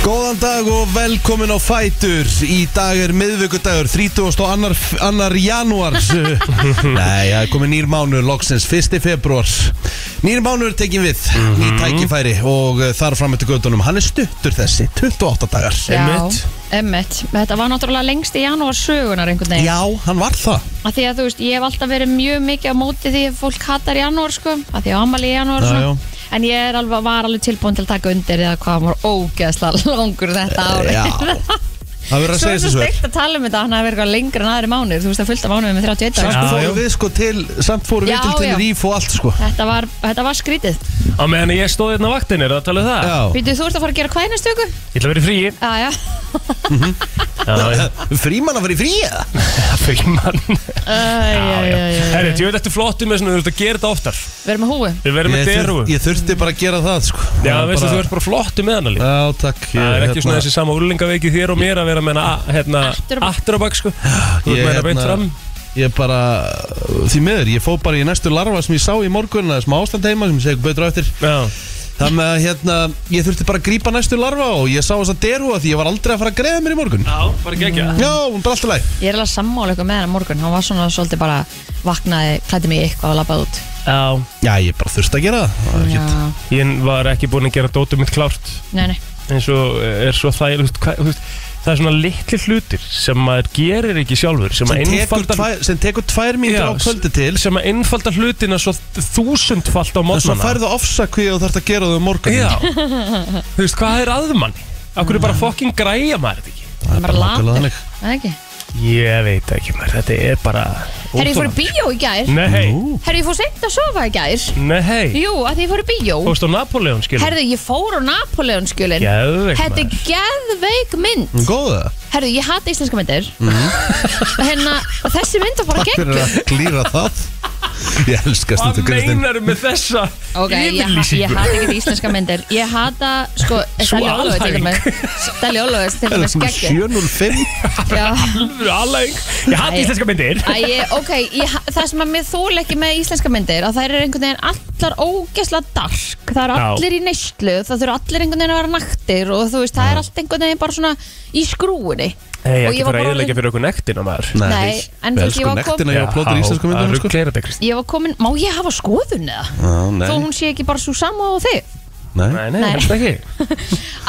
Góðan dag og velkomin á Fætur Í dag er miðvikudagur 32. annar janúar Nei, það er komið nýr mánuður Loksins 1. februar Nýr mánuður tekin við Ný tækifæri og eh, þar fram eftir gödunum Hann er stuttur þessi, 28 dagar Einmitt. emmitt Þetta var náttúrulega lengst í janúar sögunar einhvern veginn Já, hann var það að Því að þú veist, ég hef alltaf verið mjög mikið á móti því að fólk hatar janúar sko að því að ammali í janúar Já, svona. En ég er alveg, var alveg tilbúin til að taka undir því að hvað hann var ógeðslega langur þetta ári Já, það verður að Svo segja er þessu svo steikt að tala um þetta, hann hafi verið eitthvað lengur en aðri mánuð Þú veist að fullt af mánuðum með 31 Samt dagar. Já, fórum já. við sko til Samt fórum við Já, til til já. ríf og allt sko Þetta var, þetta var skrítið Á meðan ég stóði hérna á vaktinni, er það að tala um það? Já, Býtu, þú ert að fara að gera hvað í næstu viku? Ég ætla að vera í fríi Já, já, Já, frímann að vera í fríða ég fyrir mann já, já, já, já. Herri, ég veit eftir flottum þess að þú ert að gera þetta oftar Við erum að húi Við ég, verðum með þur, deru ég þurfti bara að gera það sko Já, Það var veistu, bara- þú ert bara flottum með hann alveg Já, hérna- takk Það er Ég, ekki svona þessi sama úrlingaveiki þér og mér að vera með hana hérna, Aftur á bak. aftur á bak sko Þú ert Ég, með hana beint hérna, fram Ég bara, því miður, ég fó bara í næstu larva sem ég sá í morgun Það er smá ástand heima sem ég segi betur á eftir Já, Þannig að hérna, ég þurfti bara að grípa næstu larva Og ég sá þess að derúa því ég var aldrei að fara að greiða mér í morgun já bara ekki ekki Já, hún bara alltaf læg Ég er alveg sammála ykkur með hennar morgun Hann var svona svolítið bara vaknaði, klætti mig í eitthvað og labbaði út Já, Já, ég bara þurfti að gera það það Já, Já, ég var ekki búinn að gera dótið mitt klárt nei, nei eins og eh, er svo þægilegt þú veist, hvað- þú veist, Það er svona litli hlutir sem maður gerir ekki sjálfur sem að sem, tekur einfalda tvær, sem tekur tvær mínútur Já, á kvöldi til sem að einfalda hlutina svo þúsundfalt á En svo mótnana færðu ofsakvið og þarfti að gera þau á morgun Já, þú veist, hvað er aðmanni? Akkur er bara fokkin græja maður þetta ekki? Það er Bara bara latur. nákvæmlega þannig Það ekki Ég veit ekki maður, þetta er bara Herri, ég fór í bíó í gær Nei, hei, Nú, Herri, ég fór seint að sofa í gær nei, hei Jú, að því ég fór í bíó Fórst á Napoleon, skilur Herri, ég fór á Napoleon skjölin Geðveik Þetta maður er geðveik mynd Góða, Herri, ég hata íslenska myndir Hérna, þessi mynd var bara takk gegn fyrir að glýra það Ég elska Hvað stundu Kristinn meinaru með þessa Ok, ég, ha- ég yfirlýsingu? hata ekki íslenska myndir Ég hata, sko, Sú Stalli Ólafur til alhæfing. dæmis Stalli Ólafur til Er dæmis það gegn 705? Já Alvöru alhæfing. Ég Æ. hati íslenska myndir Æ, ok, ég, það sem að mér þól ekki með íslenska myndir að það eru einhvern veginn allar ógeslega dark það eru Já. allir í neyslu, það þurfa allir einhvern veginn að vera naktir og þú veist, það er allt einhvern veginn bara svona í skrúinni Nei, Og ekki ég var fara að bara eðilegja orðin- fyrir okkur nektina maður Nei, en þú við veist, ég elskum var kom- nektina hjá plótur íslensku að myndunum sko ruggleira þetta, Kristi Ég var komin, má ég hafa skoðun eða? Já, Þó nei, hún sé ekki bara svo sama og þig nei Nei, nei, Nei. helst ekki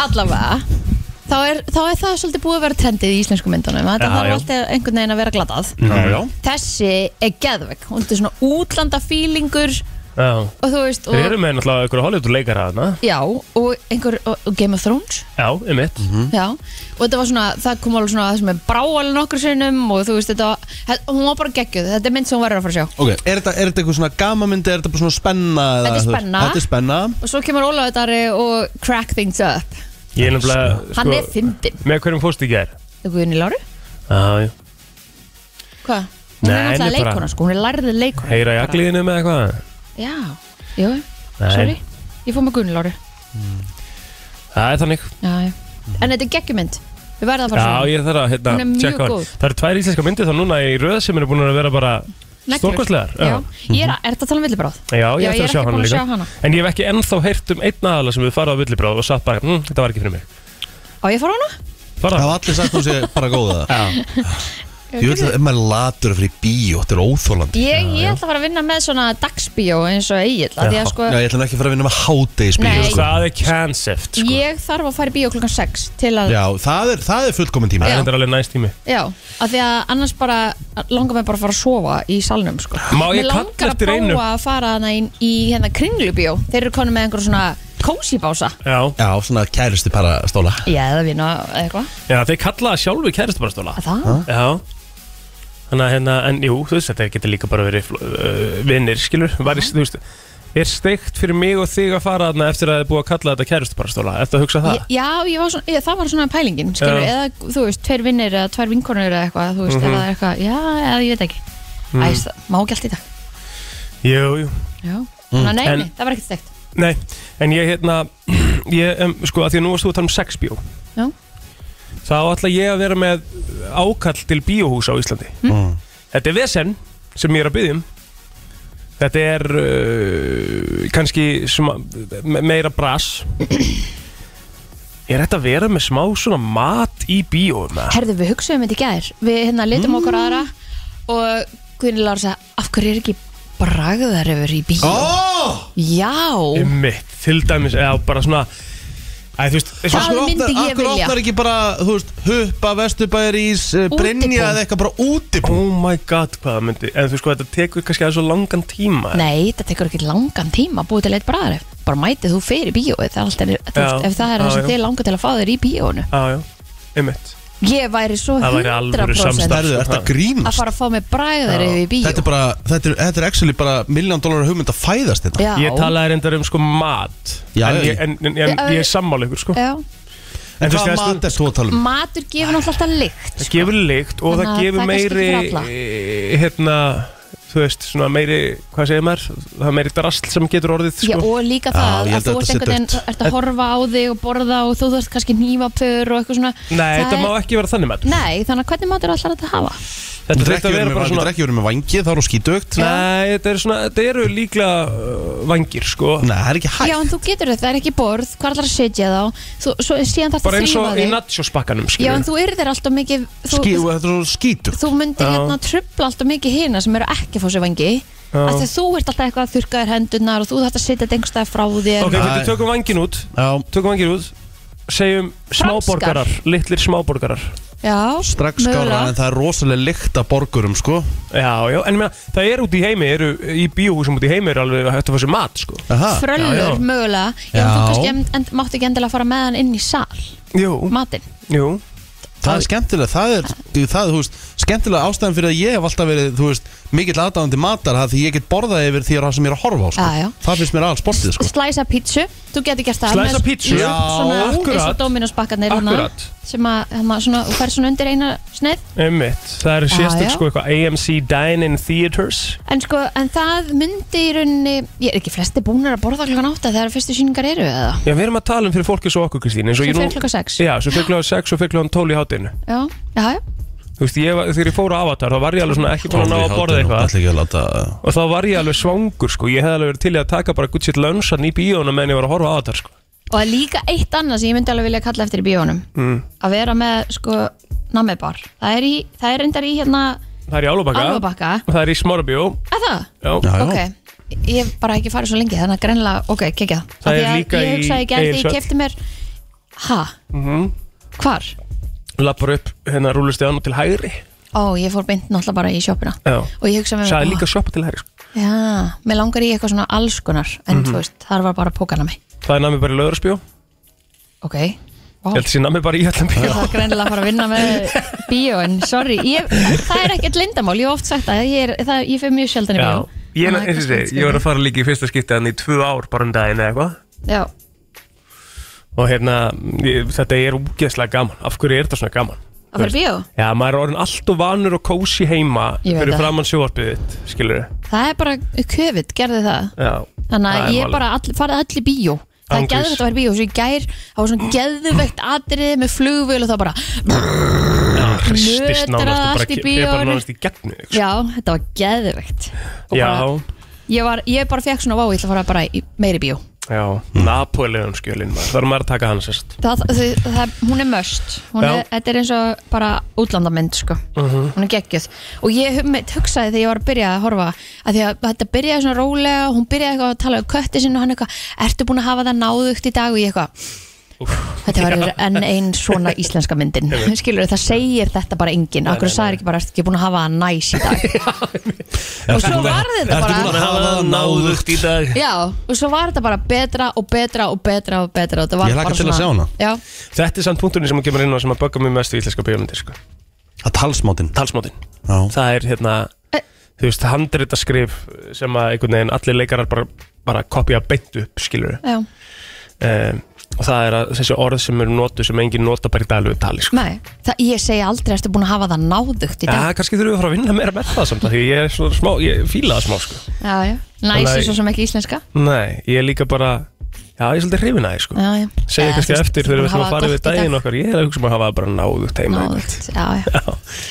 Allavega Þá er, þá er það svolítið búið að vera trendið í íslensku myndunum Þetta Já, þarf já. alltaf einhvern veginn að vera glatað Já, já. Þessi er geðvegg Hún er svona útlanda fílingur Já og þú veist og, Þeir eru með náttúrulega einhverja Hollywood-leikara hana Já, og einhver, og, og Game of Thrones Já, um mitt Já, og þetta var svona, það kom alveg svona það sem er brá alveg nokkur sinnum og þú veist þetta, var- he- hún var bara geggjöð þetta er mynd sem hún verður að fara að sjá Ok, er þetta, er þetta eitthvað svona gamamyndi, er þetta bara svona spenna eða Þetta þú er veist, spenna. Þetta er spenna og svo kemur Ólafur Darri og crack things up Ég er nefnilega sko, hann er fyndin, Með hverjum fórst í gær þú Guðni Láru Já, já hvað? Hún er Nei, hún er náttúrulega bara- leikona sko, hún er lærðið leikona Heyra í agliðinu með eitthvað Já, jú, Nei. sorry ég fór með Guðni Láru Það er þannig Já, já. en þetta er geggjumynd við verðum að fara Mhm. Já, að sjá ég þarf að hérna Hún er mjög tjekka hann góð. Það eru tvær íslenska myndir þá núna í röð sem eru búin að vera bara Neglur. stórkostlegar Já, ég er að, er þetta að tala um villibráð? Já, ég Já, ætti ég að er sjá ekki hana búin að líka sjá hana. En ég hef ekki ennþá heyrt um einn aðala sem við farið á villibráð og satt bara, hm, þetta var ekki fyrir mig Á ég að fara á hana? Bara, Það var allir sagt hún sé bara góða já, Ég veit að ef maður er latur fyrir bíó, þetta er óþólandi Ég, ég ætla að fara að vinna með svona dagsbíó eins og Egil að því að sko, Já, ég ætla nú ekki að fara að vinna með hádegisbíó Nei. sko. það er concept sko. ég þarf að fara í bíó klukkan 6 til að, já, Já, það er, það er fullkomin tíma Það er þetta alveg næst tími að því að annars bara langar mig bara að fara að sofa í salnum sko. Má ég Mig kalla langar að eftir einu? prófa að fara hana í, í hérna kringlubíó þeir eru konum með einhver svona kósi bása Já, Já, svona kærusti bara stóla Já, eða vinna eða eitthvað já þeir kalla það sjálfu kæristubarastóla Að Það? Já Þannig að hérna, en jú, þú veist, þetta getur líka bara verið fl- uh, vinnir, skilur Var, Þú veist, er steikt fyrir mig og þig að fara þarna eftir að þið er búið að kalla þetta kæristubarastóla Eftir að hugsa það? Ég- Já, ég var svona, ég, það var svona pælingin skilur, Já. Mhm. eða þú veist, tveir vinnir eða tvær vinkonur eða eitthvað, þú veist, mm eða eitthvað já, eða ég veit ekki mm. Æs, það- má ekki allt í dag Jú, jú Já, þannig að nei, Mhm. En- nei, það var ekkert stegt Nei, en ég hérna ég, um, sko, að því að nú varst þú að tala um sex bíó Já. þá ætla ég að vera með ákall til bíóhús á Íslandi Mm. Þetta er vesen sem ég er að byggja um Þetta er uh, kannski suma, me- meira bras Er þetta að vera með smá svona mat í bíóum? eða? Herðu, við hugsaðum þetta í gær Við hérna litum okkur Mm. aðra og Guðni Lára sagði, af hverju er ekki bragðar yfir í bíó? oh! Já, Einmitt, til dæmis, eða bara svona Æ, þú veist, eins og- Það myndi ég Akkur vilja. opnar ekki bara, þú veist, huppa, vestubæðirís, Útibú. brinja eða eitthvað bara útibú oh my god, hvað það myndi En þú veist, sko, þetta tekur kannski aðeins svo langan tíma nei, það tekur ekki langan tíma að búið til eitt bragðar bara mætið þú fyrir bíó ef það er, Já, ef það er já, það sem já. þið langar til að fá þér í bíónu Já, Ah, já, einmitt Ég væri svo Það væri alvöru 100% samstarf. Herðu, ert að að grínast? fara að fá mig bragðar Já. yfir í bíó Þetta er bara, þetta er, þetta er actually bara miljón dólarar hugmynd að fæðast hérna. þetta Já, Ég talaði reyndar um sko mat Já, En já. ég, en, en, en, ég er sammála ykkur sko Já. En þú veist, hvað það- mat er þú að tala um? Matur gefur náttúrulega alltaf lykt Það gefur lykt og Sko, Þannig að það gefur það er kannski ekki meiri fyrir alla. eh, Hérna, þú veist, svona meiri Hvað segir maður? Það er meiri drasl sem getur orðið sko. Já, og líka Já, það ég held að þú að þetta ert sé dött. einhvern veginn ert að horfa á þig og borða og þú þarft kannski nývapur og eitthvað svona Nei, Það þetta er- má ekki vera þannig matur Nei, þannig að hvernig matur ætlar þetta að hafa? Þetta þurfti að vera bara Drekkjur svona með, með vangi, þá eru skítugt Nei, Nei, þetta, er svona, þetta eru líklega uh, vangir sko það er ekki Já, hægt en þú getur þetta, það er ekki borð, hvað ætlar að setja þá? Þú, svo, síðan þarf það Bara að eins þrýfa og í þig nachospakkanum Já, skilur en þú yrðir alltaf mikið þú, Skí, Þetta er svo skítugt þú myndir Já. hérna trubla alltaf mikið hina sem eru ekki að fá sér vangi Já. af því að þú ert alltaf eitthvað að þurrka þér hendunar og þú þarft að setja þetta einhverstað frá þér Ok, Nei. við tökum vangin út Já, Tökum vangin út Segjum Franskar. smáborgarar, litlir smáborgarar Já, strax skára en mögulega það er rosalega lykt af borgurum, sko Já, já, en ég meina, það er út í heimi eru, Í bíóhúsum út í heimi er alveg hægt að fá sér mat sko. Aha. Fröllur, Já, já. mögulega Já, en þú Já. kannski en, en, máttu ekki endilega fara með hann inn í sal Jú, matinn jú Það er skemmtilega, það er, það, þú veist, skemmtilega ástæðan fyrir að ég hef alltaf verið, þú veist, mikill aðdáðandi matar það því ég get borðað yfir því að það sem ég er að horfa á, sko. Já, já. Það finnst mér alls sportið, sko. Slæsa pítsu, þú getur gert það Slæsa með- pítsu? Já, svona, Já, eins akkurat. og Dominos-bakkarnir hérna, Akkurat. sem að, hérna, svona, þú fær svona undir eina sneið Einmitt, það eru Já, Ah, sérstök já. sko eitthvað AMC Dine-in Theatres En sko, en það myndi í rauninni, ég er ekki flesti búnir að borða klokkan átta þegar fyrstu síningar eru eða? Já, við erum að tala um fyrir fólki svo okkur Kristín eins og Svo ég nú- fyrir klokkan sex? Já, svo fyrir klokka 6 og fyrir klokka 12 í hátinu Já, já, já. Þú veist, ég, var- þegar ég fór á Avatar þá var ég alveg svona ekki búin að ná að borða eitthvað Það er ekki að láta, Og þá var ég alveg svangur sko Ég hef alveg verið til í að taka bara good shit lönsan í bíóna meðan ég var að horfa á þetta sko Og það er líka eitt annað sem ég myndi alveg vilja kalla eftir í bíónum. Mm. Að vera með, sko, nammebar. Það er í, það er reyndar í hérna Það er í Álubakka Álfabakka. Og það er í Smárabíó Að það? Já, Já, já. Ok. Ég hef bara ekki farið svo lengi, þannig að greinlega, ok, kekja. Það er líka Ég í Mhm. hugsaði ekki að því ég Egilshöll. kefti mér, ha? Mm -hmm. Hvar? lappar upp hérna rúlusti án og til hægri Ó, ég fór beint náttúrulega bara í sjoppuna. Já Og ég hugsaði með Það er Eh, líka sjoppa til hægri sko Já, mér langar í eitthvað svona allskunar en Mhm. þú veist, þar var bara pókanami Það er nami bara í Löðursbíó Ég Ok, wow. held að sé nami bara í öllum Ég bíó var greinilega að fara að vinna með bíóin, sorry ég, Það er ekkert lindamál, ég hef oft sagt það Ég, er, það, ég fyrir mjög sjaldan í bíó Ég, Þannig að er- eins og kannski þessi, ég var að fara líka í fyrsta skipti hann í tvö ár bara um daginn eða eitthvað Já, Og hérna, ég, þetta er úgeðslega gaman Af hverju er þetta svona gaman? að fara í bíó Já, maður er orðin allt og vanur og kósi heima Ég veit Fyrir það. framann sjóvarpið þitt, skilur Það er bara COVID, gerði það Já Þannig Það að er ég málið. bara all, farið öll í bíó Það er Án gríns. geðvægt að vera í bíó, svo í gær Það var svona geðvægt atriði með flugvél og það bara hristist Nötrar nánast og allt bara, í er bara bíóinu. nánast í gegnu sko. Já, þetta var geðvægt Og bara, já, ég, var, ég bara fekk svona vá, ég ætla að fara bara í meiri bíó já, Napoleon skjölin maður, þarf maður að taka hann sérst það, það, það, hún er möst hún Já. er, þetta er eins og bara útlandamynd sko. Mhm. hún er geggjöð og ég hum- mitt hugsaði þegar ég var að byrja að horfa að því að þetta byrjaði svona rólega hún byrjaði eitthvað að tala um kötti sinni og hann eitthvað ertu búin að hafa það náðugt í dag og ég eitthvað Þetta var enn ein svona íslenska myndin Skilur, það segir þetta bara enginn Akkur nei, sagði ekki bara, ertu ekki búin að hafa það næs í dag Og svo var þetta ertu bara búin að hafa það náðugt? í dag Já, og svo var þetta bara betra og betra og betra og betra og þetta var Ég hlakka bara til að svona- sjá hana. Já, Þetta er samt punkturinn sem kemur inn á sem að bögga mér mest í íslenska bíómyndir sko. Það talsmátinn. Talsmátinn, Já. það er hérna Eh. þú veist, handrita skrif sem að einhvern veginn allir leikarar bara, bara kopja beint upp, skilur já um, og það er að þessi orð sem eru notu sem enginn nota bara í daglegu tali sko. Nei, það, ég segi aldrei ertu búin að hafa það náðugt í dag Já, kannski þurfum við að fara að vinna meira með það samt af því ég er svona smá, ég fíla það smá sko. já, já. Næs Þannig- er svo sem ekki íslenska Nei, ég er líka bara Já, ég er svolítið hrifin að þér sko já, já. Segja Eða, kannski þú veist, eftir þegar búin við ætlum að hafa fara við gott í dag. daginn okkar Ég er að hugsa um að hafa það bara náðugt heima Náðugt, já, já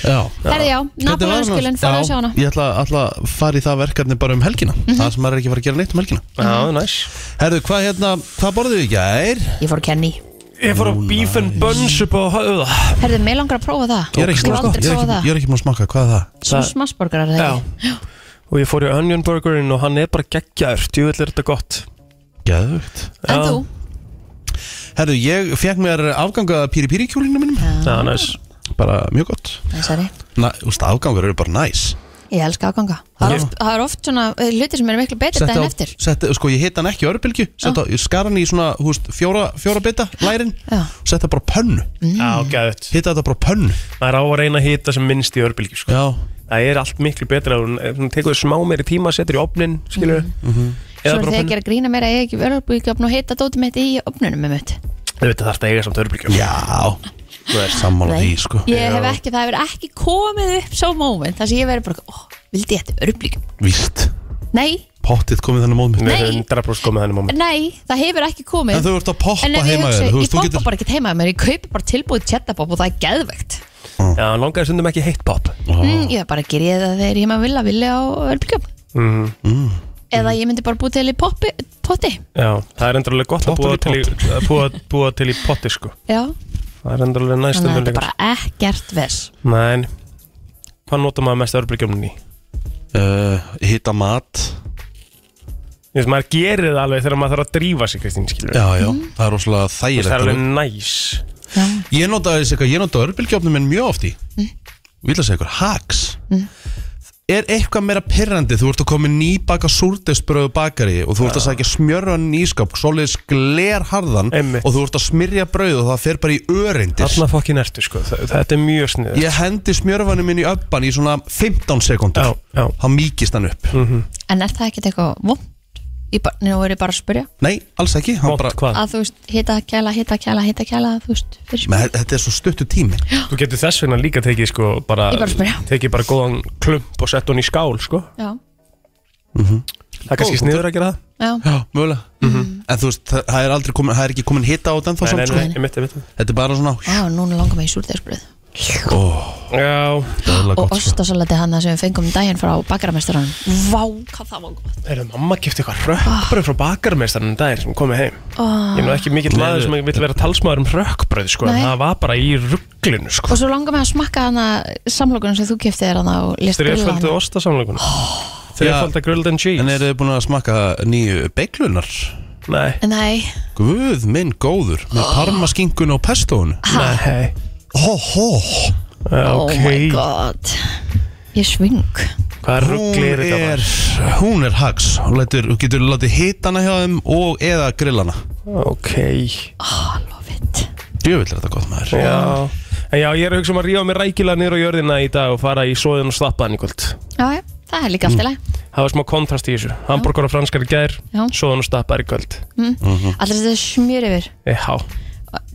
Já. Herði já, Þetta var annars- Napoleonskjölinn, farið að sjá hana Já, ég ætla, ætla að fara í það verkefni bara um helgina. Það sem maður er ekki að fara að gera neitt um helgina. Já, næs Herðu, hvað hérna, hvað borðuðu í gær? Ég fór að kenni, Ég fór á beef and buns upp á höfða Herðu, mig langar að prófa það Ég er ekki Ég búin hef að aldrei ég er ekki- ég prófað það er ekki búin að smakka, hvað er það? Svona Það- smassborgarar Já þegar Og ég fór í onion burgerinn og hann er bara geggjaður Djúvill er þetta gott Gæðvögt En Já. þú? Herðu, ég fekk mér afganga píri píri kjólinu mínum Já, næs Bara mjög gott Næsari Na, úst, Afgangar eru bara næs Ég elska afganga Það Já. er oft, það er oft svona eh, hlutir sem eru miklu betri Setti daginn á- eftir setti- Sko, ég hitt hann ekki í örbylgju Setta, Ég skar hann í svona, þú veist, fjóra, fjóra bita Lærin Já. Setta bara á pönnu Já, gæðut Hitta þetta bara á pönnu Maður á að reyna að hita sem minnst í örbylgi sko. Já Það er allt miklu betra ef Hún ef hún tekur smá meiri tíma, setur í opnin Skilur Mhm. Svo er þegar að gera grína mér að ég ekki örubíkjöfn og heita dótið mitt í opnunum með mitt Þau veit að það er að eiga samt örbylgi Já Sammála því, sko Ég hef ekki, það hefur ekki komið upp svo moment þar sem ég verið bara, ó, vildi ég þetta örubíkjöfn? Víst Nei, Pottið komið þannig móð mitt Við Nei. erum 100% komið þannig mómi nei, það hefur ekki komið En þú ert að poppa En ef ég heima hugsa, þér, þú ég veist, þú poppa getur- bara ekkert heima hjá mér, ég kaupi bara tilbúið tjettabob og það er geðvegt Já, hann langaði stundum ekki heitt pop mm, Ég bara ger ég það þegar ég maður vilja vilja á örbyggjöfn mm. Eða Mm. ég myndi bara búið til í poppi, potti Já, það er endur alveg gott að Pottur búa í til, í, að búa, búa til í potti sko Já, Það er endur alveg þannig að næst stundum þetta er líka bara ekkert vers Nei, hvað notar maður mest örbylgjónin í? uh, Hitta mat Ég veist, maður gerir það alveg þegar maður þarf að drífa sig, Kristín, skilur við. Já, já, það er rosalega Þú veist, Það er þægilegt alveg næs. Já, Ég nota þessi eitthvað, ég nota örbylgjófnum minn mjög oft í mm. Vil að segja ykkur, haks Er eitthvað meira pirrandi Þú ert að koma nýbaka súrdesbröðu bakari Og þú ert að sækja smjörun nýskap Svoleiðis glerharðan Einmitt. Og þú ert að smyrja brauð og það fer bara í öreindir Þarna fokkin ertu, sko. Þa- Þetta er mjög sniður. Ég hendi smjörfanum minn í öppan í svona 15 Já, sekundur já. Mhm. Þá mýkist hann upp en er það ekkert eitthvað vond? Ég bara, nú er ég bara að spyrja Nei, alls ekki hann Vont bara, hvað? að þú veist, hita kæla, hita kæla, hita kæla þú veist, fyrir Men spyrja þe- Þetta er svo stuttu tími Þú getur þess vegna líka tekið, sko, bara... Ég bara spyrja. Tekið bara góðan klump og sett hún í skál, sko. Já, Það er kannski Góð sniður að gera það. já, Já, mögulega Mm-hmm. En þú veist, það, það er aldrei komin, það er ekki komin hitta á þetta ennþá samt, Mhm. Nei, sko. nei, nei, ég mitt, ég mitt. Þetta er bara svona já, núna langar mig í súrdeisbröð Já. Döðlega og gott sko ostasalati hann sem við fengum um daginn frá bakaramestrarann Vá, hvað það var gott Þeir mamma kipti eitthvað rökkbröð frá bakarmeistarinn dagir sem komið heim. oh. Ég er nú ekki mikill maður sem vil vera talsmaður um rökkbröð, sko, Nei. en það var bara í rugglinu, sko. Og svo langar mig að smakka hana samlokunum sem þú kefti þér hana og list Þreföldu ostasamlökunum. Þrefölda grilled and cheese. En eru þið búin að smakka nýju beiklunar? Nei. Nei, Guð minn góður Með parmaskinkun og pestónu Nei. Hó hó Já, oh my Ok, god Ég sving hvað Hún ruggli er þetta er, bara? hún er hags Hún lætur, hún getur látið hitana hjá þeim og eða grillana Ok, I love it Djövill er þetta gott maður já En já, ég er að hugsa um að rífa mig rækilega niður á jörðina í dag og fara í svoðin og slappaðan í kvöld Já, já, það er líka allt í lagi Það var smá kontrast í þessu Hamburgur og franskar í gær, Já. svoðin og slappaðan í kvöld Mm. E, Allir þetta smjör yfir Já,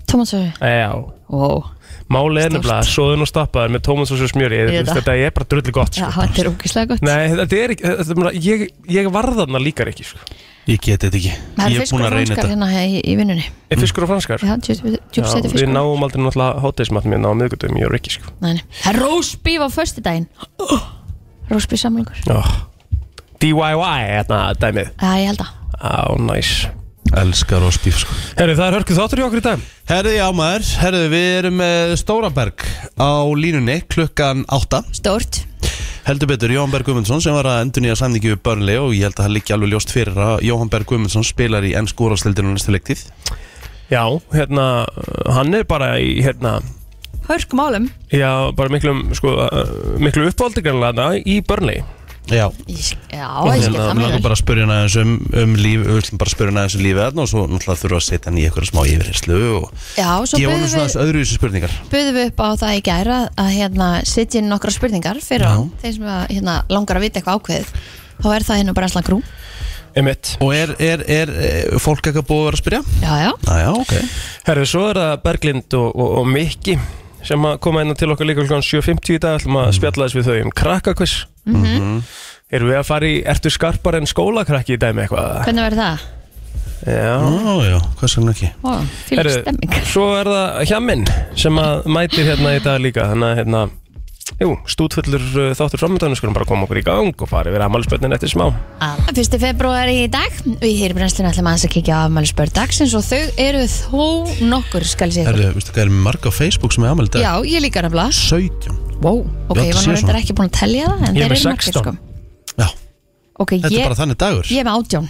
Tómatsósu já Wow Máli E, er Stórt. nefnilega, svoðin og slappaðan með tómatsós og smjöri Ég veit það. Þetta er bara drullu gott Já, sko. þetta er ógislega gott Nei, þetta er ekki þetta er bara- Ég, ég varðarna líkar ekki sko. Ég geti þetta ekki Það Ég er er búin fiskur að reyna franskar þetta hérna í, í vinnunni Er fiskur og franskar? Já, djúpsæti við fiskur Nei, náum aldrei náttúrulega hátæðismatn minn á miðgötum, ég er ekki sko. nei. Það er rósbíf á föstudaginn Rósbíf samlingur oh. DIY, hérna, dæmið Já, ég held að Á, næs Elskar og spýf sko Herri, það er hörkuð þáttur hjá okkur í dag Herði já maður, herði við erum með Stóraberg á línunni klukkan 8 Stórt Heldur betur, Jóhann Berg Guðmundsson sem var að endur nýja samningi við Burnley og ég held að það liggi alveg ljóst fyrir að Jóhann Berg Guðmundsson spilar í ennsku úrvastildinu næstu leiktið. Já, hérna, uh, hann er bara í, hérna Hörk málum Já, bara miklum, sko, uh, miklu uppáldingarlega í Burnley Já, Já, og ég hérna við skil það mjög langar vel bara að spyrja hann aðeins um, um líf, við ætlum bara að spyrja hann aðeins um lífið þarna og svo náttúrulega þurfa að setja hann í eitthvað smá yfirherslu og Já, svo gefa bauðum hann svona við, aðeins öðruvísu spurningar. bauðum við upp á það í gæra að hérna, setja inn nokkra spurningar fyrir á þeir sem að, hérna, langar að vita eitthvað ákveðið þá er það hérna bara enslan grú Emitt Og er, er, er, er fólk eitthvað búið að vera að spyrja? Já, já, Næja, Ah, ok. Herri, svo er það Berglind og, og, og Mikki sem að koma inn til okkar líka klukkan 7.50 í dag ætlum að spjalla þess við þau um krakkakviss Mhm. mm Mhm. Erum við að fara í, ertu skarpar en skólakrakki í dag með eitthvað? hvernig verður það? Já Ó, Ah, já, hvað sem ekki? Ó, fyrir Herru, stemming Svo er það Hjamin sem að mætir hérna í dag líka þannig að hérna Jú, stútfullur uh, þáttur framöndan, við skulum bara koma okkur í gang og fara yfir afmælisbörnin eftir smá. Fyrsti februar í dag og í hýrbrennslinu ætlum aðeins að kíkja á afmælisbörn dagsins og þau eru þó nokkur skal ég segja ykkur. Herru, veistu hvað er marg á Facebook sem er amal í dag? Já, ég líka nefnilega 17 wow. Ok, Já, það ég var sé nú reyndar svona. ekki búin að telja það en Ég er þeir með eru margir 16. sko Já, Ok, þetta er ég, bara þannig dagur ég er með átján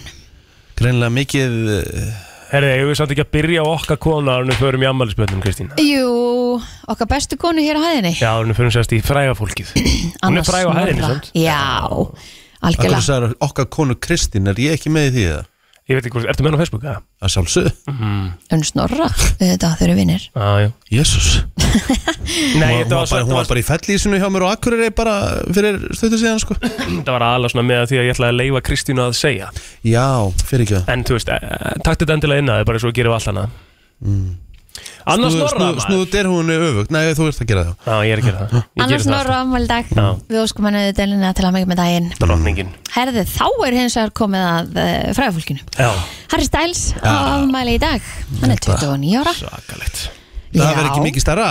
Greinlega mikið eh, Herri, ég vil samt ekki að byrja á okkar kona árnum förum í afmælisbörnin, Kristín. Jú, okkar bestu konu hér á hæðinni Já, árnum förum sérst í fræga fólkið. Hún Anna er fræga á hæðinni, Snorra. sant? Já, Akkur algjörlega sagður okkar konu Kristín Er ég ekki með í því það? Ég veit ekki hvort, ertu með hann á Facebook, eða? Að sjálfsögðu Hún Um snorra, þetta þau eru vinnir Já, já. Jésús Nei, Hún var þetta var, bara- þetta hún var var, bara í fellísinu hjá mér og akkur er bara fyrir stötu síðan sko þetta var alveg svona með að því að ég ætlaði að leifa Kristínu að segja. Já, fyrir ekki það En, þú veist, eh, taktu þetta endilega inn að þið bara svo gerum við allt annað. Mm. Snúðu- Annars Norra, snúðu- maður. Snúðu derhúinu öfugt Nei, þú ert að gera það Já, ég er að gera það. Ég geri Annars það snorra afmæli í dag Já. Við óskum henni delina til að mikið með daginn alltaf. Drottningin. Herði, þá er hins vegar komið að uh, fræðafólkinu Já, Harry Styles á afmæli í dag Hann er 29 ára sakalegt. Það verður ekki mikið starra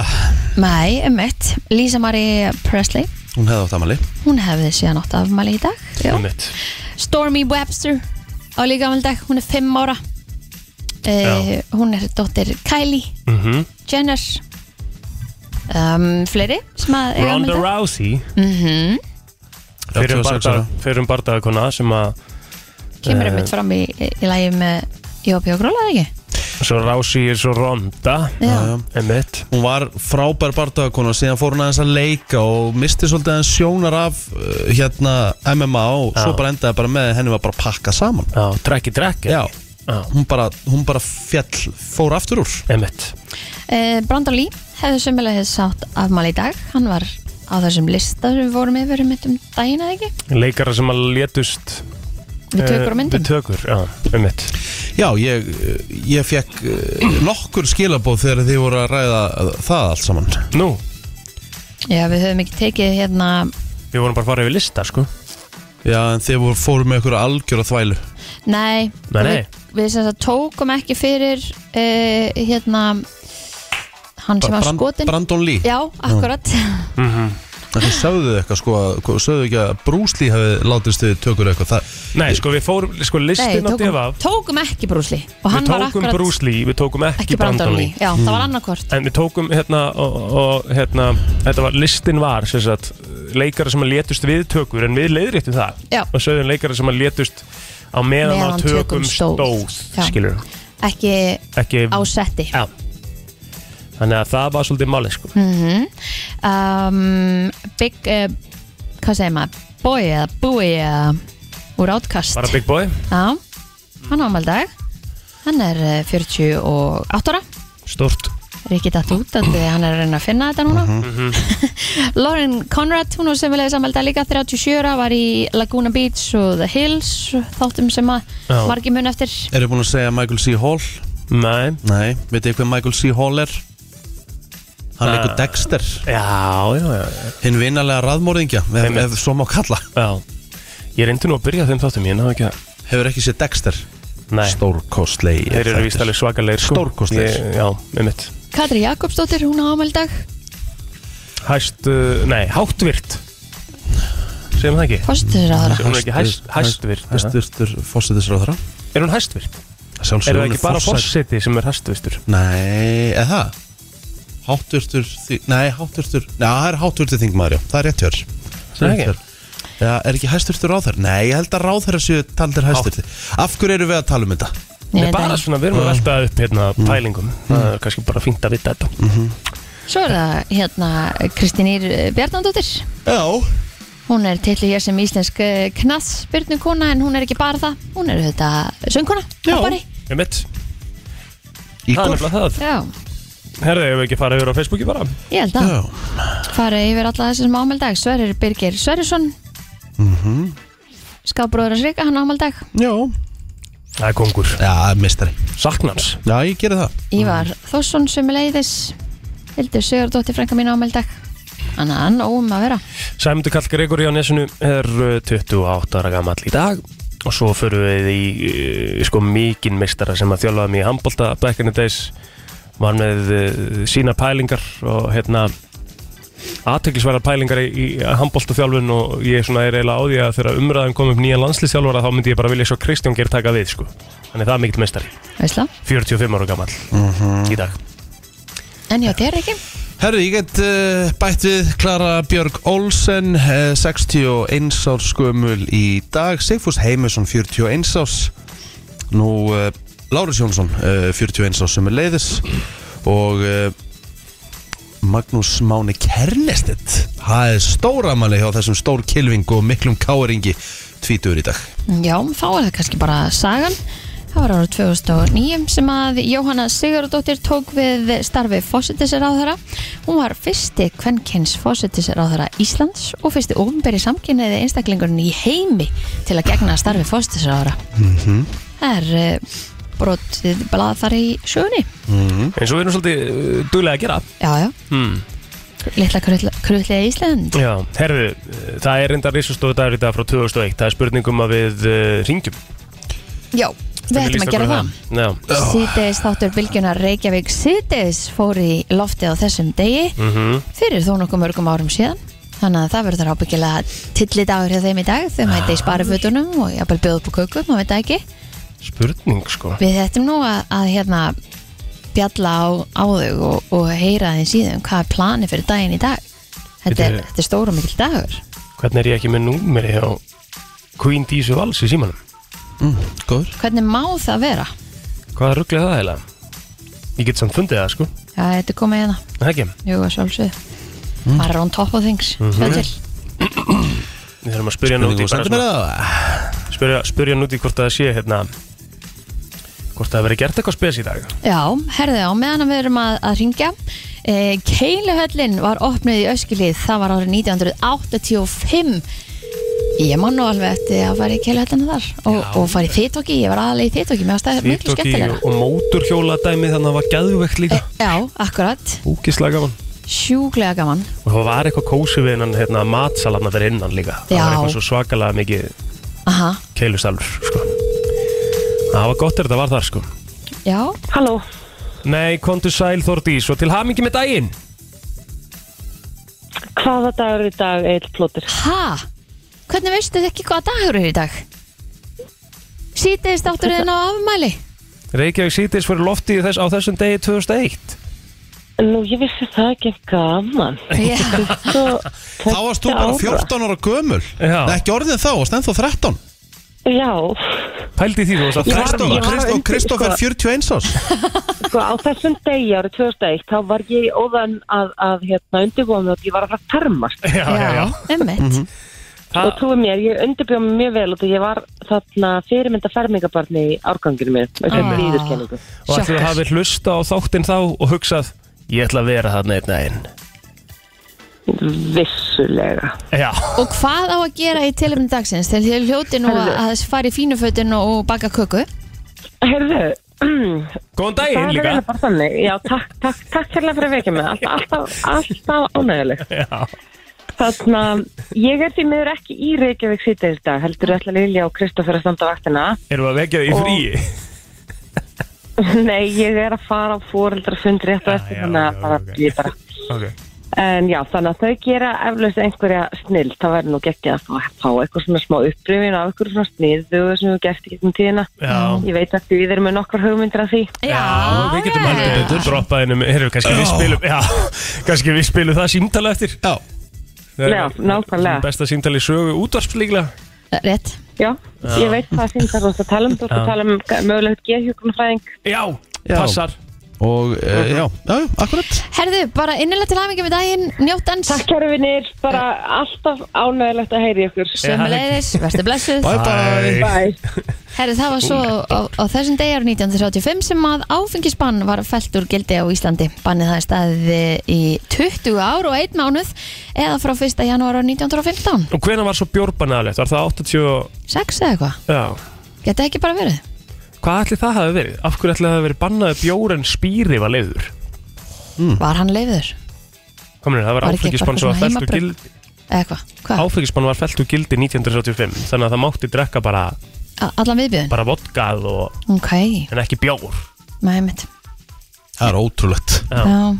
Nei, um mitt Lisa Marie Presley Hún hefði átt amali Hún hefði síðan átt afmæli í dag Já. Einmitt. Stormy Webster á líka afmæli í dag Hún er 5 ára uh, Hún er dóttir Kylie Mhm. Jenner um, Fleiri sem að Mhm. eiga afmæli í Ronda dag. Rousey, fyrir 36 ára um bardaðakona sem að Kemur Eh. um mitt fram í, í, í lægi með Jópi og Gróla, eða ekki? svo Rousey er svo Ronda Já, Já, já. Einmitt Hún var frábær bardagakona síðan fór hún aðeins að leika og misti svolítið aðeins sjónar af uh, hérna MMA og svo Já. bara endaði bara með að henni var bara pakkað saman Já, trekki trekki Já, Já. hún bara, hún bara fjall fór aftur úr Einmitt Uh, Brandon Lee hefði sömulega sátt afmæli í dag hann var á þessum lista sem við vorum yfir um mitt um daginn eða ekki Leikara sem að létust við tökur á myndum Eh, Við tökur, já, einmitt Já, ég, uh, ég fekk uh, nokkur skilabóð þegar þið voru að ræða uh, það allt saman Nú, já við höfum ekki tekið hérna við vorum bara að fara yfir lista, sko Já, en þið voru, fóru með einhverja algjöra þvælu nei, Nei, nei. við, við sem sagt tókum ekki fyrir uh, hérna hann sem var Brand- skotin Brandon Lee já, akkurat En þið sögðu eitthvað sko, að- hvað- sögðu ekki að Bruce Lee hafi látist þið tökur eitthvað það, Nei, sko, við fórum, sko, nei, listin á tókum, divaf tókum ekki brúsli og hann Við var tókum akkurat Bruce Lee, við tókum ekki, Mm. ekki Brandon Lee já, það var annarkvort En við tókum, hérna, og, og hérna Þetta var, listin var, sem sagt Leikara sem að létust við tökur En við leiðréttum það Já. Og sögðum leikara sem að létust á meðan, Meðan á tökum tökum, stóð. stóð, Já. Skilur, ekki ekki á setti Já Þannig að það var svolítið málið sko um, Big uh, hvað segir maður, Boy eða Búi eða úr átkast Bara Big Boy, Já, hann á ámaldag hann er eh, 48 ára stort er ekki dætt út að hann er að reyna að finna þetta núna Mhm. Lauren Conrad, hún var sem viljaði samaldag líka 37 ára, var í Laguna Beach og The Hills, þáttum sem að Já. margir mun eftir Eru búin að segja Michael C. Hall? Nei, Nei, veitu eitthvað Michael C. Hall er? Hann Nei. leikur Dexter já, já, já, Hinn vinarlega raðmóringja, ef, Einmitt. ef svo má kalla já. Ég reyndi nú að byrja á þeim þáttum, ég náðu ekki það Hefur ekki séð Dexter? Nei, Stórkostlegi þeir eru víst alveg svakalegir sko. Stórkostlegir. Ég- Já, með mitt Katri Jakobsdóttir, hún á ámaldag Hæst, uh, nei, háttvirt Segum það ekki? fórstur aðra Hún er ekki hæst- hæstvirt, eða? Hæstvirtur fósitisráðara Er hún hæstvirt? Er Sjálfsögur það ekki bara fórseti sem er hæstvirtur? Nei, eða það? Hátvirtur, þi- nei, hátvirtur Nei, það er hátvirtur þingmaður, já, það er rétt hjör Það er ekki? Já, er ekki hæsturtur ráðherra? Nei, ég held að ráðherra séu taldir hæsturti Af hverju eru við að tala um þetta? Nei, bara svona, við erum að velta upp hérna pælingum Það er kannski bara fínt að vita þetta Svo er það hérna Kristínýr Bjarnandóttir Já, Hún er tillu hér sem íslensk knassbyrnukona en hún er ekki bara það Hún er þetta söngkona hoppari. Með mitt, það er Ígor nefnilega það Já, Herðu, ég hef ekki farið yfir á Facebooki bara ég held að Já, fara yfir alla þessi sem ámaldag Sverrir Birgir Sverrisson mm -hmm. Skábróður að srika hann ámaldag já Það er kongur Já, mistari Saknans Já, ég gerir það Ívar Þórsson sömuleiðis Hildur Sigurdóttir frænka mín ámaldag Þannig að hann óum að vera Sæmundur Kall Gregori á nesinu er uh, 28 ára gammal í dag og svo förum við í uh, sko mikinn meistara sem að þjálfaði mig í handbólta back in the days var með uh, sína pælingar og hérna aðteglisverðar pælingar í, í handbóltaþjálfun og ég svona er eiginlega á því að þegar umræðan kom upp nýja landslýstjálfara þá myndi ég bara vilja svo Kristján Geir taka við sko. Þannig það er mikill mestari, veistla 45 ára gammal í dag. En já, þér ekki Herru, ég get uh, bætt við Klara Björg Olsen, uh, 61 árs skömmul í dag, Sigfús Heimusson, 41 árs, nú uh, Lárus Jónsson, uh, 41 árs sem er leiðis og uh, Magnús Máni Kernestedt, það er stóramæli hjá þessum stór kilving og miklum káringi tvítur í dag. Já, þá er það kannski bara sagan Það var árið 2009 sem að Jóhanna Sigurðardóttir tók við starfi fósittisráðara. Hún var fyrsti kvenkins fósittisráðara Íslands og fyrsti ofnberi samkynniði einstaklingurinn í heimi til að gegna starfi fósittisráðara. Það er eh, brotið blað þar í sjögunni. Eins og við erum svolítið uh, duglega að gera. Já, já. Mm. Litla krulliða Ísland. Já, herðu, uh, það er reyndar risustóðu dagur í dag frá 2001. Það er spurningum að við uh, ringjum. Já, við ætlum að gera það. Já, Sýteðis þáttur bylgjunar Reykjavík Sýteðis fór í loftið á þessum degi Mhm. fyrir þó nokkuð mörgum árum síðan þannig að það verður ábyggilega tillidagur hjá þeim í dag, þau mæta í sparifötunum og jafnvel bjóð upp á köku, maður veit það ekki spurning sko. við ættum nú að, að hérna bjalla á, á þau og, og heyra þeim síðan hvað er planið fyrir daginn í dag þetta er, Bíddu. þetta er stóra mikill dagur Hvernig er ég ekki með númeri hjá Queen Dísu Vals í símanum? Mm, Góður. hvernig má það vera? Hvaða rugglega það heila? Ég get samt fundið það sko. Já, þetta er komið hérna, Er Það ekki. jú, að sjálfsögðu maður er on top of things, mm til Við þurfum að spyrja hann út Þú í bara sendir mér svona- það? spyrja, spyrja hann út í hvort það sé hérna hvort það veri gert eitthvað spes í dag. Já, herðu á meðan að við erum að, að ringja e, Keiluhöllin var opnuð í Öskilíð það var árið 1985 Ég man nú alveg eftir að fara í Keiluhöllina þar og, og fara í þittóki, ég var aðalega í þittóki mér ástæði miklu Þýtt skemmtilega og móturhjóla dæmi þannig að það var gæðvegt e, líka. Já, akkurat, Úkislega gaman. sjúklega gaman Og það var eitthvað kósi við hennan hérna, matsalarna fyrir innan líka. Það var Já. eitthvað svo svakalega mikið Aha, keilustalur sko. Það var gott er þetta var þar sko. já, Halló, Nei, kontu sæl Þordís og til hamingi með daginn. hvaða dagur er í dag eitt plótir? ha Hvernig veistu þið ekki hvaða dagur er í dag? Sýtiðist átturinn á afmæli Reykjavík sýtis fyrir lofti þess, á þessum degi 2001. Nú, ég vissi það ekki gaman. Sko, Já, Svo, Þá varst þú bara 14 ára gömul, Já. ekki orðin þá, stend þá 13. Já, Pældi því þú varst að Já, þræsta ég var- Kristó- Kristófer sko- 41 árs. sko á þessum degi árið 2001, þá var ég óðan að, að hérna, undirbúa mig og ég var að fara að termast. Já, já, já. ummitt Ha- Og trúið mér, ég undirbjóð mig mjög vel og því ég var þarna fyrirmynda fermingabarni í árganginu minn, með sem Ah. og viðurkenningu. ætlum að Sjokkar. hafi hlusta á þáttinn þá og hugsað ég ætla að vera þarna einn að einn Vissulega. Já, Og hvað á að gera í tilumni dagsins? Þegar þið hljóti nú að að fara í fínufötun og og baka köku Heyrðu, góðan það er daginn líka eiginlega bara þannig. Já, takk, takk, takk hérlega fyrir að vekja mig. Alltaf, alltaf, alltaf ánægileg. Já, Þannig að ég er því miður ekki í Reykjavík síðdeis dag, heldur ætla Lilja og Kristoffer að standa vaktina. erum við að vekja því Og- frí Nei, ég er að fara á fóreldrafund rétt og eftir já, þannig já, að bara ok. ég bara. okay. En já, þannig að þau gera eflaust einhverja snill, það verður nú geggjað að fá- fá eitthvað svona smá uppröfin af eitthvað svona sniðu sem við gert í gegnum tíðina. Já, Ég veit að við erum með nokkar hugmyndir af því. já, við já. getum heldur betur droppaðinu, heyrðu, kannski við spilum já, kannski við spilum það símtala eftir Já. Það er Já, nákvæmlega. Besta símtali sögu útvarp líklega Rétt Já, ég veit hvað það finnst að þú ert að tala um, þú ert Já. að tala um mögulegt geðhjúkunarfræðing. Já, Já. passar Og uh, já, já, já, akkurat Herðu, bara innilega til hafingjum í daginn Njóttans, Takk kæru vinir, bara alltaf ánægilegt að heyri ykkur. sömulegðis, verður blessuð Bye bye Bye. Herðu, það var svo á, á þessum degi árið 1935 sem að áfengisbann var fælt úr gildi á Íslandi Bannið það er staðið í 20 ár og 1 mánuð eða frá 1. janúar á 1915 Og hvena var svo bjórbanalegt, var það 80 og- 6 eða eitthvað, Já, geta ekki bara verið hvað ætli það hafi verið? Af hverju ætli það hafi verið bannaði bjór en spýri var leiður? Var hann leiður? Kominir, það var Var ekki áfengisbann eitthvað svo svona Ah. að fellt og heimabrugg? gild Eða eitthvað, hvað? áfengisbann var felt úr gildi 1935 þannig að það mátti drekka bara, A- Allan viðbjöðin? bara vodkað og, Ok, en ekki bjór með heimitt Það er ótrúlegt Já. Já,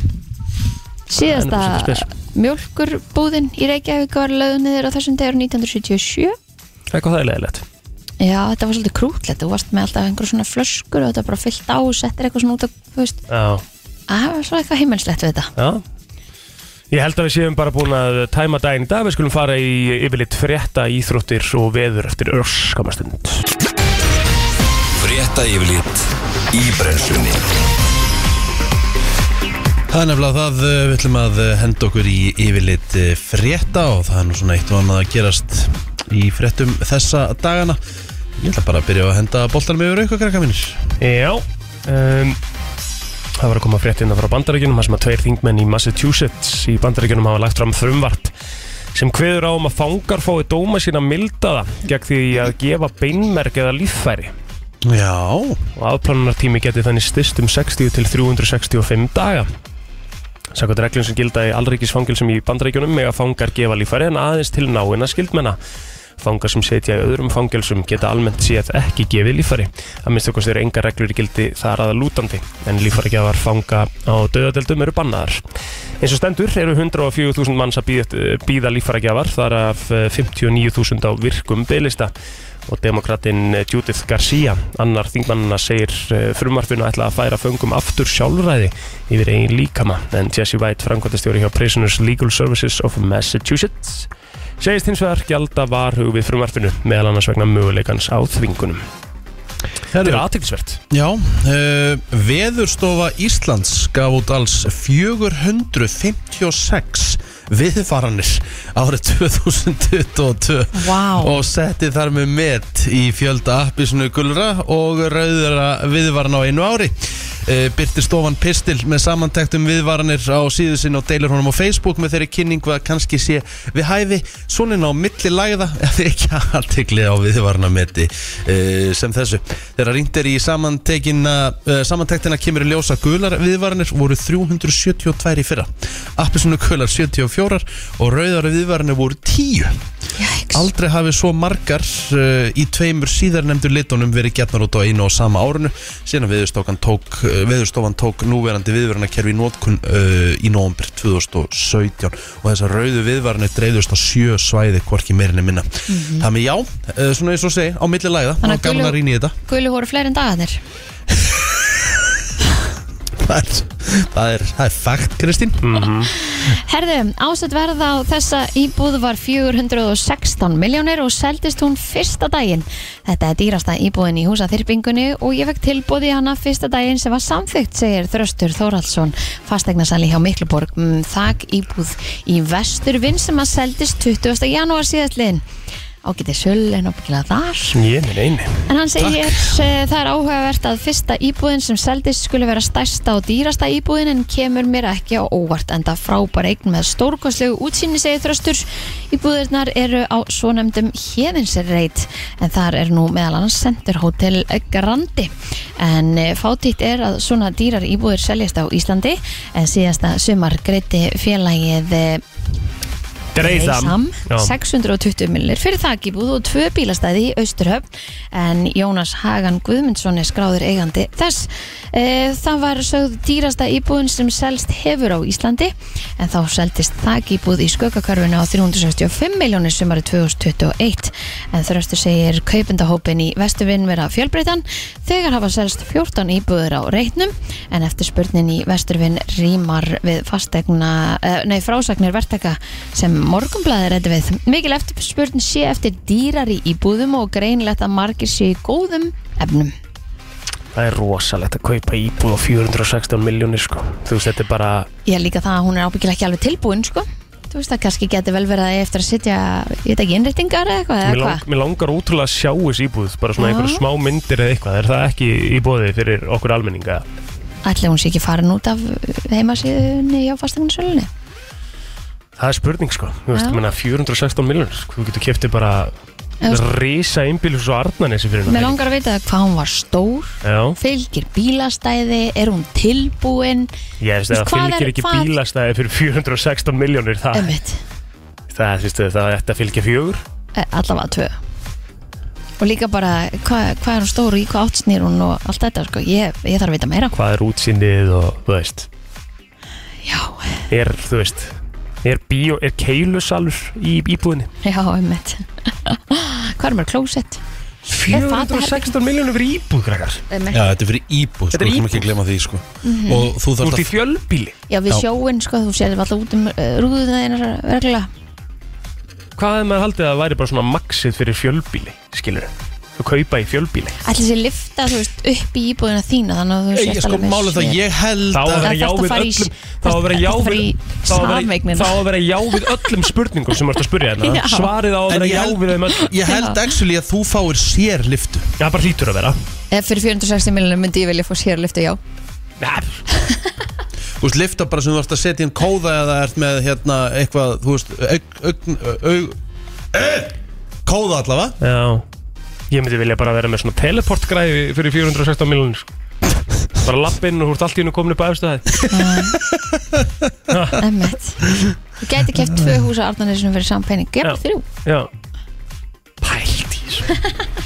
Það er nú Síðasta svolítið mjölkurbúðin í Reykjavík var löðunniður á þessum degur 1977 Eitthvað það er leðilegt Já, þetta var svolítið krútlegt, þú varst með alltaf einhver svona flöskur og þetta var bara fyllt á og settir eitthvað svona út á, þú veist, Já, það var svona eitthvað himmelslegt við þetta já Ég held að við séum bara búin að tæma daginn í dag Við skulum fara í yfirleitt frétta íþróttir og veður eftir örskamastund Frétta yfirlit í brennslunni Það er nefnilega það, uh, við ætlum að uh, henda okkur í yfirlit uh, frétta og það er nú svona eitt og annað að gerast í fréttum þessa dagana. Ég ætla bara að byrja á að henda boltanum yfir auka krakka mínir. Já um, Það var að koma frétt inn frá bandaríkjunum þar sem að tveir þingmenn í Massachusetts í bandaríkjunum hafa lagt fram frumvart sem kveður á um að fangar fái dóma sína mildaða gegn því að gefa beinmerk eða líffæri Já, og afplánunartími geti þannig styrst um 60 til 365 daga Samkvæmt reglum sem gilda í allríkisfangilsum í bandaríkjunum með að fangar gefa líffæri en aðeins til náina skildmenna Fangar sem setja í öðrum fangilsum geta almennt séð ekki gefið líffæri að minnst okkur eru enga reglur í gildi þar aða lútandi en líffærigjafar fanga á döðadeldum eru bannaðar Eins og stendur eru 104.000 manns að bíða- bíða líffærigjafar þar af eh, 59.000 á virkum bylista og demokratinn Judith Garcia annar þingmannina segir eh, frumvarpinu ætla að færa föngum aftur sjálfræði yfir eigin líkama en Jesse White framkvæmtastjóri hjá Prisoners Legal Services of Massachusetts segist hins vegar gjalda varhug við frumvarpinu meðal annars vegna möguleikans á þvingunum Þetta er aðtilsvert Já, uh, Veðurstofa Íslands gaf út alls 456 viðfaranir árið 2022 Vá. og setti þar með met í fjölda appisnu gulra og rauðara viðvaran á einu ári. Uh, Byrti stofan pistil með samantektum viðvaranir á síðu sinni og deilur honum á Facebook með þeirri kynningu að kannski sé við hæfi svona á milli lagða ef ekki aðtikli á viðvarnameti uh, sem þessu. Þegar ringt er í samantekina, uh, samantektina kemur í ljósa gular viðvaranir voru 372 í fyrra. Appisunu gular 74 og rauðara viðvaranir voru 10. Jæks, Aldrei hafi svo margar uh, í tveimur síðarnemdu litunum verið getnar út á einu og sama árinu síðan viðurstofan tók, uh, viðurstofan tók núverandi viðvörunarkerfi í nótkun uh, í nóvambur 2017 og þessar rauðu viðvarnir dreifðust á sjö svæði hvorki meirinni minna Þannig já, uh, svona eins og segi, á milli lagða Þannig og að gaman gulu- að rýna í þetta gulu voru fleiri en dagarnir Það er, það er, það er fakt, Kristín Herðu, ásett verð á þessa íbúð var 416 miljónir og seldist hún fyrsta daginn. Þetta er dýrasta íbúðin í húsaþyrpingunni og ég fekk tilbúði hana fyrsta daginn sem var samþygt, segir Þröstur Þóraldsson, fastegnasali hjá Mikluborg, um, þak íbúð í vesturvinn sem að seldist 20. janúar síðastliðin. Ágætið söl en ábyggilega þar. Ég minn eini En hann segir uh, það er áhugavert að fyrsta íbúðin sem seldist skulle vera stærsta og dýrasta íbúðin en kemur mér ekki á óvart enda frábær eign með stórkoslegu útsýni segir þröstur. Íbúðirnar eru á svonefndum hérðinsreit en þar er nú meðal annars Center Hotel Grandi. En uh, fátítt er að svona dýrar íbúðir seljast á Íslandi en síðasta sumar greiti félagið eh, Reisam, Dreisam Já. 620 millir fyrir þakíbúð og tvö bílastæði í Austurhöfn en Jónas Hagan Guðmundsson er skráður eigandi þess e, það var sögð dýrasta íbúðin sem selst hefur á Íslandi en þá seldist þakíbúð í skökkakörfinu á 365 miljónir sumari 2021 en þröstur segir kaupendahópin í Vesturvinn vera fjölbreytan þegar hafa selst 14 íbúður á reitnum en eftir spurnin í Vesturvinn rýmar við fastegna, eh, nei frásagnir verktaka sem morgumblaðir reddi við. Mikil eftirspurn sé eftir dýrari íbúðum og greinlegt að margir sé í góðum efnum. Það er rosalegt að kaupa íbúð á 416 miljónir sko Þú veist, þetta er bara Ég er líka það að hún er ábyggilega ekki alveg tilbúin, sko. Þú veist það kannski geti vel verið að ég eftir að sitja, ég veit ekki, innréttingar eða eitthvað, Mér, eða lang, hvað. mér langar útrúlega að sjá þessu íbúð bara svona Já. einhverja smá myndir eða eitthvað er það ekki í bóði fyrir okkur almenninga Ætli hún sé ekki farin út af heimasíðunni á fasteignarsölunni. það er spurning sko þú veist, Já. ég meina 416 miljonir sko. þú getur kæftið bara Þú veist- risa einbílus og arnanesi fyrir Mér langar að vita hvað hún var stór, Já, fylgir bílastæði, er hún tilbúin, ég veist, það Hvað er- fylgir ekki hvað- bílastæði fyrir 416 miljónir það, ömmit, það, þú veist, það ætti að fylgja fjögur Eh, allavega tvö. Og líka bara, hvað, hvað er hún stór og í hvað átt snýr hún og allt þetta, sko. Ég, ég þarf að vita meira. hvað er útsýndið og þú veist Já, er, þú veist er bíó, er keilusalur í íbúðinni Já, einmitt Hvað er maður klósett? Er það 416 miljónur fyrir íbúð, krakkar Já, þetta er fyrir íbúð, sko, Þetta er við skulum ekki glema því, sko Og þú Þú ert þarft í fjölbíli Já, við Já. sjóinn, sko, þú sér alltaf út um uh, rúðuna þeirra reglulega Hvað er maður haldið að það væri bara svona maxið fyrir fjölbíli, skilur Þú kaupa í fjölbíli Allir sér lifta, þú veist, upp í íbúðina þína Þannig að þú að sér Ég, sko, málið það, ég held Þá að að vera Það já þarftu að við fara í- öllum Þá að vera já þarftu að fara við í þá að vera- sameignina. Þá að vera já við öllum spurningum sem þú ert að spurja Já. þetta Svarið á að En vera ég já held- við þeim öllum Ég held actually að þú fáir sér liftu Já, bara hlýtur að vera Ef Eh, fyrir 460 miljonum myndi ég vilja fá sér lifta, já Nei, Þú veist, lifta bara sem þú ert að setja inn kóða eða ert með, hérna, eitthvað, þú veist, aug, aug, aug, kóða allavega Já Ég myndi vilja bara vera með svona teleportgræði fyrir 416 miljonir sko. Bara lappinn og þú ert allt í hennu komin upp að efstu það Emmett Þú gæti keft tvö hús á Arnarnesinu fyrir saman pening Ég bara Já. þrjú Já Pælt í þessu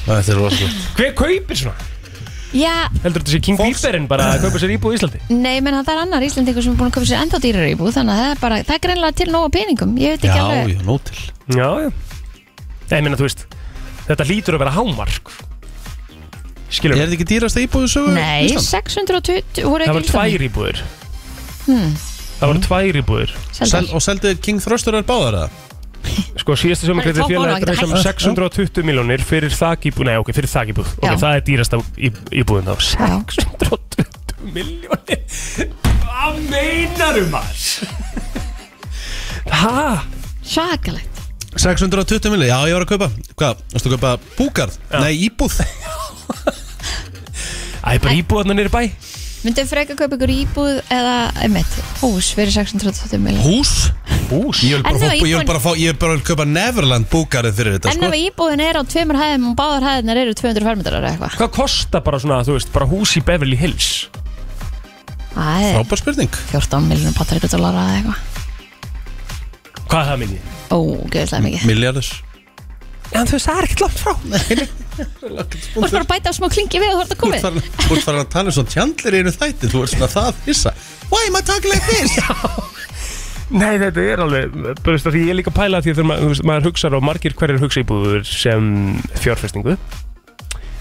Þetta er rosalegt Hver kaupir svona? Já, Heldur þetta sé King Fólks- Bieberinn bara að kaupa sér íbúð í Íslandi? nei, menn það er annar Íslendingur sem er búin að köpa sér enda dýrar íbúð Þannig að það er bara, það er greinlega til nóga peningum Ég veit Já, ekki alveg já, nótil Já, já Nei, ég meina, þú veist Þetta hlýtur að vera hámark Er Skilur, þetta ekki dýrasta íbúðu sögu? Nei, 620 voru það ekki Hmm. voru tvær íbúðir Það voru tvær íbúðir Sel, Seldar. og seldu King Thrustur er báðar eða? Sko, síðasta sem Það er greiði topp álag, félagi þetta dreifum hækkar. 620 miljónir fyrir þakíbúð Nei, ok, fyrir þakíbúð Ok, Já. það er dýrasta í- íbúðin þá Já. 620 miljónir Hvað meinaru maður? Hæ? Svakalegt 620 milli, já ég var að kaupa Hvað, varstu að kaupa búgarð? Nei, íbúð Æ, bara íbúðarna nýri bæ Myndið freka kaupa ykkur íbúð eða, einmitt, hús fyrir 620 miljón Hús? Hús Ég vil bara, fá, En það var ég vil bara, fá, ég vil bara kaupa Neverland búgarð fyrir þetta En ef sko. íbúðin er á tveimur hæðum og báðar hæðinar eru 200 fermetrar eða eitthvað Hvað kostar bara svona, þú veist, bara hús í Beverly Hills? Það er Frábær spurning 14 miljonum patrikur dólara eða eitthvað Hvað er það minni? Ó, gæðislega mikið Miljardur En þú veist, það er ekkert langt frá Þú ert bara að bæta á smá klingi við og þú ert að Þú komið ert farin- þú ert farin að tala um svona tjandlir í einu þætti Þú ert svona það hissa Why am I talking like this? Nei, þetta er alveg, bara veist, af því ég er líka að pæla því að þegar maður, þú veist, maður hugsar og margir hverjir hugsa íbúður sem fjárfestingu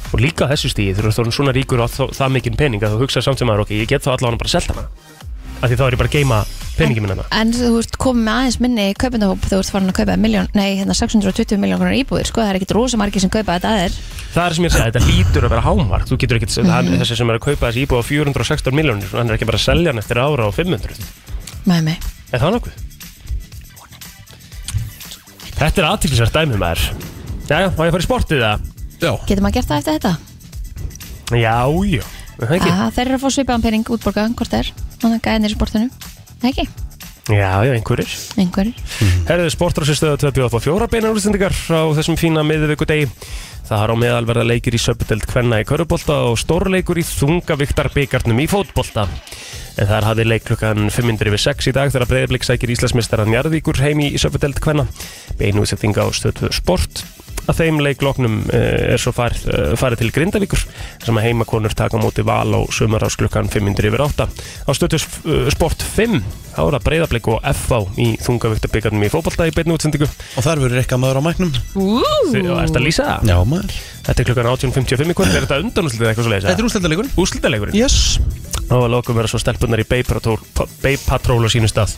og líka á þessu stíði þegar þú ert svona ríkur og það, það mikinn pening að þú hugsa samt sem maður, ok, ég get þá allavega bara að selta hana af því þá er ég bara að geima peningin minna En þú ert komið með aðeins minni kaupendahóp þú ert farin að kaupa miljón, nei, hérna 620 miljón grunar íbúðir, sko, það er ekkit rosa margir sem kaupa þetta að þér. Það er sem ég sagði, þetta lítur að vera hámark þú getur ekkert, mm þessi sem er að kaupa þessi íbúð á 416 miljónir, hann er ekki bara að selja hann eftir ára á 500, Með mig. er það nokkuð? Þetta er aðtílisvært dæmi maður Jæja, má ég fara í sportið það? Já, Getur maður gert það eftir þetta? Já, já, er það ekki Ja, þeir eru að fá svipaðan pening útborgaðan, hvort það er, þannig að gæðinir í sportinu. Nei, ekki, Já, já, einhverjir einhverjir. Herðu sportrásinstöðu 24 beinar úrstendingar á þessum fína miðvíku degi Það har á meðal verða leikir í söpudeld kvenna í körubólta og stórleikur í þungaviktar byggarnum í fótbolta En þar hafði leik klukkan 5.06 í dag þegar breyðblik sækir Íslandsmeistaran Jarðvíkur heim í söpudeld kvenna Beinu úrstendinga á stöðu sport Að þeim leikloknum eh, er svo far, eh, farið til Grindavíkur sem að heimakonur taka á móti val á sumarás klukkan 5.08 á stötu eh, sport 5 þá er það breyðablik og FV í þungavíktabyggarnum í fótbolta í beinni útsendingu og þar verður eitthvað maður á mæknum Þið- og ertu að lýsa það? Já maður Þetta er klukkan 18.55 í kvöld, er þetta undanúslitið eitthvað svo leiðis? Þetta er úrslendalegur úrslitaleikurinn Yes og að lokum vera svo stelpunar í Bay Patrol, Bay Patrol á sínu stað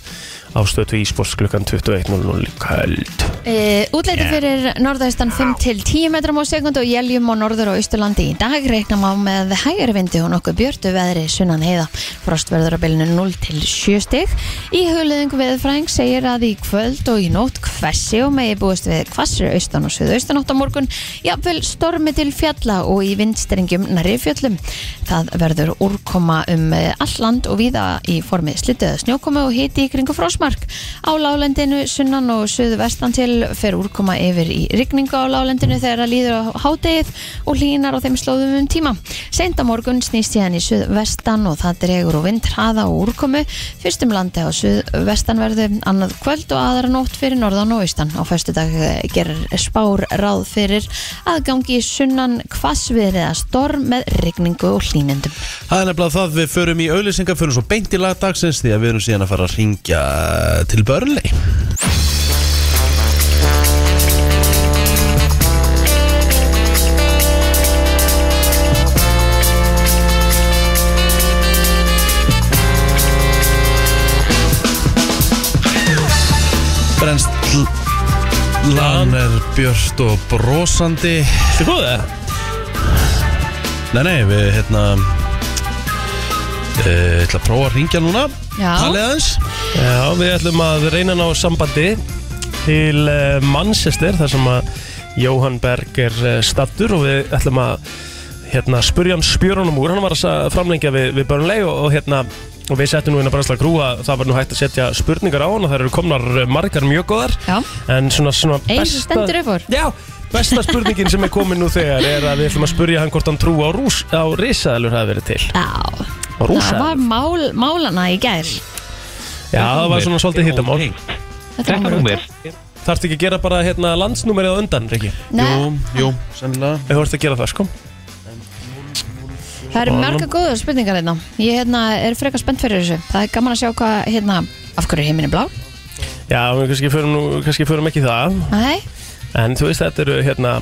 á stötu e-sports klukkan 21.00 í kvöld Uh, útleiti fyrir norðaustan 5 til 10 metrum á sekund og jéljum á norður og austurlandi í dag reikna má með hægari vindi og nokkuð björtu veðri sunnan heiða frost verður að bylnu 0 til 7 stig í hugleðingu veðfræðing segir að í kvöld og í nótt hvessi og megi búist við hvassir austan og suðaustan átt á morgun jafnvel stormi til fjalla og í vindstrengjum nærri fjöllum það verður úrkoma um eh, allt land og víða í formi slitið snjókomi og hiti í kringu frósmark á lálendinu sunnan og suðu vestan til fer úrkoma yfir í rigningu á lálendinu þegar að líður á hádegið og hlínar á þeim slóðum um tíma. Seinda morgun snýst ég hann í suðu vestan og það dregur og vind hraða og úrkomu fyrstum landi á suðu vestanverðu annað kvöld og aðra nótt fyrir norðan og austan. Á föstudag eh, gerir spár ráð fyrir að gangi sunnan hvassviðri eða storm með rigningu og hlínendum. Það er nefnilega það við við förum í auðlýsingar, förum svo beint í lagdagsins því að við erum síðan að fara að ringja til börnlei Brennst Lan er björt og brosandi Þetta er góð það? Nei, nei, við hérna eh, Ég ætla að prófa að ringja núna Já. Talið aðeins Já, við ætlum að reyna að ná sambandi til eh, Manchester þar sem að Jóhann Berg er stattur og við ætlum að hérna, spurja hann spjörunum úr hann var að sa- framlengja við, við Burnley og, og hérna og við settum nú inn að brænsla grúa það var nú hægt að setja spurningar á hann og það eru komnar eh, margar mjög góðar Já. en svona, svona Ein sem besta stendur upp úr. Já, besta spurningin sem er komin nú þegar er að við ætlum að spurja hann hvort hann trú á, rús, á risaðalur hafi verið til Já, á það rúsaðalur var mál, málana í gær Já, það var svona svolítið hittamál Þetta var númer Þarftu ekki að gera bara hérna, landsnúmerið á undan, Riki? Jú, Nei, jú, sennilega Ef þú ert að gera það, sko Það eru marga góður spurningar hérna Ég hérna, er frekar spennt fyrir þessu Það er gaman að sjá hvað hérna Af hverju heiminni blá Já, við kannski förum, nú- kannski förum ekki það Nei, En þú veist, þetta eru hérna,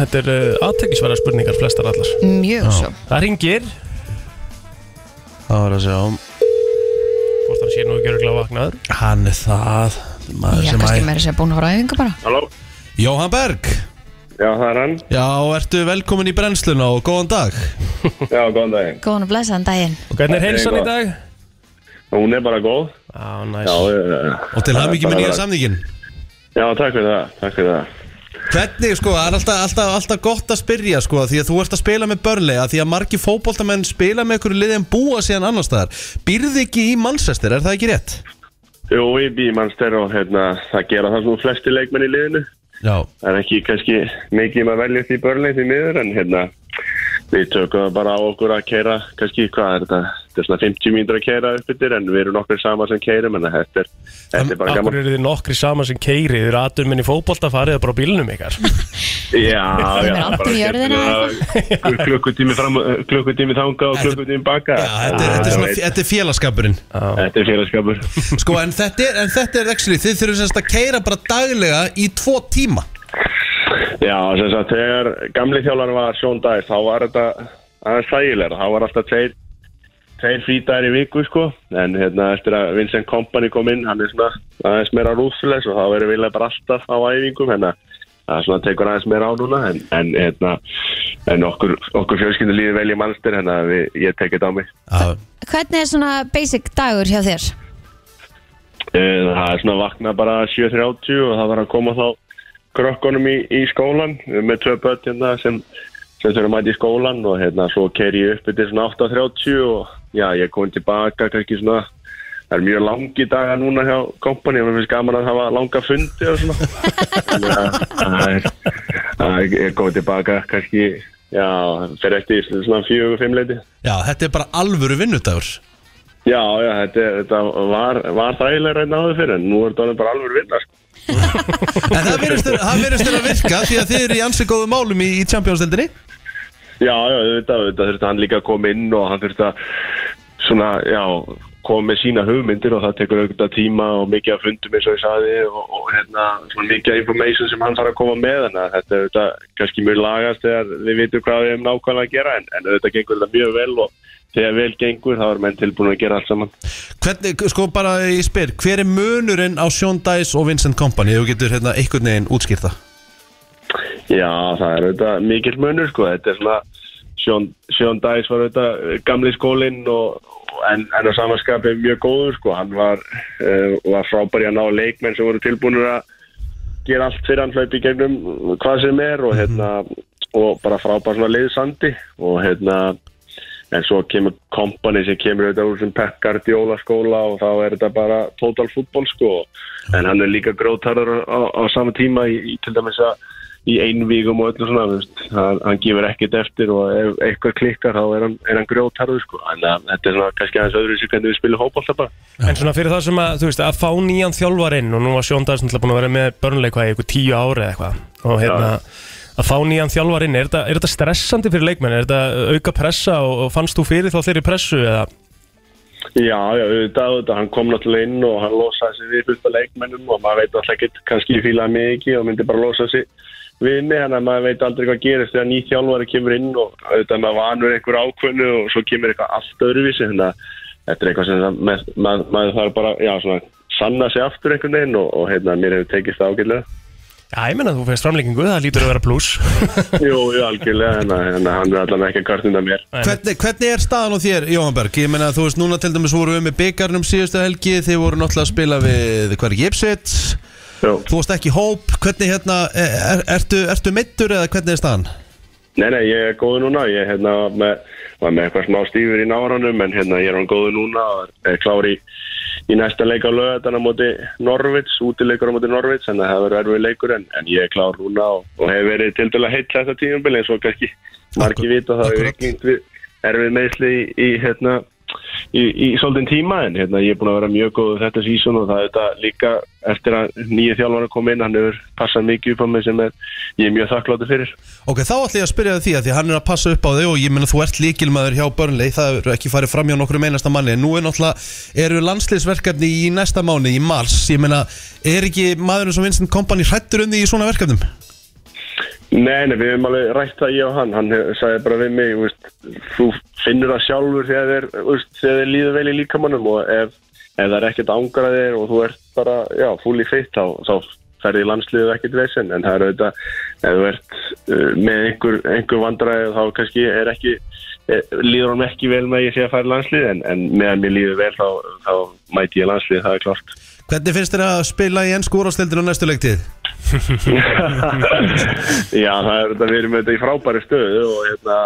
Þetta eru aðtekisverðar spurningar flestar allar mjög svo Það ringir Það var að sjá Hvort hann sé nú ekki örgulega vaknaður Hann er það maður Já, sem kannski að- meira sér búin að horfa á æfingu bara Halló? Jóhann Berg Já, það er hann. Já, ertu velkomin í brennsluna og góðan dag Já, góðan daginn. Góðan og blessaðan daginn Hvernig er heilsan í gott. dag? Hún er bara góð. Á, næs Já, eh, Og til hafði mikið með nýja bara- samningin já, takk fyrir það, takk fyrir það. Hvernig sko, það er alltaf, alltaf, alltaf gott að spyrja sko Því að þú ert að spila með börnlega Því að margi fótboltamenn spila með einhverju liði en búa síðan annars staðar Býrði ekki í Manchester, er það ekki rétt? Jú, við býjum hans þeirra og hérna, það gera það svona flesti leikmenn í liðinu. Já Það er ekki kannski mikið um að velja því börnleik því miður, en hérna, við tökum það bara á okkur að keira, kannski, hvað er þetta? Þetta er svona 50 mínútur að keira upp yfir, en við erum nokkur sama sem keirum, en þetta er, þetta er bara Akkur gaman. eru þið nokkri saman sem keiri Þið eru atur minni fótbolta farið bara á bílnum ykkar Já, hérna já, er aldrei í jörðina skemmtilega. Klukkutími fram, klukkutími þanga og klukkutími baka. Já, þetta er, þetta er, svona, þetta er félagskapurinn Þetta er félagskapur. Sko, en þetta er, en þetta er actually Þið þurfum semst að keira bara daglega í tvo tíma Já, sem sagt, þegar gamli þjálfan var Sjón Dæs, þá var þetta aðeins þægilega, þá var alltaf tveir, tveir frítæðir í viku, sko, en hérna, eftir að Vincent Kompany kom inn, hann er svona aðeins meira rúfles og þá verður vilja bara alltaf á æfingum, hérna, það er svona tekur aðeins meira á núna, en, en hérna, en okkur, okkur fjölskyldu líður vel í mannstir, hérna, við, ég tek þetta á mig. Já, Hvernig er svona basic dagur hjá þér? Eh, Það er svona að vakna bara 7.30 og það var að koma þá krökkunum í, í skólan Við erum með tvö börn hérna sem, sem þurfum að mæta í skólan og hérna svo ker ég upp til svona 8.30 og já, ég kom tilbaka kannski svona Það er mjög langi daga núna hjá kompani og mér finnst gaman að hafa langa fundi og svona. Þannig að- það er- það er- Ég kom tilbaka kannski, já, fyrir eftir svona fjögur og fimm leiti. já þetta er bara alvöru vinnudagur Já, já, þetta, er- þetta var, var þægilega reyna áður fyrir en nú er þetta orðið bara alveg vinna, sko. En það verðist þér að virka Því að þið eru í ansi góðu málum í, í Champions-deldinni Já, já, auðvitað, auðvitað þurfti hann líka að koma inn og hann þurfti að svona, já, koma með sína hugmyndir og það tekur auðvitað tíma og mikið að fundum eins og ég saði og, og hérna, svona mikið af information sem hann þarf að koma með þannig að þetta er auðvitað kannski mjög lagast þegar við vitum hvað við hefum nákvæmlega að gera en, en auðvitað gengur þetta mjög vel og þegar vel gengur þá er menn tilbúin að gera allt saman. Hvernig, sko bara ég spyr, hver er munurinn á Sean Dice og Vincent Kompany ef þú getur hérna einhvern veginn útskýrta? Já, það er auðvitað mikill munur sko, þetta er svona Sjón, Sjón Dæs var auðvitað eh, gamli skólinn og, en, en á samanskapi mjög góður sko, hann var, uh, var frábær í að ná leikmenn sem voru tilbúinur að gera allt fyrir hann hlaupi í gegnum hvað sem er og, hérna, og bara frábær svona leiðsandi og hérna en svo kemur kompani sem kemur auðvitað úr sem Pep Guardiola skóla og þá er þetta bara total fútbol sko en hann er líka grótarður á, á sama tíma í, í til dæmis að í einvígum og öllu svona þú veist. hann, hann gefur ekkert eftir og ef eitthvað klikkar þá er hann, er hann grjótarður sko en uh, þetta er svona kannski aðeins öðru sér hvernig við spilum hópallta bara En svona fyrir það sem að, þú veist, að fá nýjan þjálfarinn og nú var Sjón Dagsson búin að vera með börnleik hvað í ykkur tíu ári eða eitthvað og hérna, að fá nýjan þjálfar inn er þetta, er þetta stressandi fyrir leikmenn, er þetta auka pressa og, og fannst þú fyrir þá þeirri pressu eða Já, já, auðvitað, auðvitað, hann kom náttúrulega inn og hann losaði sig við fullt af leikmennum og maður veit alltaf ekkert, kannski fílaði mig ekki og myndi bara losa sig við mig, þannig að maður veit aldrei hvað gerist þegar nýtt þjálfari kemur inn og auðvitað maður vanur einhver ákvönu og svo kemur eitthvað allt öðruvísi, þannig að þetta er eitthvað sem það- með- maður maður þarf bara, já, svona, sanna sig aftur einhvern veginn og, og hérna, mér hefur tekist það ágætlega. Já, ég menna þú fyrst framlengingu, það lítur að vera pluss Jú, jú, algjörlega, þannig að- þannig að hann er allan ekki að kvartunda mér. Hvernig, hvernig er staðan á þér, Jóhanberg? Ég meina, þú veist, núna til dæmis voru við með byggarnum síðustu helgi, þið voru náttúrulega að spila við hver er Gipsit, Jú. þú varst ekki í hóp, hvernig hérna, er, er, ertu, ertu meittur eða hvernig er staðan? Nei, nei, ég er góð núna, ég hérna, var með, var með eitthvað smá stífur í náranum en hérna, ég er hann góð núna og er klár í, í næsta leik á lögatana móti Norvits, útileikur á móti Norvits en það verður erfið leikur en, en ég er klár núna og, og hefur verið til dæla heitt þetta tíumbil eins og kannski margi vita það hefur akkurat. ekki við erfið meðsli í, í hérna í, í svolítinn tíma en hérna, ég er búin að vera mjög góð þetta sísón og það er þetta líka eftir að nýju þjálfana kom inn hann hefur passað mikið upp á mig sem er, ég er mjög þakkláttur fyrir Ok, þá ætla ég að spyrja þig því að því að hann er að passa upp á þig og ég meina þú ert líkilmaður hjá Börnley, það er ekki farið fram hjá nokkrum einasta manni en nú er náttúrulega, eru landsliðsverkefni í næsta mánu, í mars, ég meina, er ekki maðurinn sem Vincent Kompany hrættur um því í svona verkefnum? Nei, nei, við hefum alveg rætt það ég og hann, hann hef- sagði bara við mig, þú veist, þú finnur það sjálfur þegar þér, þú veist, þegar þér líður vel í líkamannum og ef, ef það er ekkert ángrað þér og þú ert bara, já, fulli fitt þá, þá ferði landsliðið ekkert vesen, en það er auðvitað, ef þú ert uh, með einhver, einhver vandræði þá kannski er ekki, er, líður hann ekki vel með að ég sé að fara í landsliðið, en, en meðan mér líður vel þá, þá mæti ég landsliðið, það er klart. Hvernig finnst þér að spila í ennsku úrvarsdeildinni á næstu leiktið? Já, það er þetta, við erum þetta í frábæri stöðu og, hérna,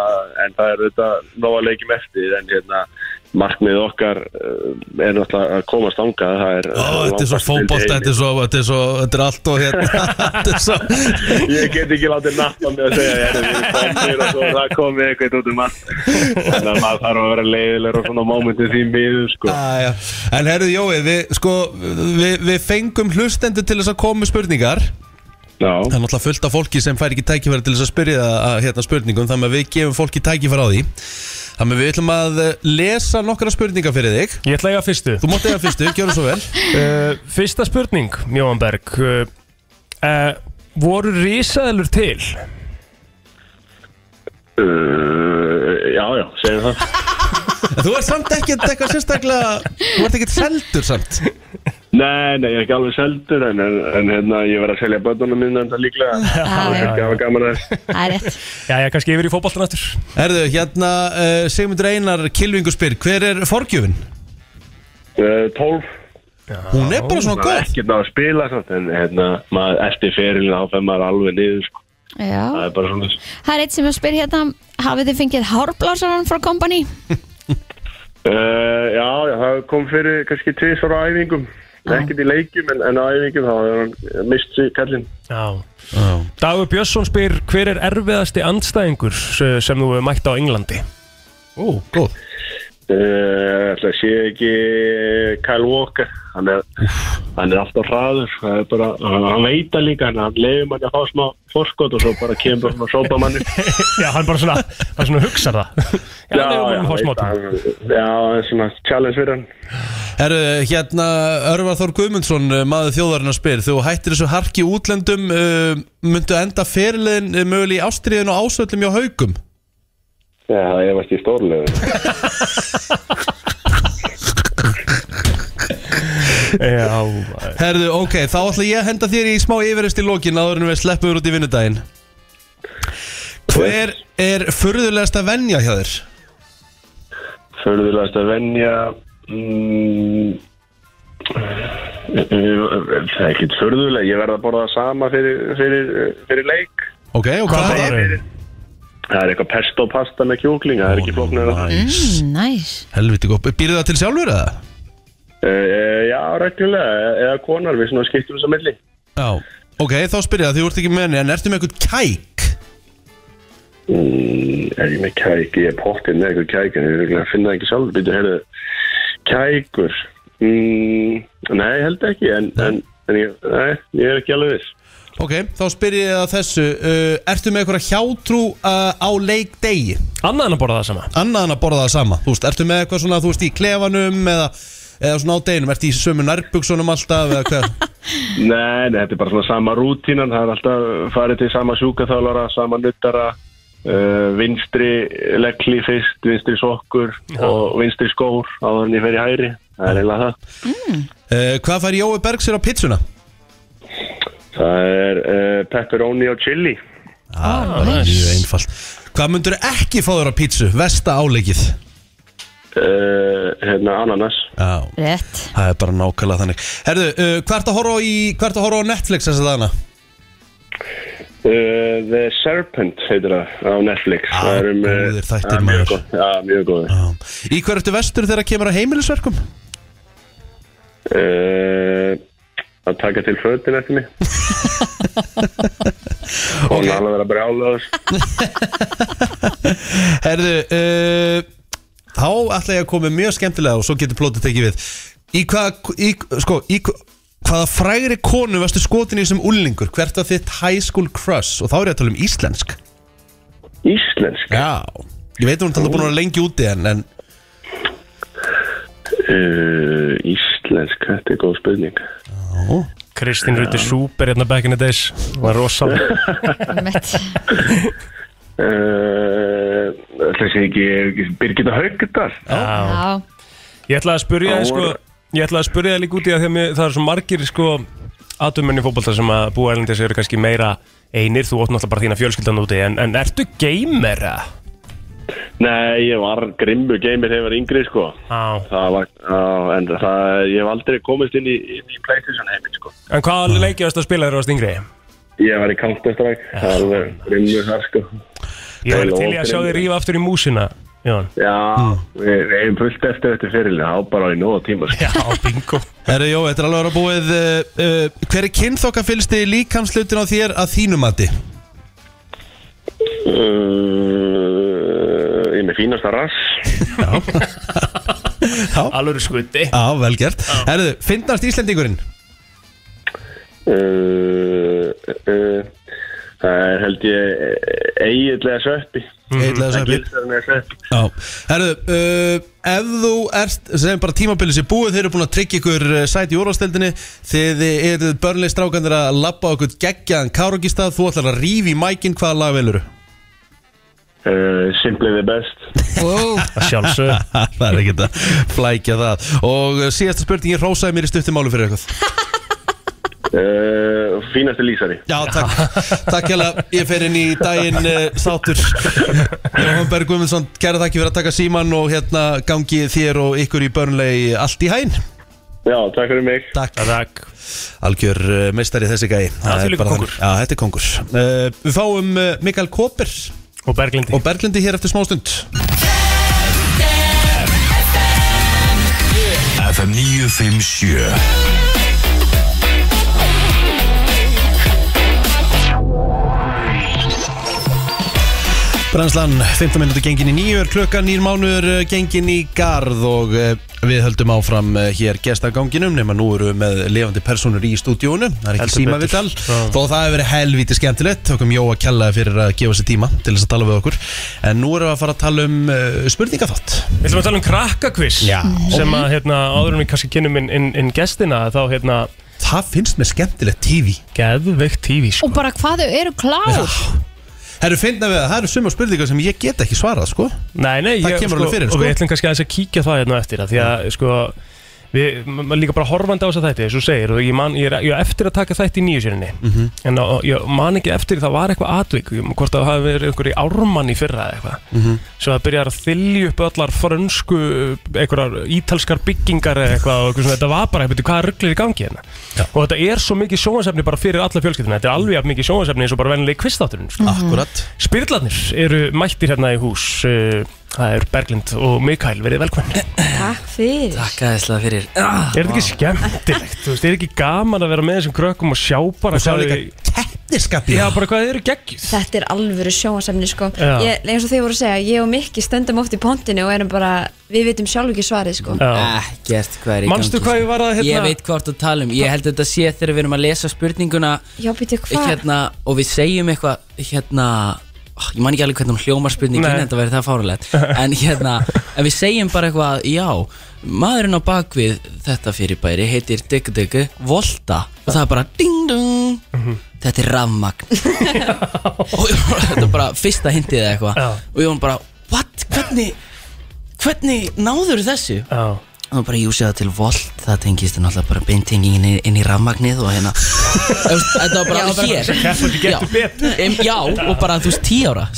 en það er þetta nóga leikjum eftir en hérna, markmið okkar uh, er náttúrulega að komast angað það er Ó, þetta er svo langast fótbolt, til þetta er svo, þetta er svo, þetta er allt og hérna, þetta er svo heimi. ég get ekki látið nappa mig að segja hérna, við erum komnir og svo það komið eitthvað út um allt þannig að maður þarf að vera leiðilegur og svona mómentið því miður sko. Æja, Ah, en herruð Jói, við, sko, við, við fengum hlustendur til þess að koma með spurningar Það Já. er náttúrulega fullt af fólki sem fær ekki tækifæri til þess að spyrja að, að, hérna, spurningum Þannig að við gefum fólki tækifæri á því Þannig að við ætlum að eh, lesa nokkra spurningar fyrir þig Ég ætla að eiga fyrstu Þú mátt eiga fyrstu, gjöru svo vel Uh, fyrsta spurning, Jóhann Berg uh, uh, Voru risaðilur til? Uh, já, já, segjum það En Þú ert samt ekkert eitthvað sérstaklega, þú ert ekkert seldur samt Nei, nei, ég er ekki alveg seldur en, en, en hérna, ég verð að selja bötunum minna en það líklega Það er- ekki að hafa gaman að þess það er rétt Já, ég kannski yfir í fótboltan aftur Herðu, hérna, uh, Sigmundur Einar Kilvingu spyr, hver er forgjöfin? Uh, 12 Hún er bara svona Það er góð ekkert að spila samt en hérna, maður eftir ferilin áfæð maður alveg niður sko. það Já. er bara svona það er eitt sem ég spyr hérna hafið þið fengið hárblásaran frá kompani uh, já, já, það kom fyrir kannski tvisvar á æfingum ekkert í leikjum en, en á æfingum þá er hann mist sig kallinn Já Dagur Björnsson spyr hver er erfiðasti andstæðingur uh, sem þú hefur mætt á Englandi? Ó, góð uh, ætla að sé ekki Kyle Walker hann er, hann er alltaf hraður það er bara, hann, hann veita líka hann, hann leiður manni að fá smá fórskot og svo bara kemur hann að sópa manni Já, hann bara svona, hann svona hugsar það Já, já, já, veit já það. já, það er svona challenge fyrir hann Herru, hérna Örvar Þór Guðmundsson, uh, maður þjóðarinnar spyr Þú hættir þessu harki útlendum uh, Myndu enda fyrirliðin uh, mögulega í ástriðin og ásöllum hjá haugum Já, það er vast í stórlegu. Já, Herru, ok, þá ætla ég að henda þér í smá yfirist í lokin áður en við sleppum þér út í vinnudaginn Hver er furðulegasta venja hjá þér? Förðulegast að venja... Mm, eh, það er ekkert förðuleg. Ég verð að borða það sama fyrir, fyrir, fyrir leik. Ok, og hvað er það? bara Það er eitthvað pesto pasta með kjúkling. Það er Oh ekki flóknir það. Næs. mm, nice. Helviti góð, býrðu það til sjálfur eða? Uh, já, reglulega. e- Eða konar, við svona skiptum þess að milli. Já Ok, þá spyr ég það, því þú ert ekki með henni En ertu með eitthvað kæk? Mm, er ég með kæk? Ég er pottinn með eitthvað kæk, en ég er að finna það ekki sjálf. Býtu, heyrðu, kækur. Mm, nei, ég held ekki, en, en en ég, nei, ég er ekki alveg viss Ok, þá spyr ég það þessu uh, Ertu með eitthvað hjátrú uh, á leikdegi? Annað en að borða það sama Annað en að borða það sama Þú veist, ertu með eitthvað svona, þú veist, í klefanum eða, eða svona á deginum, ertu í sömu nærbuksunum alltaf eða hvað? Nei, nei, þetta er bara svona sama rútínan, það er alltaf farið til sama sjúkaþálara, sama nuttara, uh, vinstri leggli fyrst, vinstri sokkur og vinstri skór áður en ég fer í hæri, það er eiginlega það. Uh, hvað fær Jói Berg sér á pizzuna? Það er uh, pepperoni og chili. Ah, ah, mjög einfalt Hvað myndur ekki fá þér á pizzu? Vesta áleikið Uh, hérna ananas Já, Rétt það er bara nákvæmlega þannig Herðu, uh, hvað ertu að horfa á í, hvað ertu að horfa á Netflix þessi dagana? uh, The Serpent heitir það á Netflix Ah, það er um, uh, góðir þættir, ah, mjög maður. góð, Já, mjög góð Já. Í hverju ertu vestur þegar kemur að heimilisverkum? uh, Að taka til fötin eftir mig Og okay. nála vera brjála Herðu, uh, þá ætla ég að koma með mjög skemmtilega og svo getur plótið tekið við Í hvað, í, sko, í hva- hvaða frægri konu varstu skotin í sem ullingur? Hvert var þitt high school crush? Og þá er ég að tala um íslensk Íslensk Já Ég veit að hún er talað búin að vera lengi úti en, en Uh, íslensk, þetta er góð spurning Kristín Ruti Súper hérna back in the days Var rosalega Einmitt. uh, Það sé ekki, ekki Birgitta Haugdal Já. Já, Ég ætlaði að spurja þið sko Ég ætlaði að spurja þið líka út í að þegar mér- það er svo margir sko Atumenni fótbolta sem að búa elendis eru kannski meira einir Þú ótt náttúrulega bara þína fjölskyldan úti En, en ertu geimera? Nei, ég var grimmu geimir hefur yngri sko Já Það var, á, en það, ég hef aldrei komist inn í, inn í Playstation heiminn sko En hvaða leikið varst að spila þér á stingri? Ég var í Counter-Strike, það er alveg grimmu þar sko Ég var til í að sjá þið rífa aftur í músina Jón Já, Hmm. við við eigum fullt eftir þetta fyrirlega, það á bara í nóða tíma sko. Já, bingo Herru, jó, þetta er alveg að vera búið uh, uh, Hver er kynþokka fylgst í líkamslutin á þér að þínu mati? uh, Eh, Ég er með fínasta rass Alvöru skutti Já, vel gert Herru, finnast Íslendingurinn? uh, uh, Það er held ég eiginlega sveppi Eiginlega sveppi. Gilsarinn er sveppi Já Herru, uh, ef þú ert sem bara tímabilið sér búið þeir eru búin að tryggja ykkur uh, sæti í úrvasteldinni þið eru börnlega strákandir að labba á ykkur geggjaðan károkistað þú ætlar að rífi í mækinn hvaða lag veluru uh, Simply the best Sjálfsög Það er ekkert að flækja það Og uh, síðasta spurningin rósaði mér í stuttumálu fyrir eitthvað uh, Fínasti lýsari Já, takk, takk hérlega, ég fer inn í daginn uh, sátur Jóhann Berg Guðmundsson, kæra takk fyrir að taka síman og hérna gangi þér og ykkur í börnlegi allt í hæn Já, takk fyrir mig Takk, Takk algjör uh, meistari þessi gæi Það þvílíkur bara kóngur. þannig. Já, þetta er kongur uh, Við fáum uh, Mikael Kóper Og Berglindi og Berglindi hér eftir smástund FM 957 Branslan, 15 minúti gengin í nýjur, klukkan nýr mánuður eh, gengin í garð og eh, við höldum áfram eh, hér gestaganginum nema nú eru við með levandi personur í stúdíónu, það er ekki Heldur síma betur. við tal Já. þó það hefur verið helvítið skemmtilegt þókum Jóa kjallaði fyrir að gefa sér tíma til þess að tala við okkur en nú erum við að fara að tala um uh, spurningaþátt Við ætlum að tala um krakkakviss Já. sem að hérna, áður en við kannski kynum inn, inn, inn gestina þá hérna það finnst mér skemmtilegt TV geðveikt tífi sko. og bara hvað þau eru klár Herru, finna við að það eru sumar spurningar sem ég get ekki svarað, sko Nei, nei, Það kemur sko, alveg fyrir, og sko. við ætlum kannski aðeins að kíkja það hérna á eftir að því að sko Við, ma- maður líka bara horfandi á þess að þætti, eins og þú segir og ég, man, ég, er, ég er eftir að taka þætti í nýju sérinni Mhm. en á, ég man ekki eftir það var eitthvað atvík, ég, hvort að það hafi verið einhver í ármann í fyrra eða eitthvað Mhm. svo það byrjar að þylja upp allar frönsku, einhverjar ítalskar byggingar eða eitthvað og eitthvað svona, þetta var bara, eitthvað, hvað rugglir í gangi hérna og þetta er svo mikið sjóhansefni bara fyrir alla fjölskyldina þetta er alveg jafn mikið sjóhansefni eins og bara venilegi kvistátturinn sko. Akkurat Spyrlarnir eru mættir hérna í hús uh, Það eru Berglind og Mikael Verið velkvæm Er Takk fyrir Takk aðeinslega fyrir ah, þetta ekki skemmtilegt? Þú veist, er ekki gaman að vera með þessum krökkum og sjá bara og sá hvað líka þau- keppniskapið Já, bara hvað þið eru geggjuð Þetta er alvöru sjónasefni sko Já. ég, Eins og þið voru að segja, ég og Mikki stöndum oft í pontinu og erum bara við vitum sjálf ekki svarið sko Já. Ekkert hvað er í gangi sko. Manstu hvað ég var að, hérna- Ég veit hvort þú tala um, ég held að þetta sé þegar við erum að lesa spurninguna Já, býtu hvað? hérna, og við segjum eitthvað hérna, ó, ég man ekki alveg hvernig hún hljómar spurningin Nei. þetta verður það fárulegt en hérna, en við segjum bara eitthvað já, maðurinn á bakvið þetta fyrirbæri heitir Digg Digg Volta og það er bara ding dong Mhm. þetta er rafmagn og ég var- þetta er bara fyrsta hintið eða eitthvað Já. og ég var bara, what, hvernig hvernig náður þessu Já. og það bara júsið það til volt það tengist náttúrulega bara beintingin inn, inn í rafmagnið og hérna Þú veist, þetta var bara alveg hér keppandi getur Já. Em, já, og bara þú veist 10 ára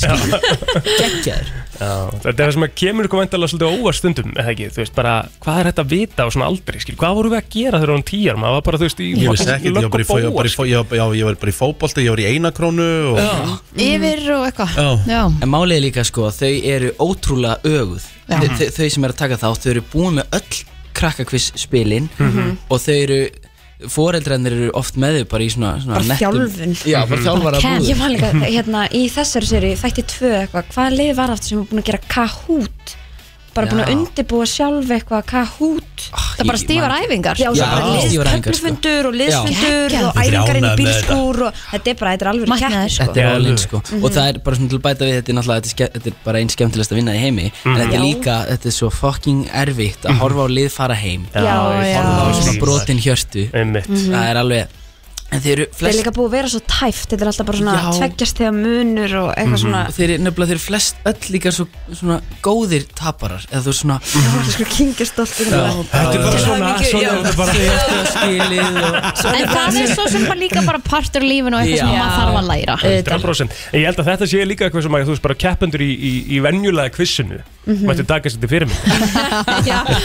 geggjaður Já, þetta er það sem að kemur ykkur væntalega svolítið óvart stundum, eða ekki, þú veist, bara hvað er þetta að vita á svona aldri, skil, hvað voru við að gera þegar hún tíjar, maður var bara, þú veist, í Ég vissi ekki, ég var lögg bara í og fó- ég var bara bóar, í fó- ég var- já, ég var bara í fótbolta, ég var í einakrónu og Yfir og eitthvað Já. Já. en málið er líka sko, þau eru ótrúlega öguð Já. þau, þau- þau sem eru að taka þá, þau eru búin með öll krakkakviss spilin og þau eru foreldrarnir eru oft með þau bara í svona, svona Bara þjálfun. já, bara þjálfara Ken. búðum Ég var líka, hérna, í þessari seri þætti tvö eitthvað, hvaða lið var aftur sem var búin að gera kahút bara búin að Já. undirbúa sjálf eitthvað kahút Ah, Það er bara stífar æfingar Já, Já, já bara stífar æfingar, sko. liðstöflufundur og liðsfundur Geggjað. og Þetta er æfingar ánægð inn í með þetta. bílskúr og þetta er bara, þetta er alveg Magnaður. keppni sko. þetta Já, er allin alveg. sko og það er bara svona til að bæta við þetta er náttúrulega þetta er, ske- þetta er bara einn skemmtilegast að vinna í heimi Mhm. en þetta er Já. líka, þetta er svo fucking erfitt að horfa á lið fara heim Já, Já, ég já. horfði á og þessi svona brotin Mhm. hjörtu Einmitt. það er alveg en þeir eru Þetta er flest líka búið að vera svo tæft, þetta er alltaf bara svona Já. Mhm. tveggjast þegar munur og eitthvað svona þeir eru nefnilega þeir eru flest öll líka svo, svona góðir taparar eða þú er svona Mhm. Það er sko kingjast alltaf Þetta er bara Já. svona, Já. svona, þetta er bara, Þau áttu að skilið og En það er svo sem bara líka bara partur af lífinu og eitthvað sem Já. maður þarf að læra 100% En ég held að þetta sé líka eitthvað sem að, þú veist, bara keppendur í, í, í venjulega kvissinu Mhm. mættu taka sér til fyrir mig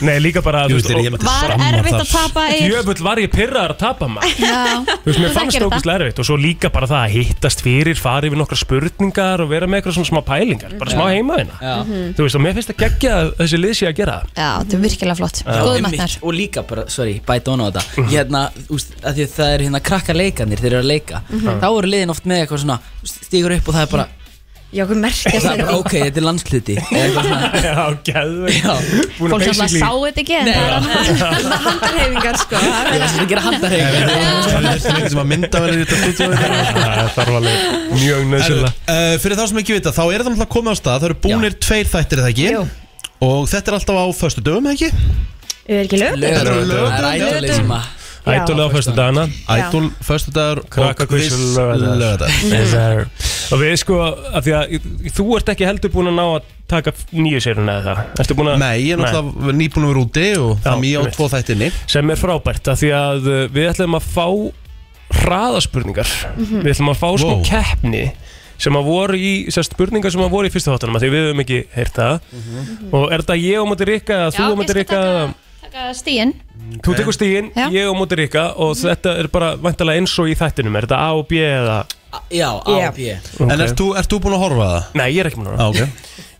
Nei, líka bara, Jú, þú veist, þeir eru veist, hérna til Var skamma erfitt að þar. tapa og Egill? jöfull var ég pyrraðar að tapa maður Já. Þú veist, mér Þú fannst þekkir það ógustlega erfitt og svo líka bara það að hittast fyrir, fara yfir nokkra spurningar og vera með eitthvað svona smá pælingar, bara Mhm. smá heimaðina Já. Þú veist, og mér finnst það geggja að þessi lið sé að gera það Já, þetta er virkilega flott Góðum Einmitt, metnar og líka bara, sorry, bæta hona á þetta Mhm. hérna, úst, að því að það er hérna krakka leikanir þeir eru að leika, þá eru liðin oft með eitthvað svona, stígur upp og það er bara Já, okkur merkja það er bara, ok, þetta er landsluti eða eitthvað svona Já, geðveg Já. Búin Fólk að alltaf basically sá þetta ekki en það er annað handarhefingar sko Það Ég var svolítið að gera handarhefingar Það er ekki sem að mynda verið í þetta stúdíu Það þarf alveg mjög nöðsynlega uh, Fyrir þá sem ekki vita, þá er það náttúrulega komið á stað Það eru búnir tveir þættir, er það ekki? Jú. Og þetta er alltaf á föstu dögum, ekki? er ekki lög Það er ætluleg sem að Ætulega á fyrstu dagana Ædol, föstu dagar og Krakkakviss laugardagar. löðar Yes, sir. Og við sko, af því að þú ert ekki heldur búin að ná að taka nýju séruna eða það Ertu búin að Nei, ég er náttúrulega nýbúin að vera úti og það er mjög á einmitt. tvo þættinni sem er frábært af því að uh, við ætlum að fá hraðaspurningar Mhm. við ætlum að fá smá Wow. keppni sem að voru í, sem sagt, spurningar sem að voru í fyrsta þáttunum af því við höfum ekki heyrt það og er þetta ég og móti Rikka eða þú Mhm. Já, og móti ég skal Rikka taka- taka stíin þú tekur stígin, Já. Mhm. ég og móti Rikka og þetta er bara vantilega eins og í þættinum er þetta A og B eða Já, Já. á, b En ert þú, ert þú búin að horfa á það? Nei, ég er ekki búin að Á, horfa ok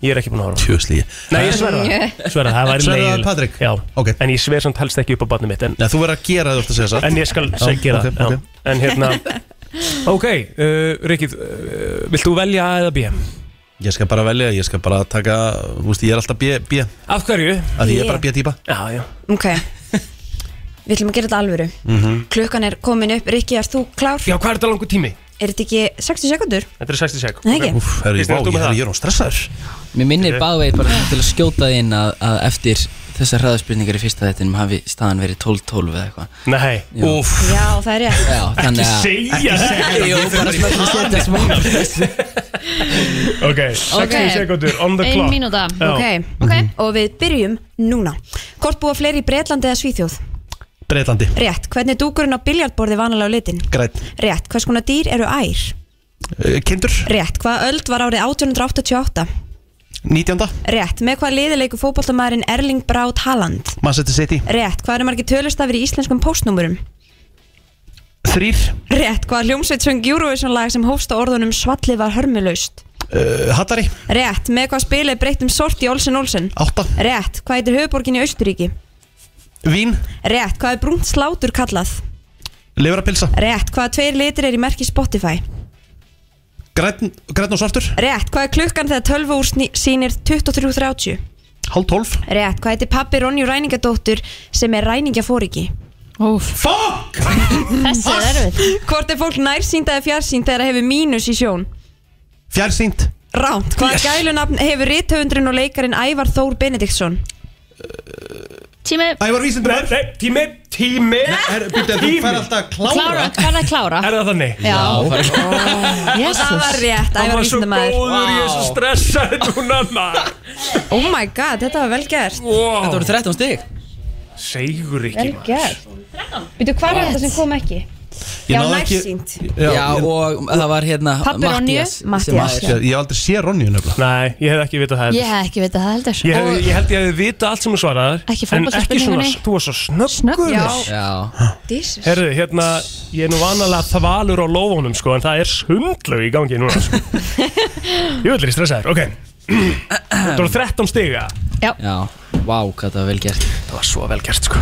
Ég er ekki búin að horfa Tjóðsli Nei, ég sverða það. Sverða, það væri Sverða það, leiðilegt. Patrik? Já, Ok. en ég sver samt helst ekki upp á barnið mitt en Nei, þú verður að gera það, þú ert að segja satt En ég skal segja ok, það já. ok. En hérna Ok, uh, Rikki, uh, vilt þú velja A eða B? Ég skal bara velja, ég skal bara taka, þú veist, ég er alltaf B, B Af hverju? Af því ég er bara B-típa Já, já Mm, Ok Við ætlum að gera þetta alvöru Klukkan er komin upp, Rikki, er þú klár? Já, hvað er þetta langur tími? Er þetta ekki 60 sekundur? Þetta er 60 sek Nei, ekki. Úf, herri, Kristín, vá, ert þú ég með herri, það? ég er hún stressaður Mér minnir báðvegi bara svona til að skjóta því inn að, að eftir þessar hraðaspurningar í fyrsta þettinum hafi staðan verið 12-12 eða eitthvað Nei Úf, Já, það er rétt Já, þannig að Segja þetta Jú, bara smögum að setja smá Ok, 60 Ok. sekundur on the Ein clock mínúta Já. Ok, Ok, og við byrjum núna Hvort búa fleiri í Breitlandi eða Svíþjóð? Breitlandi, Rétt, hvernig er dúkurinn á biljardborði vanalega á litin? græn Rétt, hvers konar dýr eru ær? Eh, Kindur, Rétt, hvaða öld var árið 1888? 19. Rétt, með hvaða liði leikur fótboltamæðurinn Erling Braut Haaland? Manchester City Rétt, hvað eru margir tölustafir í íslenskum postnúmurum? Þrýr, Rétt, hvað hljómsveit söng Eurovision lag sem hófst á orðunum Svalli var hörmulaust? uh, Hattari, Rétt, með hvað spilið breyttum sort í Olsen Olsen? 8 Rétt, hvað heitir höfuborgin í Austuríki? Vín, Rétt, hvað er brúnt slátur kallað? Leverapilsa Rétt, hvaða tveir litir er í merki Spotify? Græn, græn og svartur Rétt, hvað er klukkan þegar tölvu úr sýnir 23.30? Hálf tólf Rétt, hvað heitir pappi Ronju Ræningadóttur sem er ræningafóringi? Úf, Fuck! þessi er erfið Hvort er fólk nærsýnd eða fjarsýnd þegar það hefur mínus í sjón? Fjarsýnt Ránt, hvaða yes. gælunafn hefur rithöfundurinn og leikarinn Ævar Þór Benediktsson? Tími, Ævar Nei, Vísindumar nei, tími, tími Er, byrja, þú Tími. fær alltaf að klára klára, hvað er að klára? Er það þannig? Já, Það jésus, var rétt, Það var Ævar svo Vísindamæður góður, ég er svo stressaði núna maður. Oh my god, þetta var vel gert Þetta Wow, voru 13 stig segur ekki maður. gert Býtu, hvað er þetta sem kom ekki? Já, nærsýnd Já, ég- og það var hérna Pabbi Ronju, Mattías sem Matthías, að- Ég ég hef aldrei sé Ronju nefnilega Nei, ég hef ekki vitað það heldur. ég hef ekki vitað það heldur Ég, hef, Og ég held ég hefði vita allt sem þú svaraðar Ekki En ekki svona, fótboltaspurningunni. þú var svo snöggur Snöggur. maður. Já, Jesus Herðu, hérna, ég er nú vanalega þvalur á lófunum sko En það er sundlög í gangi núna sko. Ég vil er stressaður, ok Það voru 13 stiga já, vá, hvað það var vel gert Það var svo vel gert sko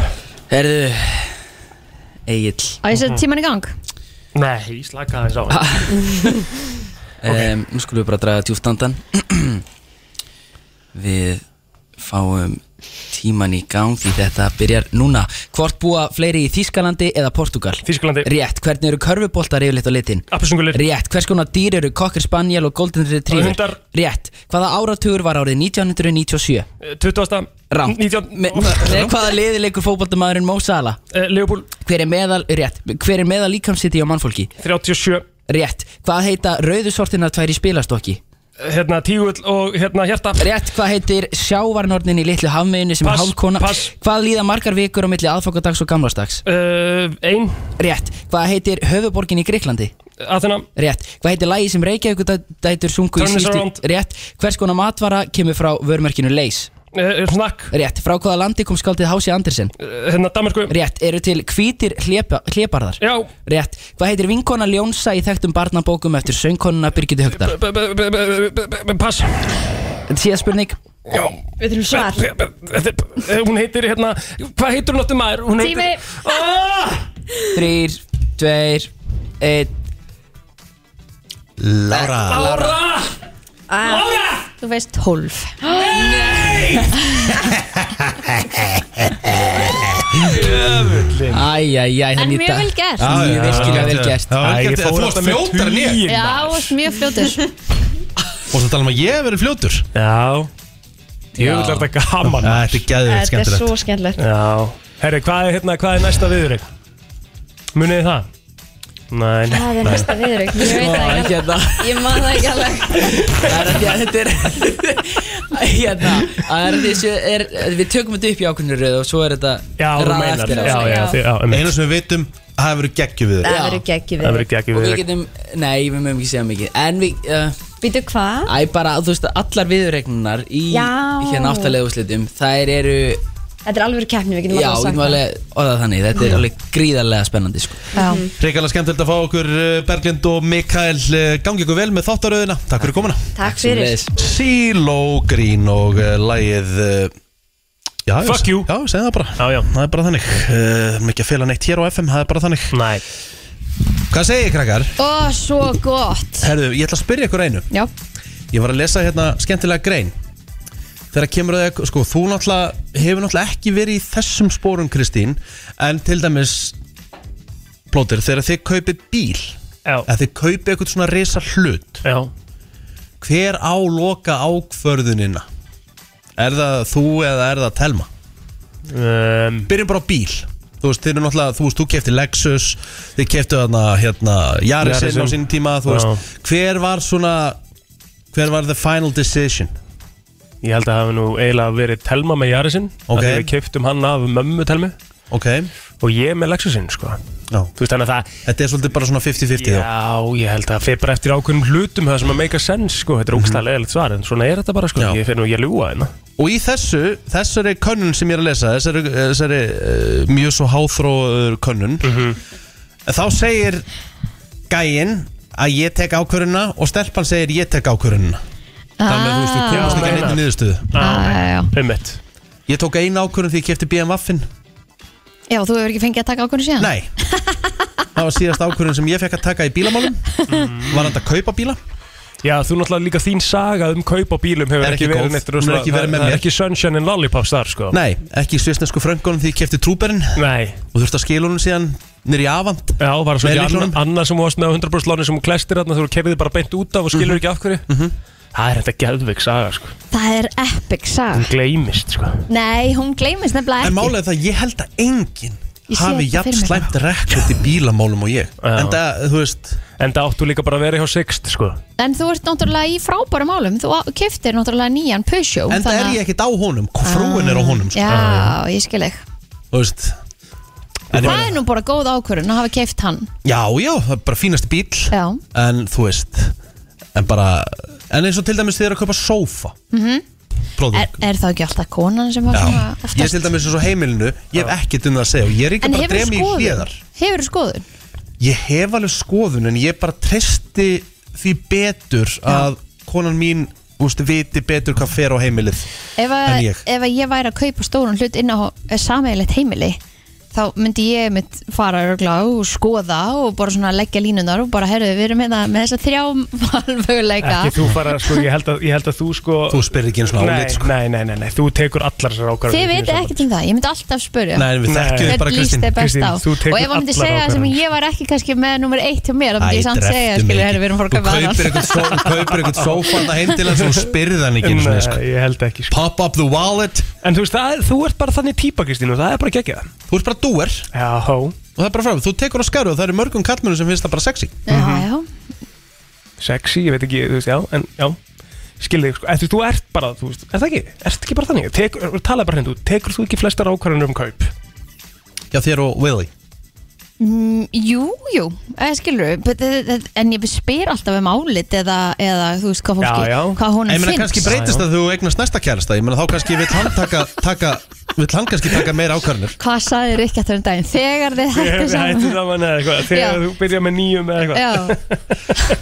Herðu, Egil á ég setja tíman í gang Nei, slakaði þess á um, Nú skulum við bara draga djúftandan Við fáum tíman í gang því þetta byrjar núna Hvort búa fleiri í Þískalandi eða Portugal? Þísklandi, Rétt, hvernig eru körfuboltar yfirleitt á litin? appisungulir Rétt, hvers konar dýr eru kokkir spanjál og golden retriever? Hundar. Rétt, hvaða áratugur var árið 1997? eh, 20. Rámt 19. Með, með hvaða liði leikur fótboltamaðurinn Mo Salah? Eh, Leopold Hver er meðal, rétt, hver er meðal líkamsiti á mannfólki? 37 Rétt, hvað heita rauðu sortina tvær í spilastokki? Hérna tígull og hérna hjarta Rétt, hvað heitir sjávarnornin í litlu hafmiðinu sem Pass, er hálfkona? pass. Hvað líða margar vikur á milli aðfokadags og gamlastags? Uh, ein, Rétt, hvað heitir höfuborgin í Greiklandi? aðeina, Rétt, hvað heitir lægi sem Reykjavíkudætur sungu í Turn this síðustu? around. Rétt, hvers konar matvara kemur frá vörmerkinu Leys? uh, snakk, Rétt, frá hvaða landi kom skaldið Hási Andersen? uh, hérna Danmarku Rétt, eru til hvítir hlépa- hlébarðar? Já, Rétt, hvað heitir vinkona Ljónsa í þekktum barnabókum eftir söngkonuna Birgitu Högdal? b- b- b- b- b- b- b- pass Síðast spurning, Við þurfum svar B- b- b- Hún heitir hérna Hvað heitir hún áttu maður? Hún heitir- Tími. Ah! þrýr, tveir, einn Lára Lára Þú veist 12 Æjæjæj, En þannig mjög vel gert Já, Mjög já, virkilega já, vel já. gert. Já, vel Æ, gert. ég fór Þú varst alltaf fljótar en ég tugi. Já, þú varst mjög fljótur Og svo tala um að ég hef verið fljótur Já Ég vil Já. þetta gaman Þetta er gæðið skemmtilegt skemmtilegt Já Herri, hvað er hérna, hvað er næsta viðurinn? Munið þið það? Nei, nei Það er næsta viðrögg Ég veit það Ó, ekki hérna, alveg Ég man það ekki alveg það er að því að þetta er Hérna, það er að því að þessu er Við tökum þetta upp í ákveðinu röð og svo er þetta Já, þú raða meinar eftir Já, þessu. já, þið- já, um Einu sem við vitum, það hefur verið geggjum við Það Já. verður Það geggjum við verður ekki Og við viðurinn getum, nei, við mögum ekki segja mikið En við, uh, Býtu hvað? æ bara, þú veist, allar viðurregnunar í Já. hérna áttalega úrslitum Þær eru, Þetta er alveg keppni, við getum já, við alveg getum sagt alveg orðað þannig Þetta er alveg gríðarlega spennandi, sko það Reykjavík skemmtilegt að fá okkur eh, Berglind og Mikael eh, Gangi ykkur vel með þáttaröðina Takk fyrir komuna Takk fyrir Sömuleiðis. Silo Green og uh, lægið uh, já, ég- Fuck you. Já, segð það bara Já, já. Það er bara þannig uh, Mikið að fela neitt hér á FM, það er bara þannig Nei Hvað segir ég, krakkar? Ó, svo gott Herðu, ég ætla að spyrja ykkur einu Já, Ég var að lesa hérna skemmtilega grein Þegar kemur að, sko, þú náttúrulega hefur náttúrulega ekki verið í þessum spórum, Kristín En til dæmis, plótir, þegar þið kaupið bíl Já, Að þið kaupið eitthvað svona risa hlut já hver á loka ákvörðunina? Er það þú eða er það Telma? um, Byrjum bara á bíl Þú veist, þið eru náttúrulega, þú veist, þú kefti Lexus Þið keftu þarna, hérna, Jarisinn á Yarisinn. sínum tíma Þú veist, hver var svona Hver var the final decision? Ég held að það hafi nú eiginlega verið Telma með Jarisinn Ok. Þegar við keiptum hann af mömmu Telmi Ok, Og ég með Lexusinn, sko já Þú veist þannig að það Þetta er svolítið bara svona 50-50 þá Já, ég held að fyrir bara eftir ákveðnum hlutum það sem að make a sense, sko, þetta er ógstæðlega eðlitt svar en svona er þetta bara, sko, Mhm. Já. ég fyrir nú ég að ljúga hérna Og í þessu, þessari könnun sem ég er að lesa Þessari, þessari uh, mjög svo háþróður könnun Þá segir gæinn að ég tek ákvörðuna Og stelpan segir ég tek ákvörðuna Ah. Þannig að þú veist, þú komast ekki að meinar. neitt niðurstöðu Já, já, já. Einmitt. Ég tók eina ákvörðum því ég kefti BMW-in Já, þú hefur ekki fengið að taka ákvörðu síðan Nei Það var síðast ákvörðum sem ég fekk að taka í bílamálum Var hann að kaupa bíla Já, þú náttúrulega líka þín saga um kaup á bílum hefur Er ekki, ekki góð, verið neitt hún er rosalega- ekki verið með það mér. er ekki sunshine and lollipops þar sko Nei, ekki svistnesku fröngunum því ég kefti trúberinn Nei. og þurfti að skila honum síðan nýri avant Já, var svo Með ekki anna, lyklunum. annað sem þú varst með á 100% láni sem hún klestir þarna þú kerðið bara beint út af og Mhm. skilur ekki af hverju Það er þetta geðveik saga sko Það er epic Hún sag gleymist sko Nei, hún gleymist nefnilega En ekki málega það, ég held að enginn Ég sé hafi þetta jafn fyrir mér. slæmt rekkert í bílamálum og ég Já. En það, þú veist, En það áttu líka bara að vera hjá Sixt sko En þú ert náttúrulega í frábærum álum Þú keftir náttúrulega nýjan Peugeot en það er ég ekkert á honum, frúin er á honum sko. Ah, Já, ég skil þig Þú veist En ég Það meina- er nú bara góð ákvörðun að hafa keft hann Já, já, það er bara fínasti bíl Já. En þú veist, en bara, en eins og til dæmis þið eru að kaupa sófa mm -hmm. Mhm. Er, er það ekki alltaf konan sem var svona Já, ég er til dæmis eins og heimilinu Ég hef ekkert um það að segja og ég er ekki En bara að hefur drema í skoðun? hliðar Hefur skoðun? Ég hef alveg skoðun en ég bara treysti því betur að konan mín úst, viti betur hvað fer á heimilið Ef En að ég? ég. ef að ég væri að kaupa stórun hlut inn á sameiglegt heimili þá myndi ég mitt fara örugglega og skoða og bara svona leggja línunar og bara herðu við erum hérna með þessa þrjá valmöguleika Ekki þú fara sko, ég held að, ég held að þú sko Þú spyrir ekki einu svona nei, álit sko. nei, nei, nei, nei, þú tekur allar þessar Þið ákvarðanir í þínu veit sambandi. ekkert um það, ég myndi alltaf spurja Nei, en við Nei. þekkjum þið Hvern bara líst Kristín þið best Kristín, á þú tekur og ef hann myndi allar segja það sem ákvarðanir. ég var ekki kannski með nummer eitt hjá mér, þá myndi ég samt segja skilur, herru, við erum fór að Þú kaupa kaupir þaðan eitthvað só- þú kaupir eitthvað sófan að heim til hans og þú spyrð hann ekki einu sinni, sko. Nei, Um, ég held ekki sko. Pop up the wallet En þú veist, það, er- þú ert bara þannig típa Kristín og það er bara geggja Þú ert bara doer Já, og það er bara fram Þú tekur á skaru og það eru mörgum kallmönnum sem finnst það bara sexy Já, já, sexy, ég veit ekki, þú veist, já, en já skilðið, sko, eftir þú ert bara, þú veist, er það ekki, ert ekki bara þannig, tekur, talaði bara hendur, tekur þú ekki flestar ákvarðanir um kaup? Já, þér og Willy Mm, Jú, jú, eh, skilur uh, En ég spyr alltaf um álit eða, eða þú veist hvað fólki Já, já. Hvað honum Ég meina finnst kannski breytist það þegar þú eignast næsta kærasta Ég meina þá kannski vill hann taka, taka Vill hann kannski taka meira ákvarðanir Hvað sagði Rikki að það um daginn? Þegar þið hættu Hættu saman saman eða eitthvað, Já. þegar þú byrja með nýjum eða eitthvað. Já,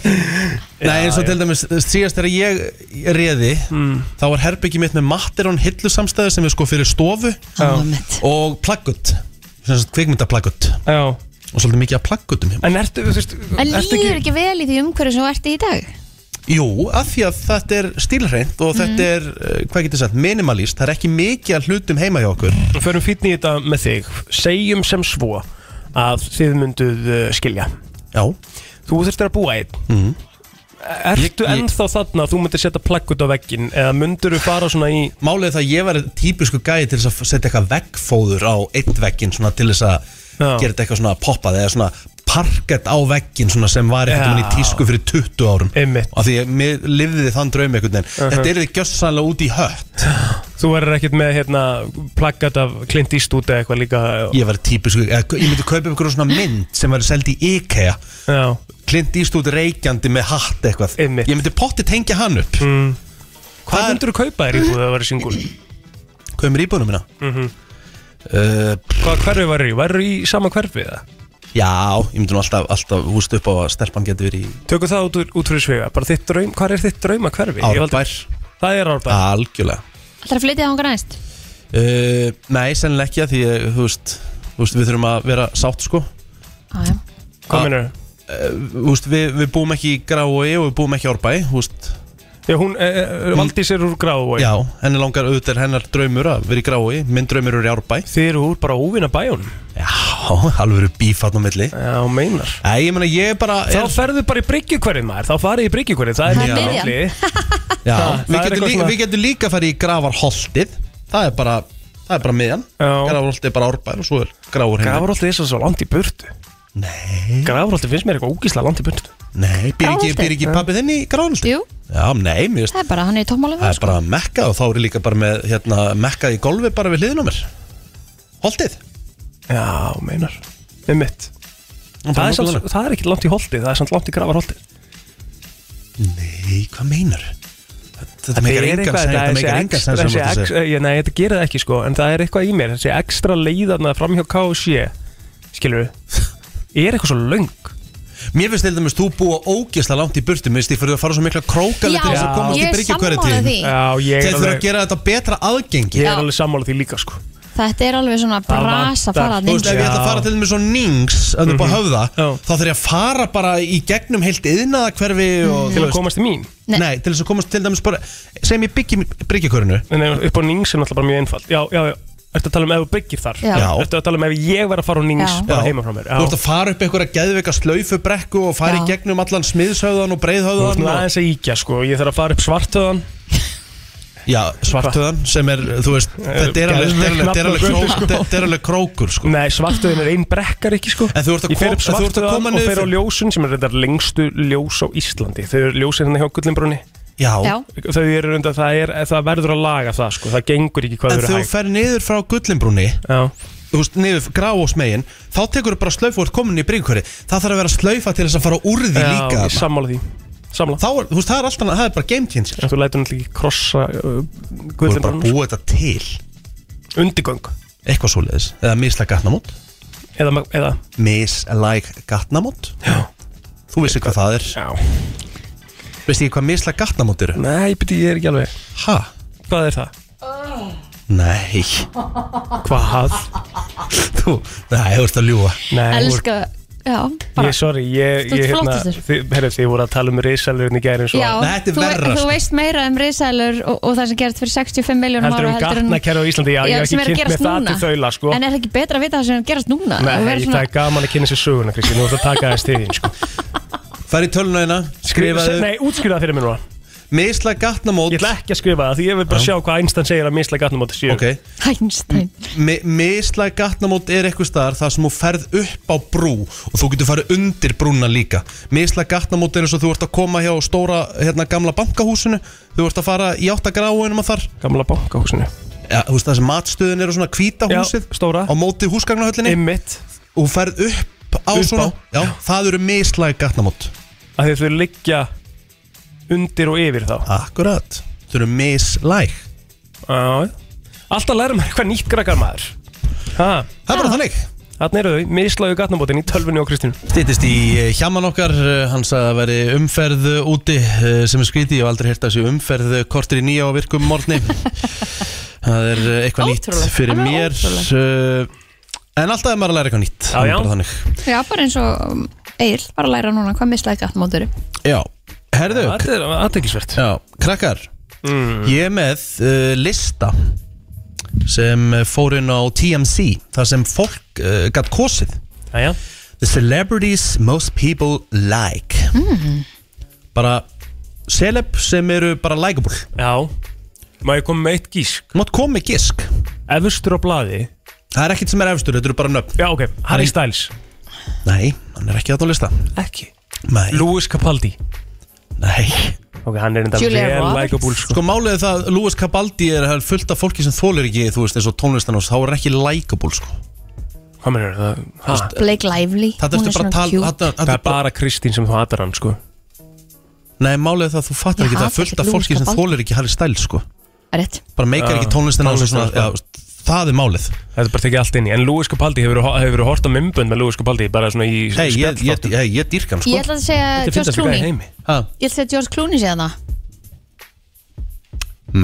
Nei eins og til dæmis síðast þegar ég reði Þá var herbyggi mitt með Matterón hillusamstæði sem er sko fyrir stofu það var mitt Og plaggut Kvikmyndaplaggut Já, Og svolítið mikið af plaggutum hjá mér en ertu, þú veist, En ertu líður ekki vel í því umhverju sem þú ert í í dag? Jú, af því að þetta er stílhreint Og þetta er, eh, hvað getur sagt, minimalist Það er ekki mikið af hlutum heima hjá okkur förum fýtni í þetta með þig, segjum sem svo að þið mynduð uh, skilja. Já, Þú þurftir að búa einn. Ertu Mhm. Ég- ég- ennþá þarna að þú myndir setja plagg út á veggin eða myndir þú fara svona í málið er það að ég var típisku gæði til þess að setja eitthvað veggfóður á eitt veggin svona til þess að Já. gera þetta eitthvað svona poppað eða svona parkett á veggin svona sem var eitthvað mann í Já. tísku fyrir 20 árum Einmitt. og því að mér lifði þann draum einhvern veginn þetta er því gjössanlega út í hött Þú verður ekkert með hérna plaggat af Clint Eastwood eða eitthvað líka ég var típisku, eða, ég myndi kaupa einhverjum svona mynd sem var seld í IKEA Já, Clint Eastwood reykjandi með hatt eitthvað Einmitt. ég myndi potti tengja hann upp mm. hvað er- myndur þú kaupa þér íbúð að vera singul? hvað er mér Uh, íbúinu minna? Mm Mhm. Hvað hverfi var í? Var í sama hverfi eða? já, ég myndi nú alltaf, alltaf húst upp á að stelpan getur verið í Tökum það út, úr- út fyrir svega, bara þitt draum, hvað er þitt drauma hverfi? Ég hef aldrei- árbær Það er Ah, árbær algjörlega Alltaf að flytja það hongar næst? Uh, nei, sennilega ekki að því ég, þú veist, þú veist, við þurfum að vera sátt sko Já, já ah. Hvað minnur? Þú veist, við, við búum ekki í Grávói og við búum ekki í Árbæ þú veist, Já, hún, e, e, Valdís er úr gráðu Mm. Já, henni langar auðvitað er hennar draumur að vera í Grávói Minn draumur er í Árbæ Þið eru úr bara óvinna bæjunum Já, alveg eru bífarn á milli Já, meinar Nei, ég meina, ég bara Þá er, ferðu bara í bryggjuhverfið maður, þá farið í bryggjuhverfið, það er Það er mitt á miðjan. milli. já, það- við, getum það er eitthvað líka, svona- við getum líka að fara í Gravarholtið Það er bara, það er bara miðjan Já. Gravarholtið er bara Árbæ og svo er Grávór heim Grafróltið er svo- svo langt í burtu Nei, Grafróltið finnst mér eitthvað ógíslega langt í burtu nei, býr ekki, Grafarholtið? býr ekki pabbi þinn í Gravarholtið Jú, Já, nei, mér veist það er bara, hann er í tómmála Það er bara mekka og þá er ég líka bara með hérna, mekka í golfi bara við hliðin á mér Holtið Já, meinar Með mitt það, er samt, það er ekki langt í holdi, það er samt langt í gravarholdi Nei, hvað meinar? Þetta meikar engan sens Þetta meikar engan sens sem þú ert að segja. sens Nei, þetta gerir það ekki sko En það er eitthvað í mér, þessi ekstra leiðarna framhjá KSJ Skilur við Er eitthvað svo löng Mér finnst til dæmis þú búa ógeðslega langt í burtu Mér finnst ég fyrir að fara svo mikla krókaletir til þess að komast Já, í ég er byrgju hverja sammála tíðin því Já, Þeir ég er þurfa að alveg, gera þetta betra aðgengi ég er alveg sammála því líka sko Þetta er alveg svona Það brasa vantar. farað Þú veist, ef ég ætla að fara til þeim með svo nings að upp á höfða, Mhm. Já. þá þarf ég að fara bara í gegnum heilt yðnaðakverfi og, Mhm. Til þú að veist, komast í mín nei. Nei. til þess að komast til dæmis bara segjum ég byggjum bryggjakörunu En ef- upp á Nings er náttúrulega bara mjög einfalt Já, já, já Ertu að tala um ef þú byggir þar? Já. Já. Ertu að tala um ef ég var að fara á Nings Já. bara heima frá mér? Þú ert að fara upp einhverja geðveika slaufubrekku og fara í Já. gegnum allan smiðshöðan og Þú ert breiðhöðan nú og, aðeins að íkja sko Ég þarf að fara upp svartöðan Já, svartöðan sem er, þú veist, þetta er alveg- þetta er alveg- þetta er alveg kró- þetta er alveg krókur sko. Nei, svartöðin er ein brekkar ekki sko En þú ert að Ég fer kom- upp en þú ert að koma svartöðan og niður fer á fyrir- ljósun sem er reyndar lengstu ljós á Íslandi Þau eru ljósin hérna hjá Gullinbrunni Já, Já, Þau eru reyndar, það, er, það verður að laga það sko Það gengur ekki hvað en þau eru þú hægt fer niður frá gullinbrúni Já, þú veist, niður grá og smegin þá tekur þú bara slaufu og ert komin í bryggjöri það þarf að vera slaufa til þess að fara úr því líka já, ég þarna. sammála því Sammála þá er, þú veist, það er alltaf, það er bara game changer En þú lætur náttúrulega ekki krossa uh, þú er bara að Gullinbrunni búa þetta til Undigöng eitthvað svoleiðis, eða mislæg gatnamót Eða, eða mislæg gatnamót Já. þú veist hvað það er, Já veist ekki hvað mislæg gatnamót eru Nei, beti, ég er ekki alveg ha? Hvað er það? Nei, Hvað? þú, nei, þú ert að ljúa Nei, elska Já, Ég, bara sorry, ég, Þú ert ég hérna flottastur. þið, herri, þið voru að tala um risalurinn í gærin svo Já, Nei, þetta er þú, vei- verra, þú sko. veist meira um risalur og, og það sem gerist fyrir 65 miljónum Heldur ára um gatnakerfi á Íslandi, já, ég hef sem er ekki að kynnt með gerast það til núna. þaula, sko En er það ekki betra að vita það sem gerast núna Nei, Og hérna- vera það er gaman að kynna sér söguna, Kristi, nú ertu að taka þess til þín, sko fær í töluna hérna, skrifaðu Nei, útskýra það fyrir mér núna mislæg gatnamót Ég ætla ekki að skrifa það, því ég vil bara sjá hvað Einstein segir að misla gatnamóti séu ok, Einstein Mi- mislæg gatnamót er eitthvað staðar þar sem þú ferð upp á brú og þú getur farið undir brúna líka mislæg gatnamót er eins og þú ert að koma hjá stóra hérna gamla bankahúsinu þú ert að fara í áttagráinum að þar Gamla bankahúsinu ja, þú veist það sem matstöðin eru svona hvíta Já, húsið stóra. á móti húsgagnahöllinni Einmitt, og þú ferð upp á Upp svona á. Já, það eru mislæg gatnamót að þið þau liggja undir og yfir þá akkurat, þau eru mislæg Já, Alltaf læra maður eitthvað nýtt grækar maður Ha, það er bara þannig þarna eru þau, mislaðu gatnamótin í tölvunni á Kristínu Stýttist í hjaman okkar, eh, hann sagði að veri umferð eh, úti eh, sem er skríti og aldrei hérta þessi umferð eh, kortir í nýja og virkum morgni Það er eh, eitthvað nýtt Ótrúlegt, fyrir alveg mér eh, En alltaf er maður að læra eitthvað nýtt Já, það er já. bara þannig. Já, bara eins og um, Egil Bara að læra núna hvað mislega gatnamótur Já, herðu Þetta er aðteglisvert Já, krakkar mm. Ég er með uh, lista sem eh, fór inn á TMC þar sem fólk uh, gætt kosið Jæja, The celebrities most people like Bara Celeb sem eru bara likeable já Má ég koma með eitt gísk Mátt koma með gisk Efstur á blaði Það er ekkert sem er efstur, þetta eru bara nöfn Já, ok, Harry Styles Nei, hann er ekki að á lista Ekki Nei, Louis Capaldi nei Ok, hann er enda Julia vel Roberts. likeable sko. Sko málið er það, Louis Cabaldi er það er fullt af fólki sem þólir ekki, þú veist, eins og tónlistan hans, þá er hann ekki likeable, sko Hvað meður það? Ha? Blake Lively Það hún ertu bara að tala, cute. það, Það það er bara Kristín sem þú hatar hann sko Nei, málið er það, þú fattar Ég ekki, það er fullt hata af ekki Louis fólki sem Capaldi. þólir ekki Harry Styles, sko Rétt. Bara meikar Já, ekki tónlistin hans og svona, tónlistina hans, já, þú veist, það er málið Þetta er bara tekið allt inn í En Louis Capaldi hefur verið hort á mymbönd með Louis Capaldi Bara svona í Nei, ég, ég, spjallþáttum. ég, ég dýrkan, Ég sko ætla að segja George Þetta er fyndast líka í Clooney heimi Ha? Ég ætla að segja George Clooney séðan það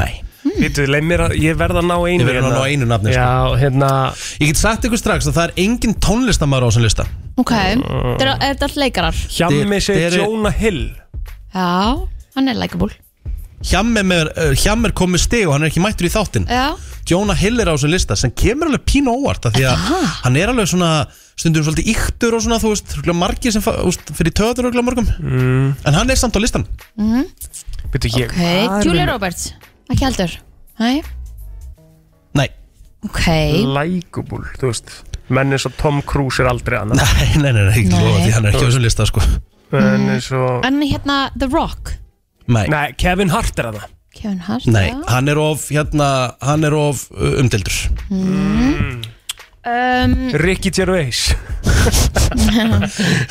Nei Hmm. Vittu, leið mér að ég verð að ná einu Ég verð að hérna. ná einu nafni, sko. Já, hérna Ég get sagt ykkur strax að það er engin tónlistamæður á þessum lista Ok, Mm. þetta er þetta allt leikarar Hjammi Þeir- segir þeir- Jonah Hill Já, hann er likeable Hjamm er, með, uh, Hjamm er komið stig og hann er ekki mættur í þáttin Já, Jonah Hill er á þessum lista sem kemur alveg pínu óvart af Því að hann er alveg svona stundum svolítið yktur og svona þú veist örugglega Margir sem fa- þú veist, fyrir töður og mörgum mm. En hann er samt á listan Vittu, ég ok, Julia Roberts Ekki heldur Nei, Nei, ok Mm. Likeable, þú veist Menn eins og Tom Cruise er aldrei annað nei, nei, nei, nei, nei. Nei. Lofa, því hann er ekki á þessum lista sko Menn eins og En hérna The Rock Nei, nei, Nei, Kevin Hart er það Kevin Hart já. hann er of, hérna, hann er of uh, umdildur um, Ricky Gervais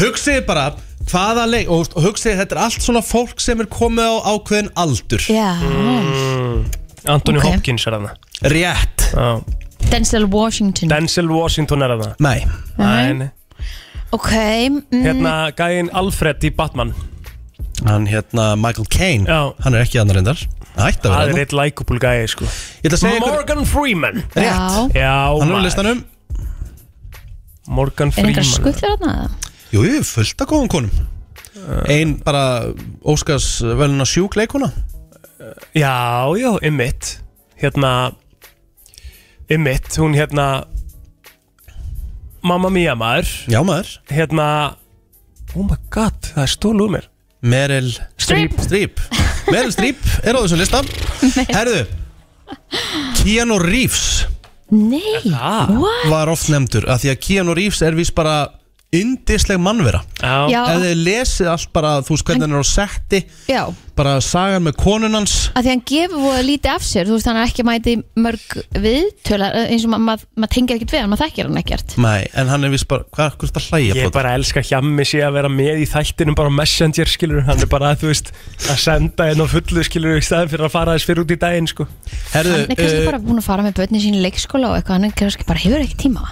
Hugsið bara hvaða leik og, og hugsið þetta er allt svona fólk sem er komið á ákveðin aldur Já, Mm. Anthony Ok. Mm. Hopkins er það Rétt Já. Denzel Washington Denzel Washington er það Nei, Nei. Nei. Ok, mm, Hérna gæinn Alfred í Batman hann hérna Michael Caine Já. Hann er ekki annar reyndar Ætti að Það vera er þarna. eitt likeable gæði sko Ég ætla að segja hérna. ykkur Morgan Freeman Já, Já, Hann er á maður. listanum Morgan er einhver Freeman skuttlar þarna? Jú, jú, fullt af góðum konum Uh. Ein bara Óskars veluna sjúk leikuna Já, já, ymmit Hérna Ymmit, hún hérna Mamma Mia maður Já maður Hérna Oh my god, það er stólu um mér Meryl Streep. Streep Meryl Streep er á þessum lista Herðu Keanu Reeves Nei, Ah, what? var oft nefndur af því að Keanu Reeves er vís bara indisleg mannvera Já, Já, ef þið lesið allt bara þú veist hvernig hann er á setti já, bara sagan með konun hans að því hann gefur voða lítið af sér, þú veist, hann er ekki mæti mörg viðtölar, eins og ma- maður ma tengir ekkert við hann, maður þekkir hann ekkert. Nei, en hann er vís bara hvað er þetta hlæja Ég bara elska hjammi sé að vera með í þættinum bara á messenger skilur Hann er bara, þú veist, að senda henn á fullu skilur í staðin fyrir að fara þess fyrir út í daginn sko Herðu, Hann er kannski eh, bara búin að fara með börnin sín í leikskóla og eitthvað, hann er kannski bara hefur ekki tíma.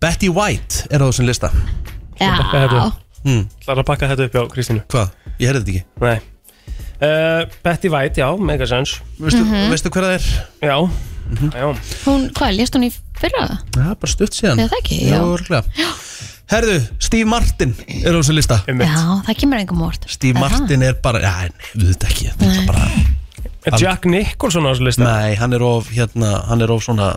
Betty White er á þessum lista Já, þetta. Það er að pakka þetta upp hjá Kristínu Hvað? Ég herði þetta ekki Nei uh, Betty White, já, megasens Veistu, Mhm. veistu hver það er? Já, já hún, hvað, lést hún í fyrra það? Já, bara stutt síðan Já, það ekki, já já. örugglega. Herðu, Steve Martin er á þessum lista Einmitt. Já, það kemur engum óvart. Steve Er það? Martin er bara, já, nei, við þetta ekki þetta er bara, Eh, Jack Nicholson á þessu lista Nei, hann er of, hérna, hann er of svona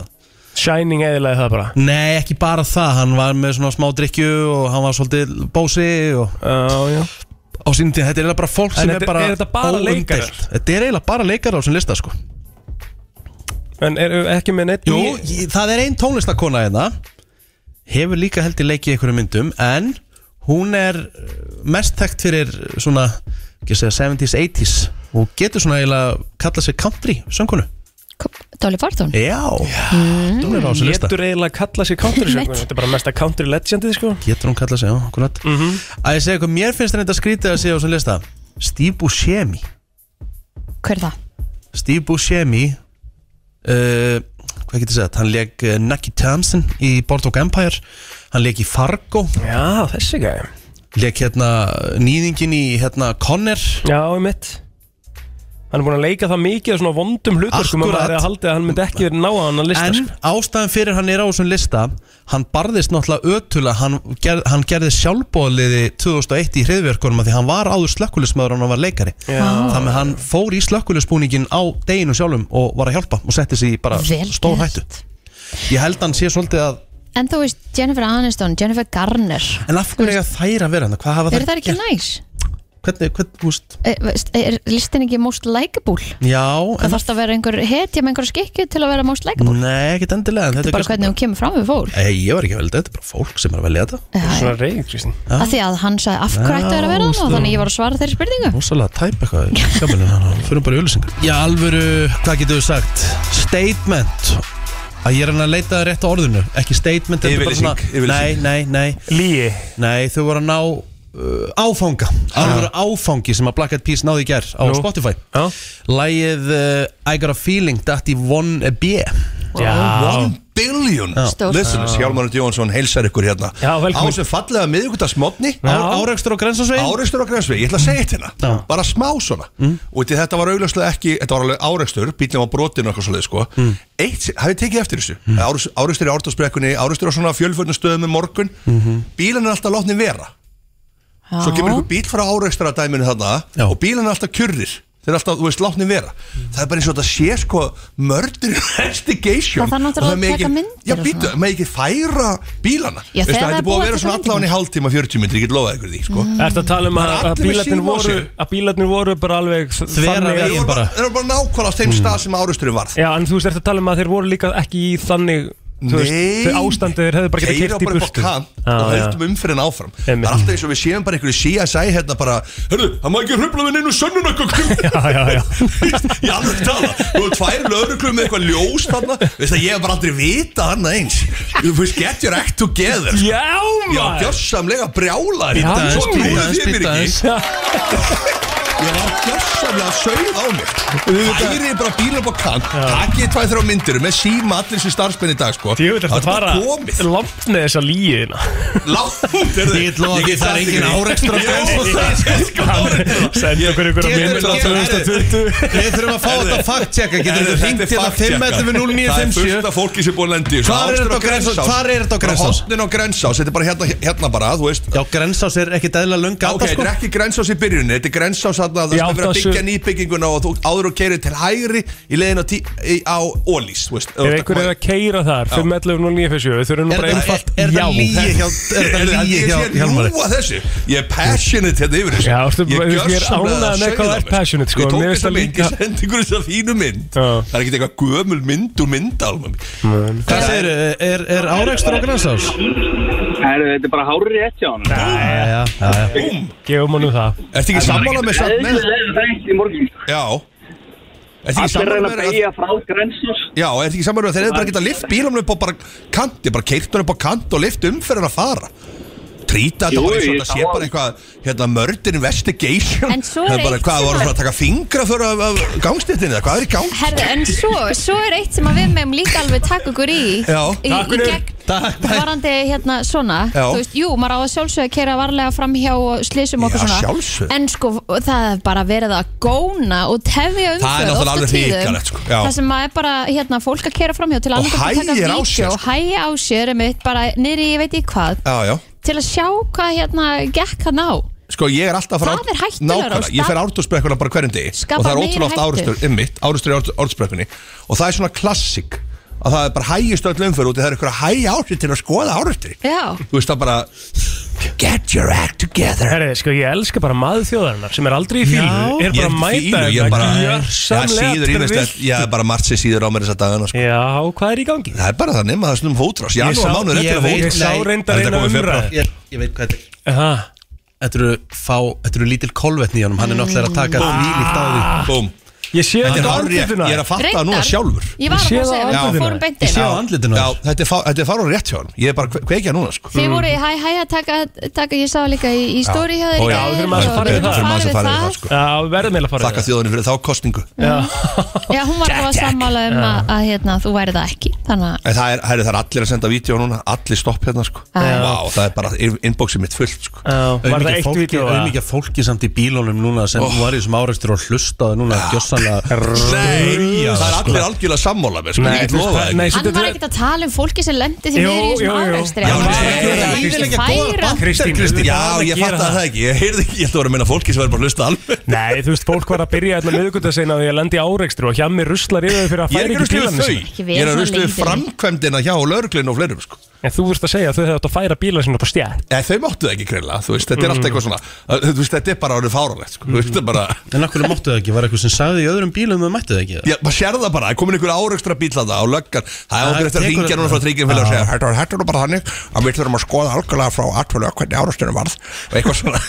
Shining eðilaði það bara Nei, ekki bara það, hann var með svona smá drikju og hann var svolítið bósi og Já, já á sínum tíð, þetta er eiginlega bara fólk sem þetta- er bara er þetta bara óumdeilt. leikarar? Þetta er eiginlega bara leikar á þessum lista, sko En eru ekki með neitt Jú, í- ég, það er ein tónlistakona hérna hefur líka held í leikið í einhverjum myndum en hún er eh, mest þekkt fyrir svona ekki að segja 70s, 80s og getur svona eiginlega kallað sig country söngunu Dolly Parton? Já, mm. hún er á þessum lista Getur eiginlega að kalla sig country söngur Þetta er bara mesta country legendið sko Getur hún kallað sig, já, akkurat mm -hmm. Að ég segja hvað mér finnst þetta skrítið að segja á þessum lista Steve Buscemi Hver er það? Steve Buscemi uh, hvað getur sagt hann leik uh, Nucky Thompson í Boardwalk Empire hann leik í Fargo Já, þessi gæði leik hérna nýðingin í hérna Conner Já, ég mitt Hann er búin að leika það mikið af svona vondum hlutverkum að Akkurat. maður er að haldi að hann myndi ekki verið ná að hann að lista en sko. ástæðan fyrir hann er á þessum lista hann barðist náttúrulega ötula hann, ger, hann gerði sjálfbóðliði 2001 í hriðverkunum að því hann var áður slökkulismöður hann var leikari Já. þannig að hann fór í slökkulisbúningin á deginu sjálfum og var að hjálpa og setti sig í bara Vel stór hættu gert. ég held hann sé svolítið að En þú veist, Jennifer Aniston, Jennifer Garner en af hverju eiga þær að vera hann hvað hafa Eru það þær ekki gert næs? hvernig, hvernig, þú veist Er, veist, er listin ekki most likeable? Já, Það en þarf að vera einhver hetja með einhver skikki til að vera most likeable Nei, ekkert endilega en Þetta er bara hvernig hún kemur fram við fólk Nei, ég var ekki að velja þetta, þetta er bara fólk sem er að velja þetta Já, Svona reyð, Kristín Af því að hann sagði af hverju ættu að vera að vera Já, það Þannig ég var að svara þeirri spurningu Rósalega tæp eitthvað í skapinu, þannig að Fyrir bara í öllusingar Já, alvöru, hvað getur þú sagt? Statement Að ég er hann að leita rétt á orðinu Ekki statement, þetta er bara Yfirlýsing, yfirlýsing. Nei, nei, nei, Líi nei, þau voru að ná uh, áfanga Alvöru áfangi sem að Black Eyed Peas náði í gær á Nú. Spotify Já, Lægið uh, I Got A Feeling Datti 1B já. One billion Stórt. listeners Hjálmarund Jónsson heilsar ykkur hérna Já, velkomin. Á sem fallega miðvíkudagsmotni Áreikstur á grensasvegin Áreikstur á Grensvegi, ég ætla að segja eitt hérna Já. Bara smá svona Mm. Og því þetta var augljóslega ekki, þetta var alveg áreikstur Bílum var brotinn og eitthvað svoleið sko Mm. Eitt, hafið tekið eftir þessu mm. Áreikstur í ártarsbrekkunni, áreikstur á svona fjölförnum stöðum um morgun mm Mhm. er alltaf látni vera Svo kemur einhver bíl frá áreikstur að dæminu þarna Já. Og bílan er alltaf kjurrir Þeir eru alltaf, þú veist, látni vera Það er bara eins og þetta sé sko mördur investigation Það þarf Og náttúrulega megi að taka ekki- myndir Já, og býttu, svona. maður ekki færa bílana Já, Veistu, þegar Þetta það er búið að vera svona taka allan í hálftíma 40 myndir, ég get lofað ykkur því sko. Ertu að tala um Það að, er að allir með bílarnir síma á voru sér. Að bílarnir voru bara alveg Þvera þannig- veginn. Þeir Ég voru bara- bara, þeir voru bara nákvæmlega á þeim stað sem áreisturinn varð Já, en þú veist, ertu að tala um að þeir voru líka ekki í þannig þú Nei. Þau ástandið þeir hefðu bara getið Keira kert í bara upp á burtu Ah, kant og Já, já. höldum umfyrin áfram Það Einmitt. er alltaf eins og við séum bara einhverju CSI hérna bara Hörru, það má ekki hrubla við neinu sönnunargögnum Já, já, já Ég alveg tala Þú erum tvær lögreglum með eitthvað ljós þarna Veist það, ég hef bara aldrei vita hann eins Þú veist, get your act together sko. Já, Já, maður gjörsamlega brjálar Já, Svo bíddu trúið aðeins, þið mér bíddu ekki aðeins. Ég var gjörsamlega sögð á mig Bærið bara bílar upp á kant Takkið tvæð þrjá myndir með síma allir sem starfsmenn í dag sko Djöfull ertu Það að er bara fara komið langt með þessa líina Látt er Ég ætla að ekki, það er engin árekstur á Sendi okkur ykkur að Getur- mynda getur- Við þurfum að fá þetta fact checka Getur þú hringt hérna 511 Það er fullt 0957 af fólki sem búið að lendi Hvar er þetta á Grensás? Hvar er þetta á Grensás? Hotnin á Grensás, þetta er bara hérna, hérna bara, þú veist Já, Grensás er ekkit eðla lönga sko. Ok, þetta er ekki grensás í byrjunni, þetta er grensás þarna að það Í sem er verið að átta- byggja nýbygginguna og þú áður og keirir til hægri í leiðin á, tí, í, á Ólís, þú veist Ef einhver er að keira þar 511 og 957 Við þurfum nú Er bara þetta- einfalt er- er þetta lygi? já Ég hjá- er þetta lygi Ég hjá- sé hjá Hjálmari? ljúa þessu Ég er passionate hérna yfir þessu Já, ertu- ég er gjörsamlega ánægður með sauð á hvað þú ert mér. passionate, sko, Ég tók mér finnst þetta það mynd, líka- ég sendi ykkur þess að fínu mynd Já. Það er ekki eitthvað gömul mynd úr myndálmum Hvað segir, er, er árekstur á Grensás? Herru, þetta er bara hárið rétt hjá hann. Já, já, já Búm, Gefum hann það ertu ekki sammála með samt með Eðlilega þrengt í morgun. Já Ertu ekki Allir sammála reyna að með að beigja frá grensas. Já, er ekki saman með þeir eru bara að geta lift bílum upp á bara kanti, bara keirtunum upp á kant og lift umferðin að fara Trýta þetta Jú, bara eins og ég þetta sé sá- bara eitthvað hérna mördirin investigation En svo er Það bara, eitt Hvað, sem voru að- bara að taka fingra fyrir af, af gangstéttinni eða hvað er í gang? Herðu, en svo, svo er eitt sem að við meðum líka alveg takk okkur í Já. í, í Takk fyrir. gegn Takk, bæ. varandi hérna svona Já. þú veist, jú, maður á að sjálfsögja að keira varlega framhjá og slísum okkur Já, svona sjálfsögðu. en sko, það er bara verið að góna og tefja um umfjöð Það er náttúrulega alveg hrikalegt, sko. Já. það sem maður er bara, hérna, fólk að keira framhjá til annað hægir á sér, sko. og hægja á sér, einmitt, bara niðri, ég veit ekki hvað Já, já til að sjá hvað hérna gekk hann á Sko ég er alltaf að fara Það er hættulegra Nákvæmlega, og ég fer stað- ártúrsbrekkuna bara hverjum degi Skapar Og það er meiri ótrúlega oft hættu. árstur, ymmit, árstur í ártúrsbrekkunni Og það er svona klassik Að það er bara hægist öll umferð út í Það er ykkur að hægi árstur til að skoða árstur já, Þú veist það bara Get your act together Herri, sko, ég elska bara maður þjóðarinnar sem er aldrei í fílu, Ég er bara er að mæta hérna, fílu, ég er bara Það síður gjörsamlega ímest Ég er bara margt sér síður á mér þessa dagana sko. Já, hvað er í gangi? Það er bara það nema það snum hótrás Ég sá- Janúar mánuður ég eftir að veit- hótrás ég sá Nei, reyndar þetta eina kom í febrúar. umræð Ég, ég veit hvað þetta er Það, Þetta eru fá, þetta eru lítil kolvetni í honum Hann er náttúrulega að taka því líkt á því Búm Mm. ég sé Þetta er þetta hárrétt, andlituna ég er að fatta það núna Reyndar. sjálfur ég var Ég að sé fara að það á segja, andlitinu. við fórum beint Ég inn sé á andlitinu Já, hans þetta er fá- þetta er farað rétt hjá hann Ég er bara að kveikja núna sko Mm. Þið voru í hæ hæ að taka, taka ég sá líka í, í stóri hjá þér Ó, í já, gær við þurfum aðeins að og fara við yfir það. Þurfum þurfum aðeins að fara yfir það, sko. Já, við verðum meila að fara Þakka þjóðunni fyrir þá kostningu þjóðarinnar Já, hún var bara að sammála um að, að hérna, þú væri það ekki Þannig að En það er, herri, það er allir að senda vídeo núna Allir stopp hérna sko Vá, Já. það er bara inboxið mitt fullt sko Var það eitt fólki, vídeo að auðmikið fólki samt í bílónum núna sem var í þessum árekstur og hlustaði núna gjössanlega Nei, það er allir algjörlega sammála með sko Nei, Ég get þú veist, lofa það- það nei, ekki. svo Hann þetta var er- ekkert að tala um fólki sem lendi því Jú, meður í jú, þessum jú. áreikstri Já, Hann var nei, ekki að Kristín, vilja Kristín, færa Kristín, Kristín, við já, verðum að ég gera fatt það ekki Ég heyrði ekki, ég ætla að vera að minna fólki sem verður bara að hlusta alveg Nei, þú veist, fólk var að byrja hérna allar miðugundaseina og ég lendi áreikstru og hjá mér ruslar yfir þau fyrir Ég að er færa ekki ekki ruslið bílarni við sína Ekki þau Ég vera er svona ruslið við leiðinleg. framkvæmdina hjá lögreglun og fleirum sko En þú veist að segja að þau hefðu átt að færa bílarni sína upp á stjæð Eða þau máttu það ekki greinlega, þú veist, þetta Mm. er alltaf eitthvað svona Ö, Þú veist, þetta er bara orðið fáralegt, sko Þú veist, þetta er bara, En okkur máttu það ekki, var eitthvað sem sagði í öðrum bílum og mættu það ekki já, maður sér það bara Það er komin einhver árekstra bíl að það á löggan Það Það er okkur eftir að tekur- ringja núna frá tryggin fyrir að segja Þetta var- þetta er nú bara þannig að við þurfum að skoða algjörlega frá atvölu hvernig áreksturinn varð og eitthvað svona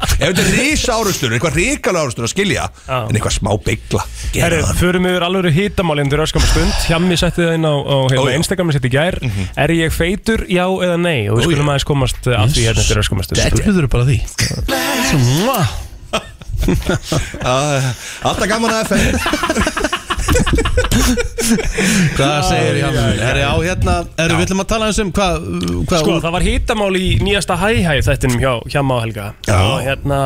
Ef þetta er risa árekstur, eitthvað ríkala árekstur að skilja Já. en eitthvað smá beigla Herri, gera það. förum yfir alveg hýtamálinn til öskamma stund Hjammi setti það inn á, á Ó, hérna, já. Mhm. Instagrami setti í gær Er ég feitur, já eða nei? Og við Ó, já. skulum aðeins komast eh, að því hérna til öskamma stund Spurður bara því Svo, mwah. Æ, Ah, Alltaf gaman að FM Hvað segir ég Er ég á hérna, er við viljum að tala eins um hvað hva, Sko, það var hýtamál í nýjasta hæ-hæ þættinum hjá, hjá Má Helga Já. Og hérna,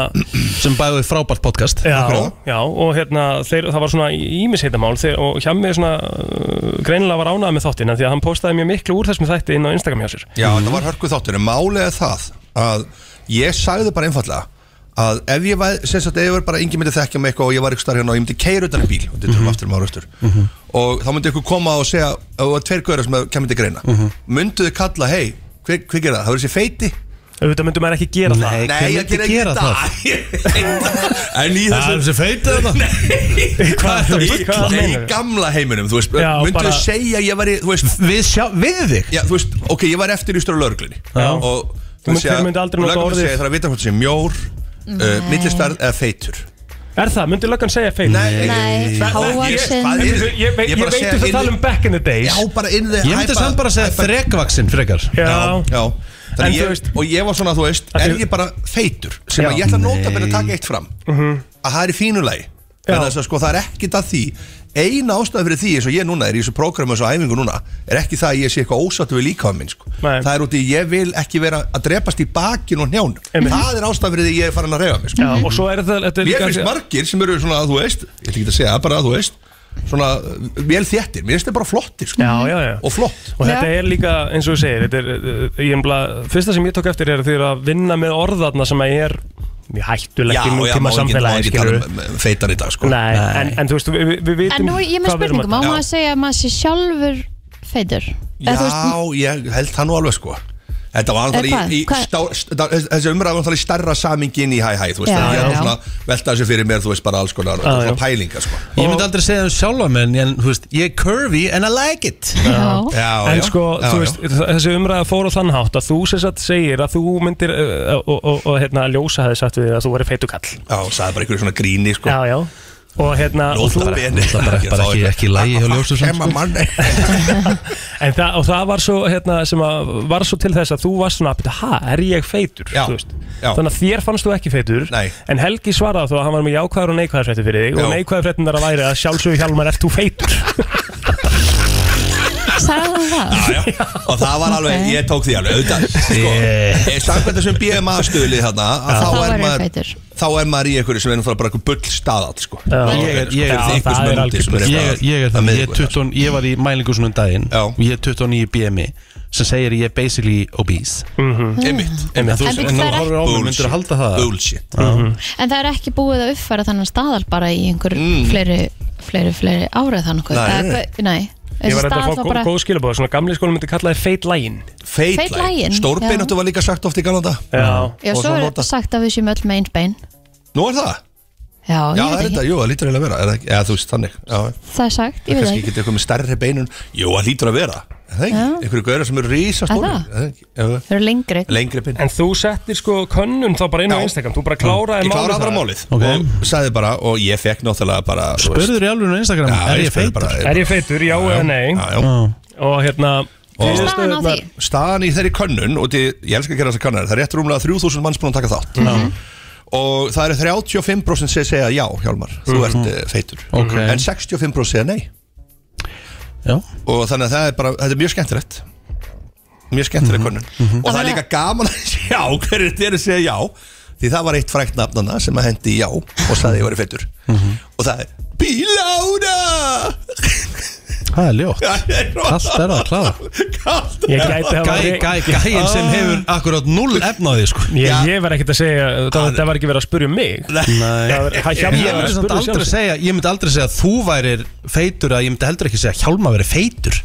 sem bæði við frábært podcast Já, já, og hérna, þeir, það var svona ímisheitamál þeir, og hjá mig svona uh, greinilega var ánægð með þáttina því að hann postaði mjög miklu úr þessum þætti inn á Instagram hjá sér Já, þetta var hörku þáttur, en málið er það að ég sagði bara einfallega að ef ég var, sem sagt, ef ég var bara engin myndi þekkja mig eitthvað og ég var ykkur starf hérna og ég myndi keira utan í bíl og þetta er um aftur um áraugstur og þá myndi ykkur koma og segja og tveir göður sem kemur til greina mm -hmm. myndu þið kalla, hei, hver, hver gera það? Það verður sér feiti? auðvitað myndum maður ekki gera Nei, hver ég gera myndi ekki gera það? það. en í Það er þessu þessi feitið þarna það Hvað í, er þetta? Hvað í meinar þau? gamla heiminum, þú veist, Já, myndu bara- þið segja að ég væri, þú veist, Við sjá, við þig Já, þú veist, ok, ég var eftir í störu lögreglunni Já. Og Þú munt- þeir myndu aldrei nota orðið. Það er að vita hvort það sé mjór, uh, millistarð eða feitur Er það? Myndi löggan segja feil? Nei, hávaxinn Hvað Ég, er- ég, ég, Ég ég bara veit um segja þú inn- það tala um back in the days Já, bara inn þið Ég myndi samt bara að segja þrekvaksinn frekar Já, Já, já Þannig En þú ég, veist- og ég var svona, þú veist, Að er því- ég bara feitur sem að Já. Mhm. ég ætla að nota með að taka eitt fram að það er í fínulagi Já. þannig að sko, það er ekkit að því eina ástæða fyrir því eins og ég núna er í þessu prógrami og þessu æfingu núna er ekki það að ég sé eitthvað ósattu við líka á minn sko. Nei. það er út í ég vil ekki vera að drepast í bakin og njánum Einmitt. það er ástæða fyrir því ég er farin að reyfa mig sko. Já, Mhm. og svo er það, þetta er Mér líka finnst margir sem eru svona, þú veist ég ætla ekki að segja, bara, þú veist svona, uh, vel þéttir, mér finnst þetta bara flottir sko. Já, já, já. og flott Og þetta er líka, eins og þú segir, þetta er, uh, ég embla, fyrsta sem ég tók eftir er að þið eru að vinna með orðarna sem að ég er mjög hættulegt í má nútíma ekki- má samfélagi, ekki tala skilur um um feitar í dag sko. Nei, En, en þú veist, við vi, vi vitum En nú, ég er með hvað við erum að spurningu, má tala- um. maður segja að maður sé sjálfur feitur? Já, Eða þú veist, ég held það nú alveg sko Þetta var Eða alveg í, í hvað? stá, stá, þessi umræðum alveg í starra samingin í hæ-hæ, þú veist, Já, já, ég já, er nú já. svona velta þessu fyrir mér, þú veist, bara alls konar Já, svona já. pælinga, sko. Ég myndi aldrei segja það um sjálfa mig en- En þú veist, ég er curvy and I like it já, Já, En já, sko, já, þú já. veist, þessi umræða fór á þann hátt að þú sem sagt segir að þú myndir uh, og, og, og hérna, ljósa hefði sagt við þig að þú verið feitukall Já, sagði bara einhverju svona gríni, sko. Já, já Og hérna, og þú, Ljóta beni. Það bara, bara ekki, ekki lægi hjá ljósu samt Kemma sko. manni. en það, og það var svo, hérna, sem að var svo til þess að þú varst svona, "Bíddu, ha, er ég feitur? Já, Þú veist. já. Þannig að þér fannst þú ekki feitur, Nei. en Helgi svaraði þá að hann var með jákvæðar og neikvæðar fréttir fyrir þig Já. og neikvæðar fréttinar að væri að sjálfsögur Hjalmar, ert þú feitur? sagði hann það? Já, já. Og það var alveg, Ok. ég tók því alveg, auðvitað, sko. Eh, Samkvæmt þessum BMA-stöðli þarna, að Þá þá er væri maður, feitur. þá er maður í einhverju sem er náttúrulega bara einhver bull staðall, sko. Já. Ég er- ég er- Fyrir Já, ykkur það sem er er úti, algjör sem er Ég, er- eitthvað ég er að þannig, ég, er miðvikudaginn. 20, ég var í mælingu svona um daginn Já. og ég er 29 BMI sem segir ég er basically obese Einmitt, En einmitt. þú En veist, bíddu, en þú það er horfir á mig, myndir að halda það Bullshit. En það er ekki búið að uppfæra þannig staðal bara í einhver Mm. fleiri, fleiri, fleiri árið þannig Nei, nei, nei. nei Ég Þessi var þetta að staðall fá var góð, bara góð skilabóð, svona gamli skóli myndi kalla þið feit lægin Feit lagin, Feitlægin. já. Stórbeinóttu var líka sagt oft í galanda. Já, Já, og svo svo er nota- sagt að við séum öll með eins bein Nú er það? Já, Já, það ég er veit þetta, ekki, jú, það lítur eiginlega að vera er það ekki? Eða þú veist, þannig já, það er sagt, ég veit Kannski ekki getur eitthvað með stærri beinun Jú, það lítur að vera Er Það er Já. ekki, einhverju gauðra sem eru rísa Er það? stóri Þau eru lengri Lengri bein En þú settir sko könnun þá bara inn á Já. Instagram, þú bara kláraði Ég málið klára bara þar. málið Ok. og sagði bara, og ég fekk náttúrulega bara þú veist, Spurður í alveg á Instagram, já, er ég spurði feitur? bara, Er ég feitur, já eða nei Já, já. Já. Og hérna er og, staðan á því? Staðan í þeirri könnun og því, ég elska að gera þessar kannar, það er rétt rúmlega 3000 manns búin að taka þátt og það eru 35% sem segja já, Hjálmar, þú ert mm feitur Mhm. Ok. en 65% segja nei Já. og þannig að það er bara, þetta er mjög skemmtilegt mjög skemmtileg könnun og það er líka gaman að sjá hverju þetta er að segja já því það var eitt frækt nafnana sem að hendi í já og saði ég verið feitur og það er Bílána Það er ljótt Allt er að klára. Kallt Ég er að gæti hafa Gæ, gæ, Gæin sem hefur akkurát null efnaði sko. Ég, Já. ég var ekkert að segja, það, það var ekki verið að spurja um mig Það var- hann Ég Hjálmar myndi var samt að spurja aldrei sjálf sig segja Ég myndi aldrei segja að þú værir feitur að ég myndi heldur ekki segja að Hjálma veri feitur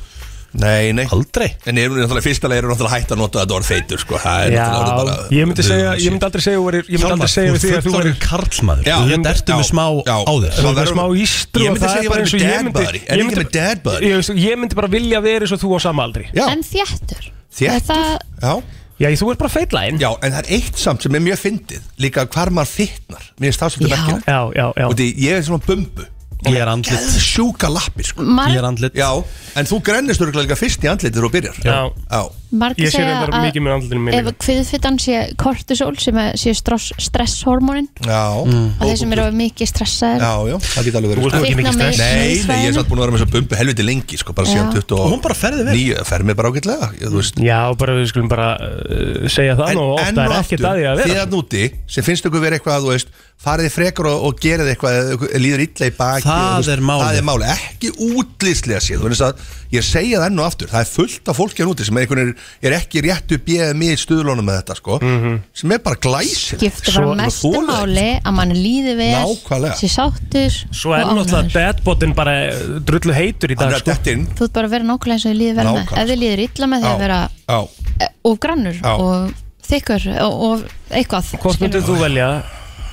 Nei, nei Aldrei En ég er náttúrulega fyrsta leið er náttúrulega hætt að nota að það var feitur sko. Það er Já, náttúrulega orðið bara ég myndi segja, ég myndi aldrei segja, þú værir- ég myndi aldrei segja við því að þú fullorinn verið karlmaður Já. Þú veit, ertu með Já. smá Já. á þér Svo Það er verður- smá ístru Ég og myndi það segja er ég væri bara eins og með ég dad myndi buddy. Er ég ekki með dad buddy? Ég veist, Ég myndi bara vilja vera eins og þú á sama aldri Já, En þjættur Er þéttur það- Já. Já, þú ert bara feitlægin Já, en það er eitt samt sem er mjög fyndið Líka hvar maður fitnar Mér er stafsöldu Já. mekkina já, já, já. Og því ég er svona bumbu Ég er andlit Sjúka lappir sko Ég er Mar andlit Já, en þú grennist örugglega líka fyrst í andlitið og byrjar Já. Já. Margir Ég sé segja þetta mikið að með andlunum mér ef kviðfittan sé kortisol sem er- sé stross- stresshormónin Já. og þeir sem eru mikið stressaðir Já, já, Mm. það geta alveg verið Þú ert ekki Fitna mikið meir- stress Nei, nei, ég er svæðinu. satt búin að vera með þessa bumbu helviti lengi sko, bara síðan Já. 20 Og hún bara ferði vel. Níu, fer mig bara ágætlega ég- þú veist. Já, bara við skulum bara uh, segja það nú og ofta er ekkert að því að þið vera að núti sem finnst ykkur vera eitthvað að þú veist farið þið frekar og, og gerið eitthvað eða ykkur líður illa í baki Það eða, þú veist, er málið. það er máli, ekki útlýslega séð þú veist að ég segja það enn og aftur það er fullt af fólki að núti sem er, einhvern veginn- er ekki réttu BMI stuðlónum með þetta sko, Mhm. sem er bara glæsir Giftur bara mestu máli að mann líði vel Nákvæmlega. sé sáttur Svo er og náttúrulega ánægður. deadbotin bara eh, drullu heitur í hann dag er sko. dett inn þú ert bara að vera nákvæmlega eins og þið líður vel með Nákvæmlega. ef þið líður illa með því að Já, vera já. e, og grannur Já. og þykkur og, og eitthvað Hvort myndir skilurðu. þú velja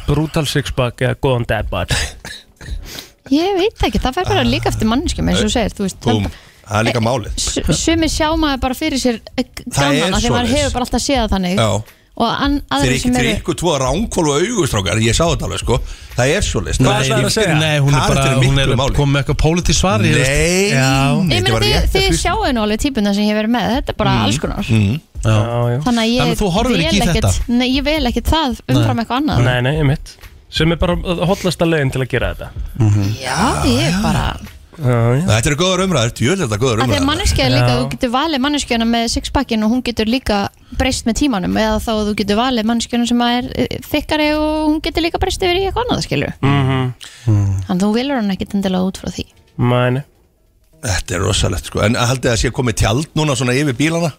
brutal sixpack eða góðan deadbot ég veit ekki, það fær bara líka eftir mannskjum eins og þú segir, þú veist það Búm. bara- Ah. það er líka málið Su- sumir sjá maður bara fyrir sér eh, er gaman af því maður svoleiðis. hefur bara alltaf séð það þannig Já. og an, Þeir aðrir ekki sem til eru ykkur tvo ránkvól og augustrákar Ég sá þetta alveg sko Það er svo list Hvað ætlaðirðu að segja? Nei, hún er Karakter bara er miklu Hún er máli. komið með eitthvað pólitísk svar ég veist. Nei Já. Mm. Ég meina, þið, þið sjáu nú alveg típuna sem ég hef verið með, þetta er bara alls konar Já. Já, Þannig já. að ég Þannig að þú horfir vel ekki í ekkit, þetta? Nei, ég vel ekkit það umfram eitthvað annað Nei, nei, einmitt Sem er bara hotlasta leiðin til að gera þetta Já, ég er bara Já, já Þetta eru góðar umræður, djöðlega þetta er góðar að því að umræður manneskja er líka, Já. þú getur valið manneskjana með sixpackin og hún getur líka breyst með tímanum eða þá þú getur valið manneskjana sem er eh, þykkari og hún getur líka breyst yfir í eitthvað annað skilur mm -hmm. þannig að þú vilur hann ekkit endilega út frá því Mæni Þetta er rosalegt sko, en haldið að sé komið tjald núna svona yfir bílana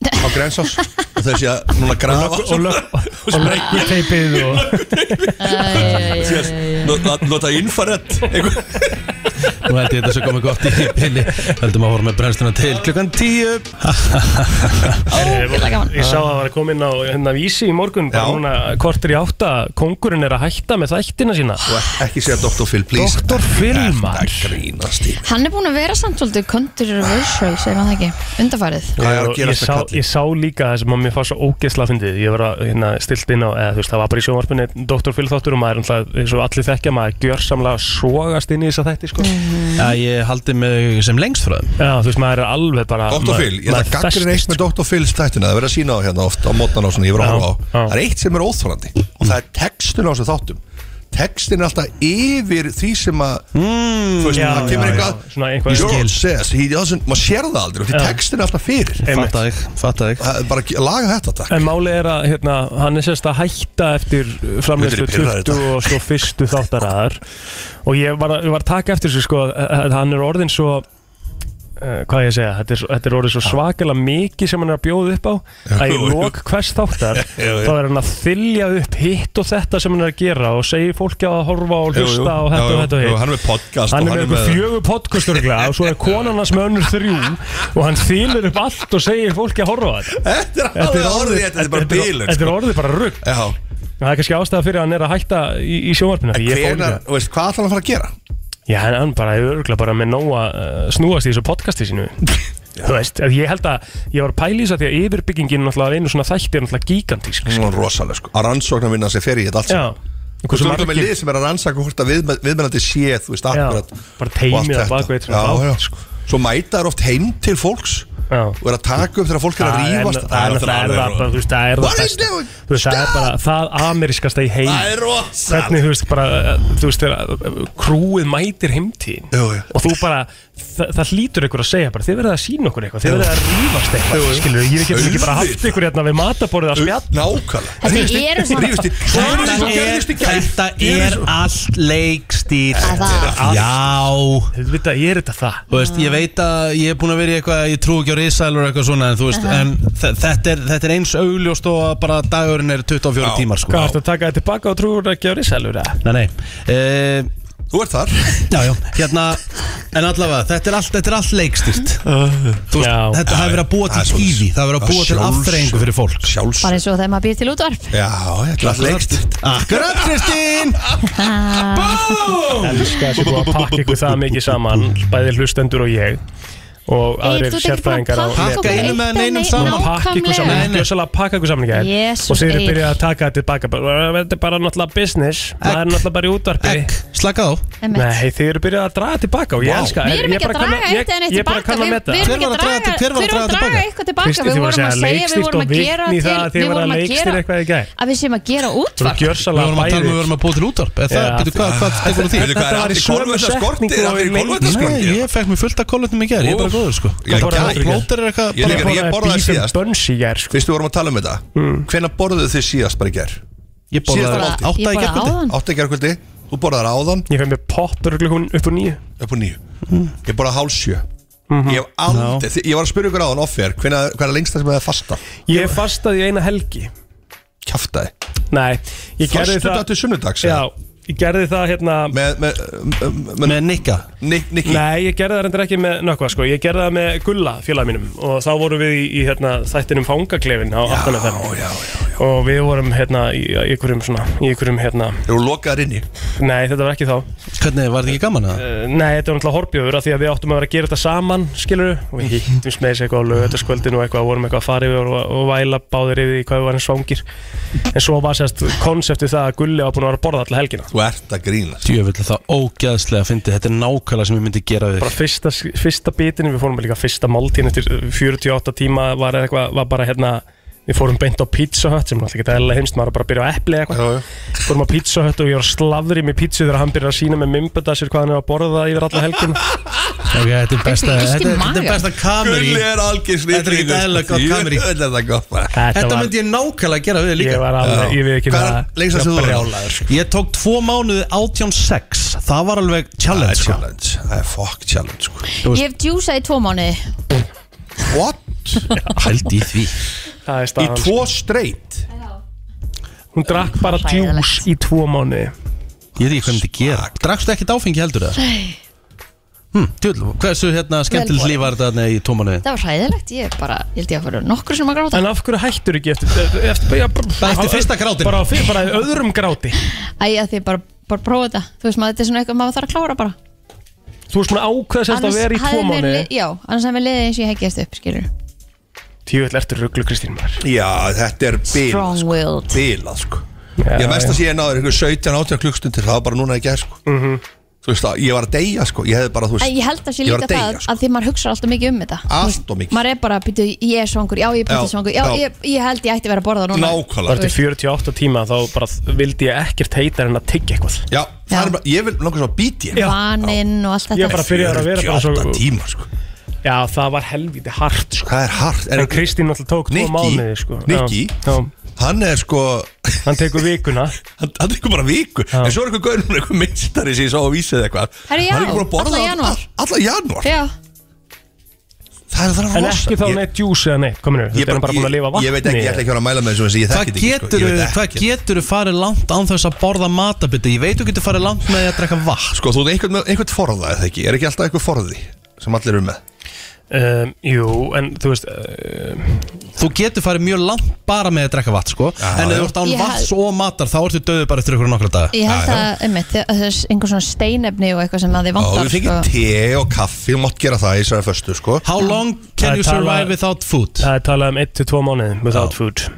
á grensás og þessi að núna grafa Og lög- og lögguteipið og Síðan nota- nota infrared einhver- Nú held ég þetta svo komið gott í pinni Heldum að horfa með brennstuna til klukkan tíu Ógeðlega gaman. Ég sá að það var að koma inn á hérna vísi í morgun bara Já. núna kortur í átta Kongurinn er að hætta með þættina sína Ekki segja Dr. Phil, please Doktor Filmar Þetta grínast í hann er búin að vera samt svolítið controversial segir maður það ekki, undarfarið Hvað er að Og ég, gerast sá, að ég kalli? sá líka það sem að mér fá svo ógeðsla að fyndið Ég var að hérna, stilt inn á, eða þú veist, það var bara í sjónvarpinu Dr. Phil þáttur og maður, er náttúrulega, eins og allir þekkja maður gjörsamlega sogast inn í þessa þætti sko. Já, ég haldi mig sem lengst frá þeim Já, þú veist, maður er alveg bara Dr. maður- Phil, ég ætla að maður gaggrinn eitt festist, með Dr. Phil stættuna það verður að sína á hérna oft á mótnan og svona ég verður að Já, horfa á já. það er eitt sem er óþólandi og það er textun á þessu þáttum textin er alltaf yfir því sem að þú veist, Já, það kemur já, já. Svona eitthvað eitthvað- George Skil. says, he doesn't, maður sér það aldrei og því textin er alltaf fyrir Einmitt. Fattaði ég, fattaði ég Það er bara að laga þetta takk En máli er að hérna, hann er sérst að hætta eftir framleiðslu Þetta er pirraður 20 og svo fyrstu þáttaraðar og ég var, að- ég var að taka eftir þessu sko að- að hann er orðin svo uh, hvað ég að segja, þetta er, svo- þetta er orðið svo svakalega mikið sem hann er að bjóða upp á að í jú, jú. lok hvers þáttar Já, já. þá er hann að þylja upp hitt og þetta sem hann er að gera og segir fólki að horfa og Jú, jú. hlusta og Já, þetta jú, og þetta og jú, hitt Hann er með podcast Hann og er með eitthvað fjögur podcast örugglega, og svo er konan hans með önnur þrjú og hann þýlir upp allt og segir fólki að horfa á þetta Þetta er alveg orðið, þetta er bara sko. bílun Þetta er orðið bara rugg Já, Það er kannski ástæða fyrir að hann er að hætta í, í sjónvarpinu því ég fór í hvenar, það. þú veist, hvað ætlar hann að fara að gera? Já, en hann bara er örgulega bara með nóa uh, snúast í þessu podcasti sínu Þú veist, að ég held að ég var að pæla í þess að því að yfirbyggingin náttúrulega af einu svona þætti er náttúrulega gigantísk Hún er rosalega sko, að rannsóknar vinna sem fer í þetta allt Já, saman. og Þú veist, hversu þú erum með margir lið sem er að rannsaka hvort að viðmenn- viðmennandi sé, þú veist, Já, akkurat bara teymið að baka eitt svona Já, já. þátt, sko. Svo mæta þær oft heim til fólks Já. og er að taka upp þegar fólk er að rífast Það er það er náttúrulega er það bara, þú veist, það er What það is besta doing? Þú veist, það er bara það amerískasta í heim Það er Hvernig, rosalega þú veist, bara, eh, þú veist, þegar eh, krúið mætir heimtíðin Jú, jú. og þú bara, það, það hlýtur ykkur að segja bara, þið verðið að sína okkur eitthvað, þið verðið að rífast eitthvað, skilur, ég getum ekki bara haft ykkur hérna við mataborðið að spjalla Nákvæmlega Þetta Rífist í- eru svona- Rífist í Svo er þetta svo gerðist í gær þetta er allt leikstýr Að það- Já Þú veit að ég er þetta það Þú veist, ég veit að ég er búin að vera í eitthvað Ég trú ekki á risalur eitthvað svona En, þú veist, en þe- þetta, er, þetta er eins augljóst og að bara dagurinn er 24 Já. tímar sko. Hvað ertu að taka þetta tilbaka og trúur ekki á risalur eða? Nei, nei uh, Þú ert þar Já, já, hérna En allavega, þetta er allt, þetta er allt leikstýrt Þú veist, Já. þetta hafi verið að búa til Það er svoleiðis. tífi Það hafi verið að búa til Sjálfs- afþreyingu fyrir fólk Sjálfs bara eins og þegar maður býr til útvarp Já, þetta er alltaf leikst Akkurat, Kristín Elskar þessi búið að pakka ykkur það mikið saman, bæði hlustendur og ég og Egill, aðrir þú ert ekki búin að sérfræðingar á pakka Pakka okkur einu með eitt neinum nei- saman. pakka ykkur saman, nákvæmlega. ég er sjössalega að pakka ykkur saman í gær Jesús, og þeir eru Egill. byrjað að taka þetta tilbaka bara, "Þetta er bara náttúrulega business, það er náttúrulega bara í útvarpi Egg, slakað á Einmitt. Nei, þið eru byrjað að draga tilbaka og ég Vá. elska Við erum ekki að draga eitt en eitt tilbaka Við við Við erum Hver var erum ekki að að draga- draga hver var að draga tilbaka? eitthvað tilbaka Kristi, Við þú vorum að segja, við leikstýrt vorum að og gera vitni í til það að Við þið voru vorum að að leikstýra gera eitthvað í gær Að við séum að gera Þú útvarp Við gjörsalega vorum að tala um að við vorum að búa til útvarp Eða það, Já. byrju, hvað, hvað tekur þú því? Þetta Þetta var í var í sömu kolvetnaskorti setningu Það og var í í lengd. Nei, kolvetnaskorti ég fekk mér fullt af kolvetnum í gerð, ég er bara Úf. góður sko Ég er Bara ekki- Plóter er eitthvað Ég er bara- líka- ég borðaði síðast. Bönns í gær sko. Fyrst við vorum að tala um þetta Mm. Hvenær borðuðu þið síðast bara í ger? Ég Síðasta borðaði máltíð. átta í Ég borðaði gerðkvöldi áðan. Átta í gerkvöldi Þú borðaðar áðan Ég fæði mér poppur hún upp úr nýju upp á nýju Mm. Ég borðaði hálf sjö Mhm. Ég hef aldrei Ég var að spyrja ykkur áðan offer Hvenær hvenær er lengst það sem það er fasta? Ég fastaði í eina helgi Kjaftaði Nei, ég gerði Föstudag það til sunnudags Já, ég gerði það hérna Með, með, með, með Með Nikka Nick, Nicky Nei, ég gerði það reyndar ekki með nökkva sko. Ég gerði það með Gulla félag mínum og þá vorum við í, í hérna, þættinum fangaklefin á Já, já, já, 18.5 já og við vorum hérna í í einhverjum svona, í einhverjum hérna Þeir eru lokaðar inni Nei, þetta var ekki þá Hvernig, var þetta ekki gaman að það? Eh, Nei, þetta var náttúrulega horfjöfur af því að við áttum að vera að gera þetta saman, skilur og við hittum með þessi eitthvað á lögataskvöldin og eitthvað, vorum eitthvað að fara yfir og, og væla báðir yfir því hvað við varum svangir en svo var sérst konseptið það að Gulli var búin að vera að borða alla helgina Þú ert að grínast Djöfull, það ógæðslega fyndi, þetta er nákvæmlega sem ég myndi gera við bara fyrsta, fyrsta bitinu, við fórum líka fyrsta máltíðin eftir 48 tíma var, eitthvað, var bara hérna við fórum beint á Pizza Hut sem er alltaf ekki eðlilega heimst maður er bara að byrja á epli eða eitthvað Já, já. fórum á Pizza Hut og ég var slavri með pizzu þegar hann byrjar að sína með mimböta sér hvað hann er að borða yfir alla helgin Ok, þetta er besta, Þetta er þetta illt í er, þetta er maga. besta kameri Gulli er algjör snillingur Þetta er ekki eðlilega gott kameri. Jú, Þetta er það gott maður. Þetta myndi ég nákvæmlega gera við ég líka var alveg, ég við ekki Hvað er lengst að þú var? sko. Brjálaður Ég tók tvo mánuði 18.6 Það var alveg Það challenge er sko. challenge Það er fuck challenge sko. Ég hef djúsað í tvo mánuði What? Hældi í því það er Í staðan tvo straight hún drakk bara djús í tvo mánu Ég veit ekki hvað ég myndi gera Drakstu ekkert áfengi heldur það? Nei. Hm, djöfull, hversu hérna skemmtileg borið. líf var þetta þarna í tvo mánuði? Það var hræðilegt, ég bara, ég held ég að fyrir nokkru sem að gráta en af hverju hættur ekki eftir, eftir, eftir, já, bara, Eftir fyrsta grátinn. bara, á fi- bara í öðrum gráti Æ, að því bara, bara prófa þetta Þú veist maður, þetta er svona eitthvað maður þarf að klára bara þú veist maður ákveðast að vera í tvo hafði mér mánu li- Já, annars hefði mér liðið eins og ég heggjast upp, skilur tjóðlega ertur rugglu Kristín maður Já, þetta er bilað sko. Strong-willed Bilað sko Já, Ég mest já. að sé ég náður ykkur 17-18 klukkstundir Það var bara núna í gerð sko Mhm. Þú veist að ég var að deyja sko Ég hefði bara, þú Æ, veist Ég held að sé Ég var líka að deyja, það sko. að því maður hugsa alltaf mikið um þetta Þú Allt veist, of mikið. Maður er bara, býtu, ég er svangur, já ég er Já, býtu svangur Já, já. Ég, ég held ég ætti að vera að borða núna Nákvæmlega bara til 48 tíma þá bara vildi ég ekkert heita en að tyggja eitthvað Já, það Já. er bara, ég vil langar svo að býti ég Vaninn og allt Ég þetta bara byrjaði að vera bara svo 48 tíma sko já það var helviti hart sko. Hvað er hart? Er en Kristín náttúrulega tók tvo Nikki, mánuði sko. Já, Nikki. já. Hann er sko hann tekur vikuna Hann hann tekur bara viku Já. En svo er eitthvað gaur núna Eitthvað minnstari sem ég sá á vísið eitthvað Herri, já, Hann er ekki búin að borða alla það- janúar. all- Alla janúar Já, Það er það að en rosa. ekki þá Ég- neitt djús eða neitt kominu Ég, þetta er hann bara búin að lifa ég, vatni ég veit ekki, ég ætla ekki að vera að mæla með þessu þessi, ég Hvað þekki þetta ekki, getur, sko, ég veit hvað ekki. getur farið langt án þess að borða matabiti? Ég veit þú getur farið langt með því að drekka vatn Sko, þú ert einhvern, með- einhvern forða, eða ekki? Er ekki alltaf einhver forði sem allir eru með? um, jú en þú veist uh, Þú getur farið mjög langt bara með að drekka vatn sko. Já, já. En ef þú ert án Ég vatns og matar þá ertu döðu bara eftir ykkur nokkra daga ég held Já, já. að, einmitt, þess einhver svona steinefni og eitthvað sem að þið Já, þú vantar fengir sko. te og kaffi, þú mátt gera það í særa föstu, sko. How long Það can you er talað- survive without food? það er talað um 1-2 mánuði without food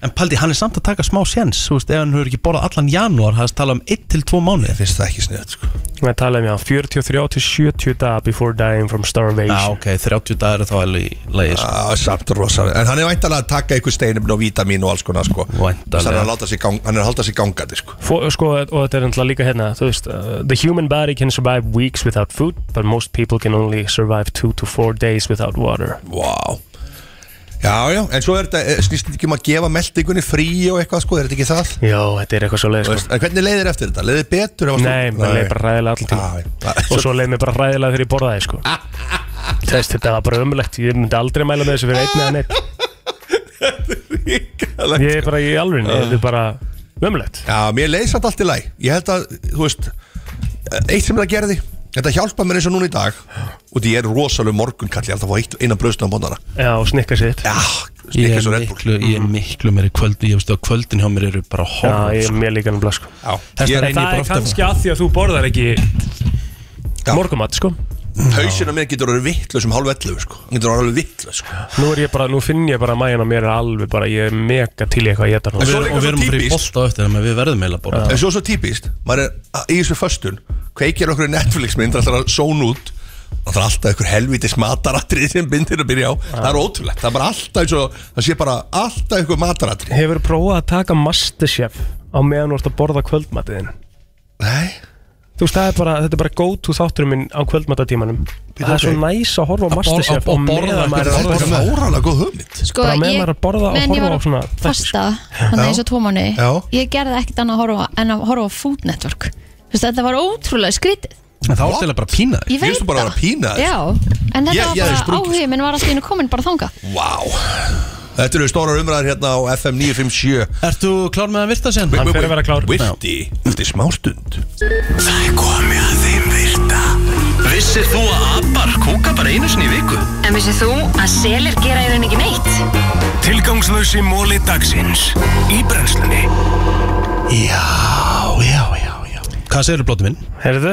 En Paldi, hann er samt að taka smá séns Þú veist, ef hann hefur ekki borðað allan janúar Það er talað um 1-2 mánuði Ég finnst það ekki sniðið, sko. það er talað um já 43-70 daga before dying from starvation Já, ok, 30 dagar er þá alveg lægis Já, Ah, samt rosalega. En hann er væntalega að taka einhver steinum og vítamin og alls konar, sko. Væntanlega. Þannig að hann láta sig gang- hann er að halda sig gangandi, sko. Fó, sko, og þetta er náttúrulega líka hérna þú veist, uh, the human body can survive weeks without food but most people can only survive two to four days without water Vá. Já, já, en svo er þetta, eh, snýst þetta ekki um að gefa meldingunni frí og eitthvað, sko, er þetta ekki það? Jó, þetta er eitthvað svo leið Þú sko. veist, en hvernig leiðir eftir þetta? Leiðir betur? ef að- Nei, mér leið bara ræðilega allan tíma Já, já. og svo leið mér bara ræðilega þegar ég borðaði sko. Þess, þetta var bara ömulegt ég myndi aldrei mæla með þessu fyrir einn eða neitt Ríkalegt. ég er bara í alveg þetta er bara ömulegt Já, mér leið samt allt í læg Ég held að, þú veist eh, Eitt sem það gerði, þetta hjálpa mér eins og núna í dag Og því ég er rosalega morgunkall Ég held að fá eitt, eina bröðsna á bóndana Já, og snikka sitt Já, Ég snikkið er svo Red Bull miklu, ég er miklu meiri kvöld Ég veist að kvöldin hjá mér eru bara Já, horf ég er mér líka nefnilega sko. Já, Þess ég er vegna reyni ég En það bara er ofta kannski að því að þú borðar ekki Já. morgumat sko. Hauðsinn á mér getur orðið vitlaus um hálf 11 sko. Hann Getur orðið vitlaus sko. nú, er ég bara, nú finn ég bara að mæjan á mér er alveg bara, ég er mega til í eitthvað að geta En Og svo við, er líka svo erum- og við erum fyrir típist. bolta á eftir Þannig að við verðum eiginlega að borða En svo svo típist, maður er að- í þessu föstun Kveikir okkur í Netflix mynd Það er að són út Það er alltaf einhver helvitis mataratrið sem myndir að byrja á Það er ótrúlegt, það er bara alltaf eins og Það sé bara alltaf einhver mataratrið Hefur prófað að taka Masterchef á meðan þú ert að borða kvöldmatiðin Nei, Þú veist, það er bara, þetta er bara go-to þátturinn minn á kvöldmatatímanum Það er svo næs að horfa á Masterchef bor- og að borða meðan maður er það að er borða bara órálega góð hugmynd Sko, Bara meðan ég- maður er að borða og meðan ég horfa var á svona sko. að þætti, fasta, þannig eins og tvo mánu Já. ég gerði ekkert annað að horfa á- en að horfa á Food Network Þú veist, þetta var ótrúlega skrítið En þá ertu eiginlega bara að pína þig ég veit finnst þú bara að vera að pína þér. Já, en þetta Ég- ég var hefði bara sprungið. sko. áhugin minn var alltaf einu komin bara þanga Vá Þetta eru stórar umræðar hérna á FM 957 Ertu klár með að virta sér? Hann fer að vera klár. Virti, eftir smá stund Það er komið að þeim virta Vissir þú að abar kúka bara einu sinni í viku? En vissið þú að selir gera í rauninni ekki neitt? Tilgangslösi móli dagsins í brennslunni Já, já, já, já Hvað segir þú blóttu minn? Herðu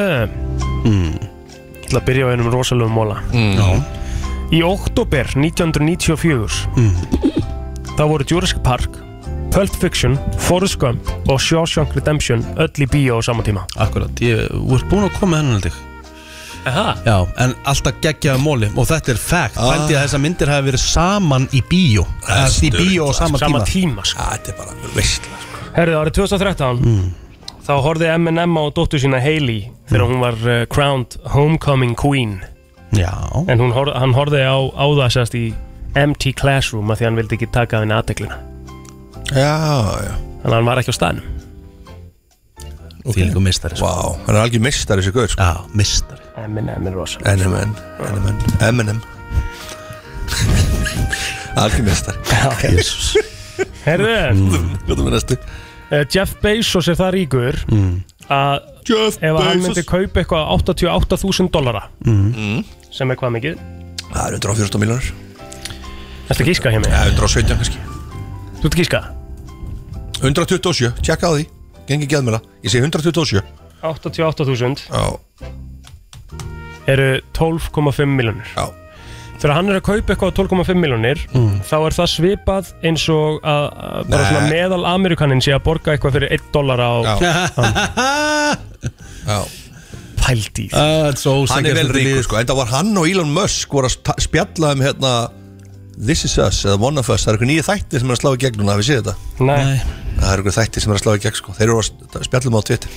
Ég ætla að byrja á einum rosalögum móla Mm. Já. Í oktober 1994 Mm. Þá voru Jurassic Park Pulp Fiction, Forrest Gump og Shawshank Redemption öll í bíó á sama tíma Akkurat, ég þú ert búin að koma með hennan þig Aha. Já, en alltaf geggjaði móli og þetta er fact, Ah. held ég að þessar myndir hafi verið saman í bíó Eða í bíó á sama, Sama tíma tíma sko. Þetta er bara veistla sko. Herðu, árið 2013 Mm. Þá horfði M&M á dóttur sína Hailey Þegar hún var uh, crowned Homecoming Queen Já, En hún, horf- hann horfði á, á það sérst í empty classroom að því hann vildi ekki taka af henni aðteklina Já, já Þannig að hann var ekki á staðnum því líka mistari sko. Vá, hann er algjör mistari þessi gauð sko. Já, mistari M&M er rosalega NMN, NMN, MNM Algjör mistari Jesus. Herðu, Hvað er það næstu? eh, Jeff Bezos er það ríkur að Mm. Jeff ef að hann myndi Bezos Mm. kaupa eitthvað á 88.000 dollara sem er hvað mikið Það er 114 miljonar Þetta er gíska hjá mig, Já, 117 kannski þú ert gíska 127, tjekka á því Gengi geðmjöla, ég segi 127 88.000 Já, eru 12,5 miljonir já Mm. Þegar hann er að kaupa eitthvað á 12,5 miljonir þá er það svipað eins og að, að bara Nei. svona meðal Amerikanin sé að borga eitthvað fyrir 1 dollara á Já. Já. pældíð Ah, þetta er svo Hann er ósanngjarnt vel þetta ríkur líf. sko, en það var hann og Elon Musk voru að ta- spjalla um hérna This is us eða One of us, það eru eitthvað nýja þætti sem er að slá í gegn núna, hafið þið séð þetta? Nei, Það eru eitthvað þætti sem er að slá í gegn sko, þeir eru að st- spjalla um á Twitter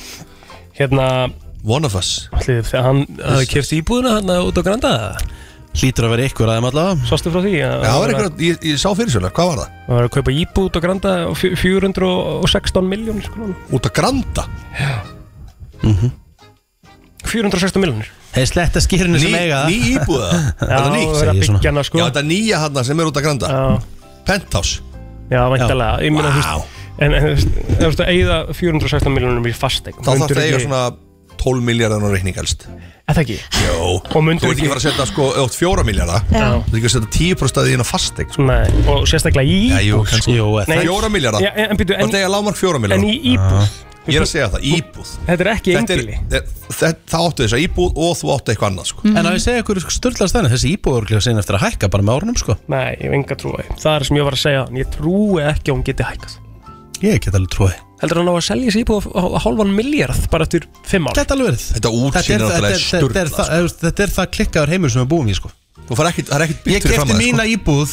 hérna One of us, allir, þegar hann hafði kert íbúðuna hann út á Granda Hlýtur að vera ykkur aðeim allavega Sástu frá því að já það var að- eitthvað, ég, ég sá fyrir sérlega, hvað var það? Það var að kaupa íbúð út á Granda á fjö- 416 miljónir sko Út að granda, 416 miljónir Hei, sletta skýrinu ný, sem eiga það ný íbúða, er það Já, nýtt? segi það er að ég svona. byggja hana Já, sko þetta er nýja hann sem er út að granda, Já, penthouse já væntalega Ég meina, þú Vá. veist En en, þú veist, ef þú veist að eigða 416 miljónum í fasteign Þá þarf myndirðu það eiga ekki- svona 12 miljardar á reikning helst Er það ekki? Jó, Og þú ert myndir ekki ekki- að fara að setja sko, öll 4 miljardar Þú Já. ert ekki að setja 10% að því inn á fasteign sko. Nei, og sérstaklega í Já, jú, íbúð kannski. Jú, eða Nei. Fjóra milljarða? Já, en býtu, Þú ert en, að eiga lágmark 4 en miljardar í íbúð Ég er að segja það, íbúð Þetta er ekki Þetta er, einbíli þetta, það áttu þess að íbúð og þú áttu eitthvað annað sko. Mm. En að ég segja ykkur störðlega stæðin Þessi íbúðurlega sinni eftir að hækka bara með árunum sko Nei, ég hef enga trúi Það er sem ég var að segja En ég trúi ekki að hún geti hækkað Ég get alveg tróði Heldur hann á að selja sér íbúð á á hálfan miljard bara eftir 5 ár Þetta er alveg verið Þetta útsýn er Þetta er- náttúrulega þetta- þetta- þetta er sturlað, sko. það- þú veist, Þetta er það klikkaður heimur sem við búum í sko Þú fær ekkit, það er ekkit Ég byggt fyrir kefti fram að mína íbúð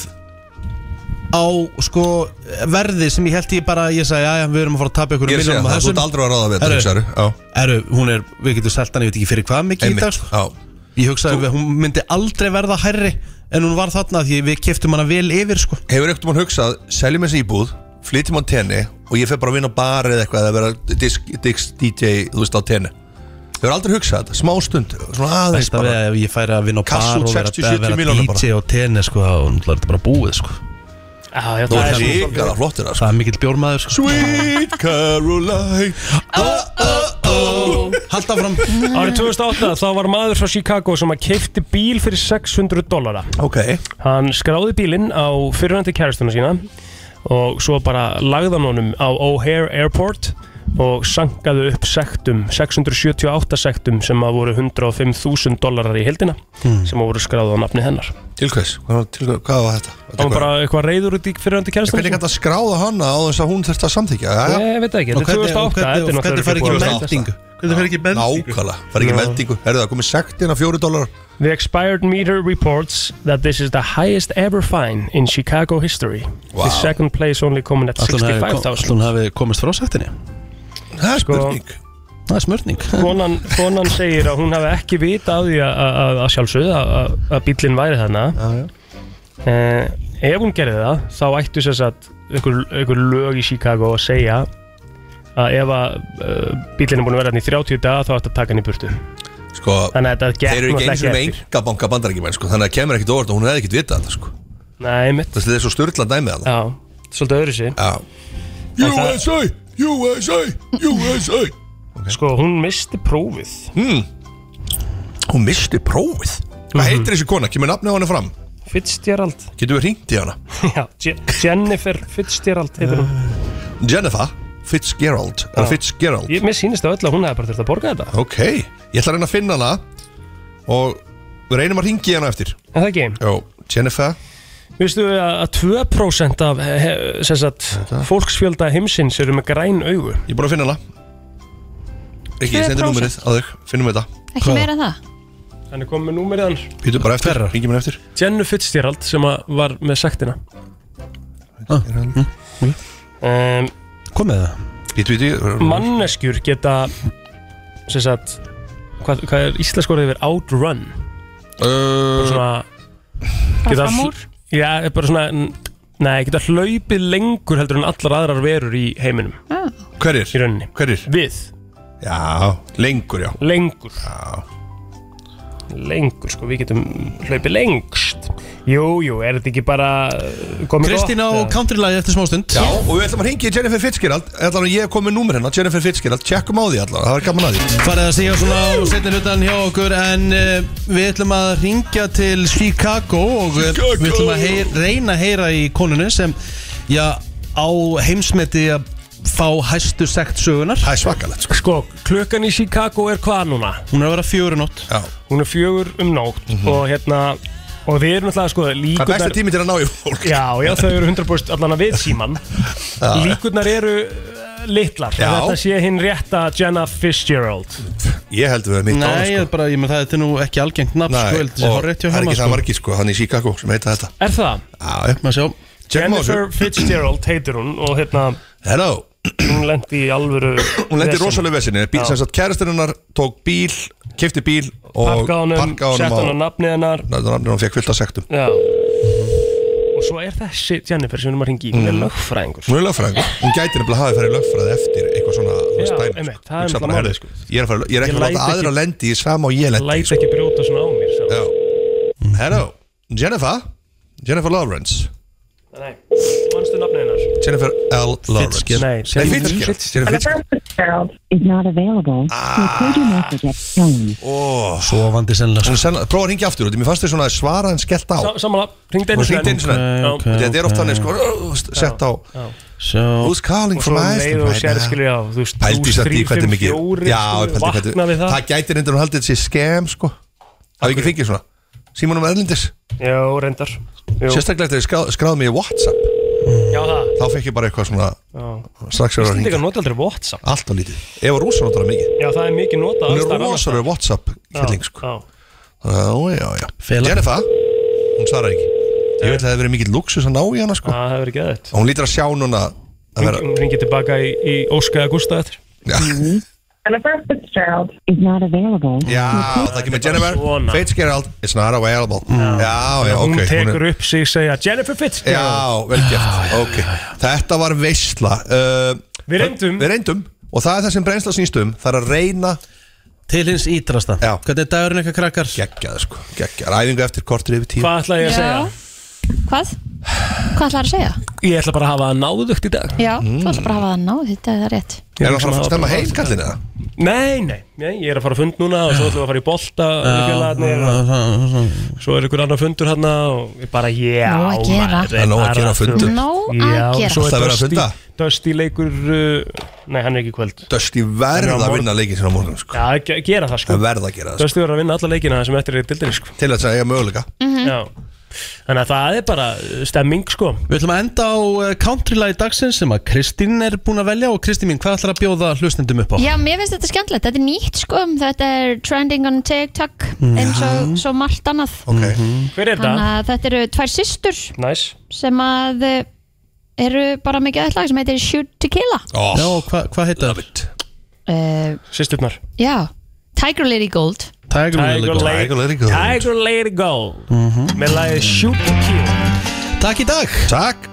á sko verði sem ég held ég bara Ég sagði, já, við erum að fara að tapa ykkur Ég er að segja miljónum það, þú á ert þessum aldrei að ráða við Herru. þetta hugsaðu. Já, Eru, hún er, við getum selt hann, ég veit ekki fyrir hvað mikið í dag einmitt sko. Já. Ég hugsaði að hún myndi aldrei verða hærri en hún var þarna því við keftum hana vel yfir sko Hefur ekkert mann hugsað, seljum þessi íbúð Flytjum á tenni og ég fer bara að vinna á bar eða eitthvað Eða vera disk, disk, DJ, þú veist á tenni Hefur aldrei hugsað þetta, smá stund Svona aðeins Besta við bara að ef ég færi að vinna á Kassa út bar og vera, 60, að 70 vera milljóna DJ og tenni sko þá er þetta bara búið sko Já, já, Þú það er er svo- ríkara flottir það sko. Það er mikill bjórmaður sko Sweet Caroline Hald áfram Árið 2008 þá var maður frá Chicago sem að keipti bíl fyrir 600 dollara. Ok, Hann skráði bílinn á fyrirhandi kæristuna sína og svo bara lagði hann honum á O'Hare Airport og sankaði upp sektum, 678 sektum sem að voru 105.000 dollarar í heldina Hmm. sem að voru skráði á nafni hennar. til hvers, hvað, var- til, hvað var þetta? Þetta Það var eitthvað- bara eitthvað reyður út í fyrirhandi kæristuna Hvernig gæti að skráða hana á þess að hún þurfti að samþykja? Já, já, Ég veit það ekki, þetta er 2008 þetta er Og hvernig náttúrulega fær ekki búið að staðfesta. meldingu Hvernig fær ekki meldingu nákvæmlega, fær ekki meldingu Er það komið sektin af fjóri dólar? The expired meter reports that this is the highest ever fine in Chicago history. Wow. The second place only coming at Allt hún hafi- allt 65,000. hún hafi komist frá sættinni Það er Sko- spurning Það er smörning Konan, konan segir að hún hafi ekki vita á því að- að að- að sjálfsögðu að- að að bíllinn væri þarna. Eh, ef hún gerði það, þá ættu sér satt einhver, einhver lög í Chicago að segja að ef að uh, bíllinn er búin að vera hann í 30 daga þá ættu að taka hann í burtu. Sko, Þannig að þetta þeir eru ekki eins gekk og með náttúrulega ekki eftir. enga banka bandarækjumenn sko, Þannig að það kemur ekkit óvart og hún hefði ekkit vitað þetta sko. Nei, mitt. Þessi þetta er svo styrla dæmið það Já, svolítið öðru sér. Já. USA, USA, USA Sko, hún misti prófið hmm. Hún misti prófið Mhm. Hvað heitir þessi kona? Kemur nafnið á henni fram? Fitzgerald Getum við hringt í hana? Já, Je- Jennifer Fitzgerald heitir hún Jennifer Fitzgerald Er það Já. Fitzgerald? Ég, mér sýnist á öll að hún hefði bara þurft að borga þetta Ok, ég ætla að reyna að finna hana Og við reynum að hringi hana eftir Er það ekki? Jó, Jennifer Vistu að að 2% af he, he- sem sagt, fólksfjölda heimsins eru með græn augu Ég er búin að finna hana Ekki, ég sendi 2%. númerið að þau Finnum við þetta Ekki meira en það Hann er komið með númerið hans Býtum bara eftir, hringjum henni eftir Jennu Fitzgerald sem að var með sektina um, Komið það Býtum við því Manneskjur geta sem sagt hvað, hvað er íslensk orðið yfir outrun Bara svona geta, fram úr? Já, er bara svona Nei, geta hlaupið lengur heldur en allar aðrar verur í heiminum Ah. Hverjir? Í rauninni Hverjir? Við Já, lengur já Lengur Já Lengur, sko, við getum hlaupið lengst Jú, jú, er þetta ekki bara uh, komið Kristín á gott? countrylagi eftir smástund Já, og við ætlum að hringja í Jennifer Fitzgerald Ætlar að ég hef komið númer hennar, Jennifer Fitzgerald Tjekkum á því allar, það var gaman að því Farið að segja svona á setni hlutan hjá okkur En uh, við ætlum að ringja til Chicago Og uh, við ætlum að heyr, reyna að heyra í konunni Sem, já, á heimsmeti að fá hæstu sekt sögunar Það er svakalegt Sko, klukkan í Chicago er hvað núna? Hún er að vera fjögur um nótt Já. Hún er fjögur um nótt og hérna og við erum alltaf sko líkurnar besti tími til að ná í fólk Já, já, þau eru 100% allan að við síman Líkurnar eru uh, litlar Já. Þetta sé hinn rétta Jenna Fitzgerald Ég held við að mitt sko. Nei, ég er bara, ég með það, þetta er nú ekki algengt nafn sko, heldur þessi og hárrétt hjá það er heima, ekki það sko. margir sko, hann í Chicago sem heita þetta Er það? Já, Maður sjá Tjekkum á Jennifer þessu. Fitzgerald heitir hún og hérna Hello Hún lendi í alvöru Hún lendi veseni. rosalega vesinni, Já. sem sagt kærastinunar tók bíl, kefti bíl og Parkaði honum, setti hann á nafnið hennar Nættu nafnir hún fekk fullt af sektum Já Og svo er þessi Jennifer sem við erum að ringi í Hún er lögfræðingur Mm. Hún er lögfræðingur, hún gæti nefnilega hafi farið í lögfræði eftir eitthvað svona, þú veist, Já, dæmi, einmitt, sko. það er Hugsa náttúrulega bara, herðu, málið, sko. sko. Ég er að fara- ég er Ég ekki að læt láta aðra ekki- lendi í sama og ég lendi sko. Læt ekki brjóta svona á mér sjálf. Já Hello, Jennifer Jennifer Lawrence Nei, mannstu nafnið hennar Jennifer L. Lawrence Fitzgerald. Nei, Nei, Fitzgerald Jennifer Fitzgerald is not available. Record your message at tone. Ó, Svo vandi sennilega sko. Prófa að ringja aftur út, mér fannst þið svona að svara en skellt á Sa- Samanlega, ringd einu Hún hringdi einu sinni. Já. Ok, ok, Þetta er oft þannig, sko, sett á So, Who's calling Og from svo um Iceland leið og right sér, now? skilur, já, þú veist, Pældi plús satt hérna í þrír, hvernig fimm, mikið fjórir, Já, sko, pældi vakna hvernig við það. Það gæti reyndir hún haldið þessi skem, sko Hafið ekki fengið svona Símanum Erlindis Já, reyndar Jú. Sérstaklega þegar ég skrá- skráði mig í WhatsApp Já, það Þá fekk ég bara eitthvað svona Já. Strax er að Íslendingar ringa nota aldrei WhatsApp Allt og lítið Eva Rúsa notar það mikið Já, það er mikið nota Hún er rosalega WhatsApp kylling, sko Já, Já, já, já Jennifer, hún svarar ekki Ég veit að það hefur verið mikill luxus að ná í hana, sko það hefur ekki aðeitt Og hún lítur að sjá núna að vera Hún ringið tilbaka í, í Óska eða Gústa eftir Jennifer Fitzgerald is not available. Já, það kemur Jennifer Fitzgerald is not available Já, já, ok Hún er- tekur upp sig segja Jennifer Fitzgerald Já, vel gert, ok Þetta var veisla uh, Við reyndum. Við reyndum Og það er það sem brennsla snýst um Það er að reyna Til hins ídrasta Já Hvernig er dagurinn eitthvað krakkar? Gekkjaði sko, gekkjaði Æfingu eftir kortur yfir tíu Hvað ætla ég að segja? Hvað? Hvað ætlar að segja? Ég ætla bara að hafa það náðugt í dag Já, þú ætlar bara að hafa það náð, þetta er það rétt Er það að fara að stemma heim kallin eða? Nei, nei, nei, ég er að fara að fund núna og svo ætlum við að fara í bolta félagarnir og svo er ykkur annar fundur hérna og ég bara, já Nóg að gera. maður, Það er nóg að bara gera á þú- fundum. Nóg að Já, gera. Svo Alltaf er verið að Dusty, funda. Dusty leikur uh, Nei, hann er ekki í kvöld Dusty Hann er á verða að morgun. vinna leikin sinna á morgun sko Já, ge- gera það sko Það verða að gera það sko Dusty verður að vinna alla leikina sem eftir er dildinni sko Til þess að eiga möguleika Mhm. Já Þannig að það er bara uh, stemming sko Við ætlum að enda á eh, countrylagi dagsins sem að Kristín er búin að velja og Kristín mín, hvað ætlar að bjóða hlustendum upp á? Já, mér finnst þetta skemmtilegt, þetta er nýtt sko þetta er trending on TikTok eins og svo margt annað Ok Hver Þannig er það? að þetta eru tvær systur Næs sem að eh, eru bara mikið aðslag sem heitir Shoot Tequila oh, Já, hvað hva heitir það? uh, Sisturnar Já, Tiger Lady Gold Tiger Lily Tiger Gold. Lady Tiger Lily Gold. Mhm. Tiger Lady Gold Með lagið Shoot the Kill Takk í dag Takk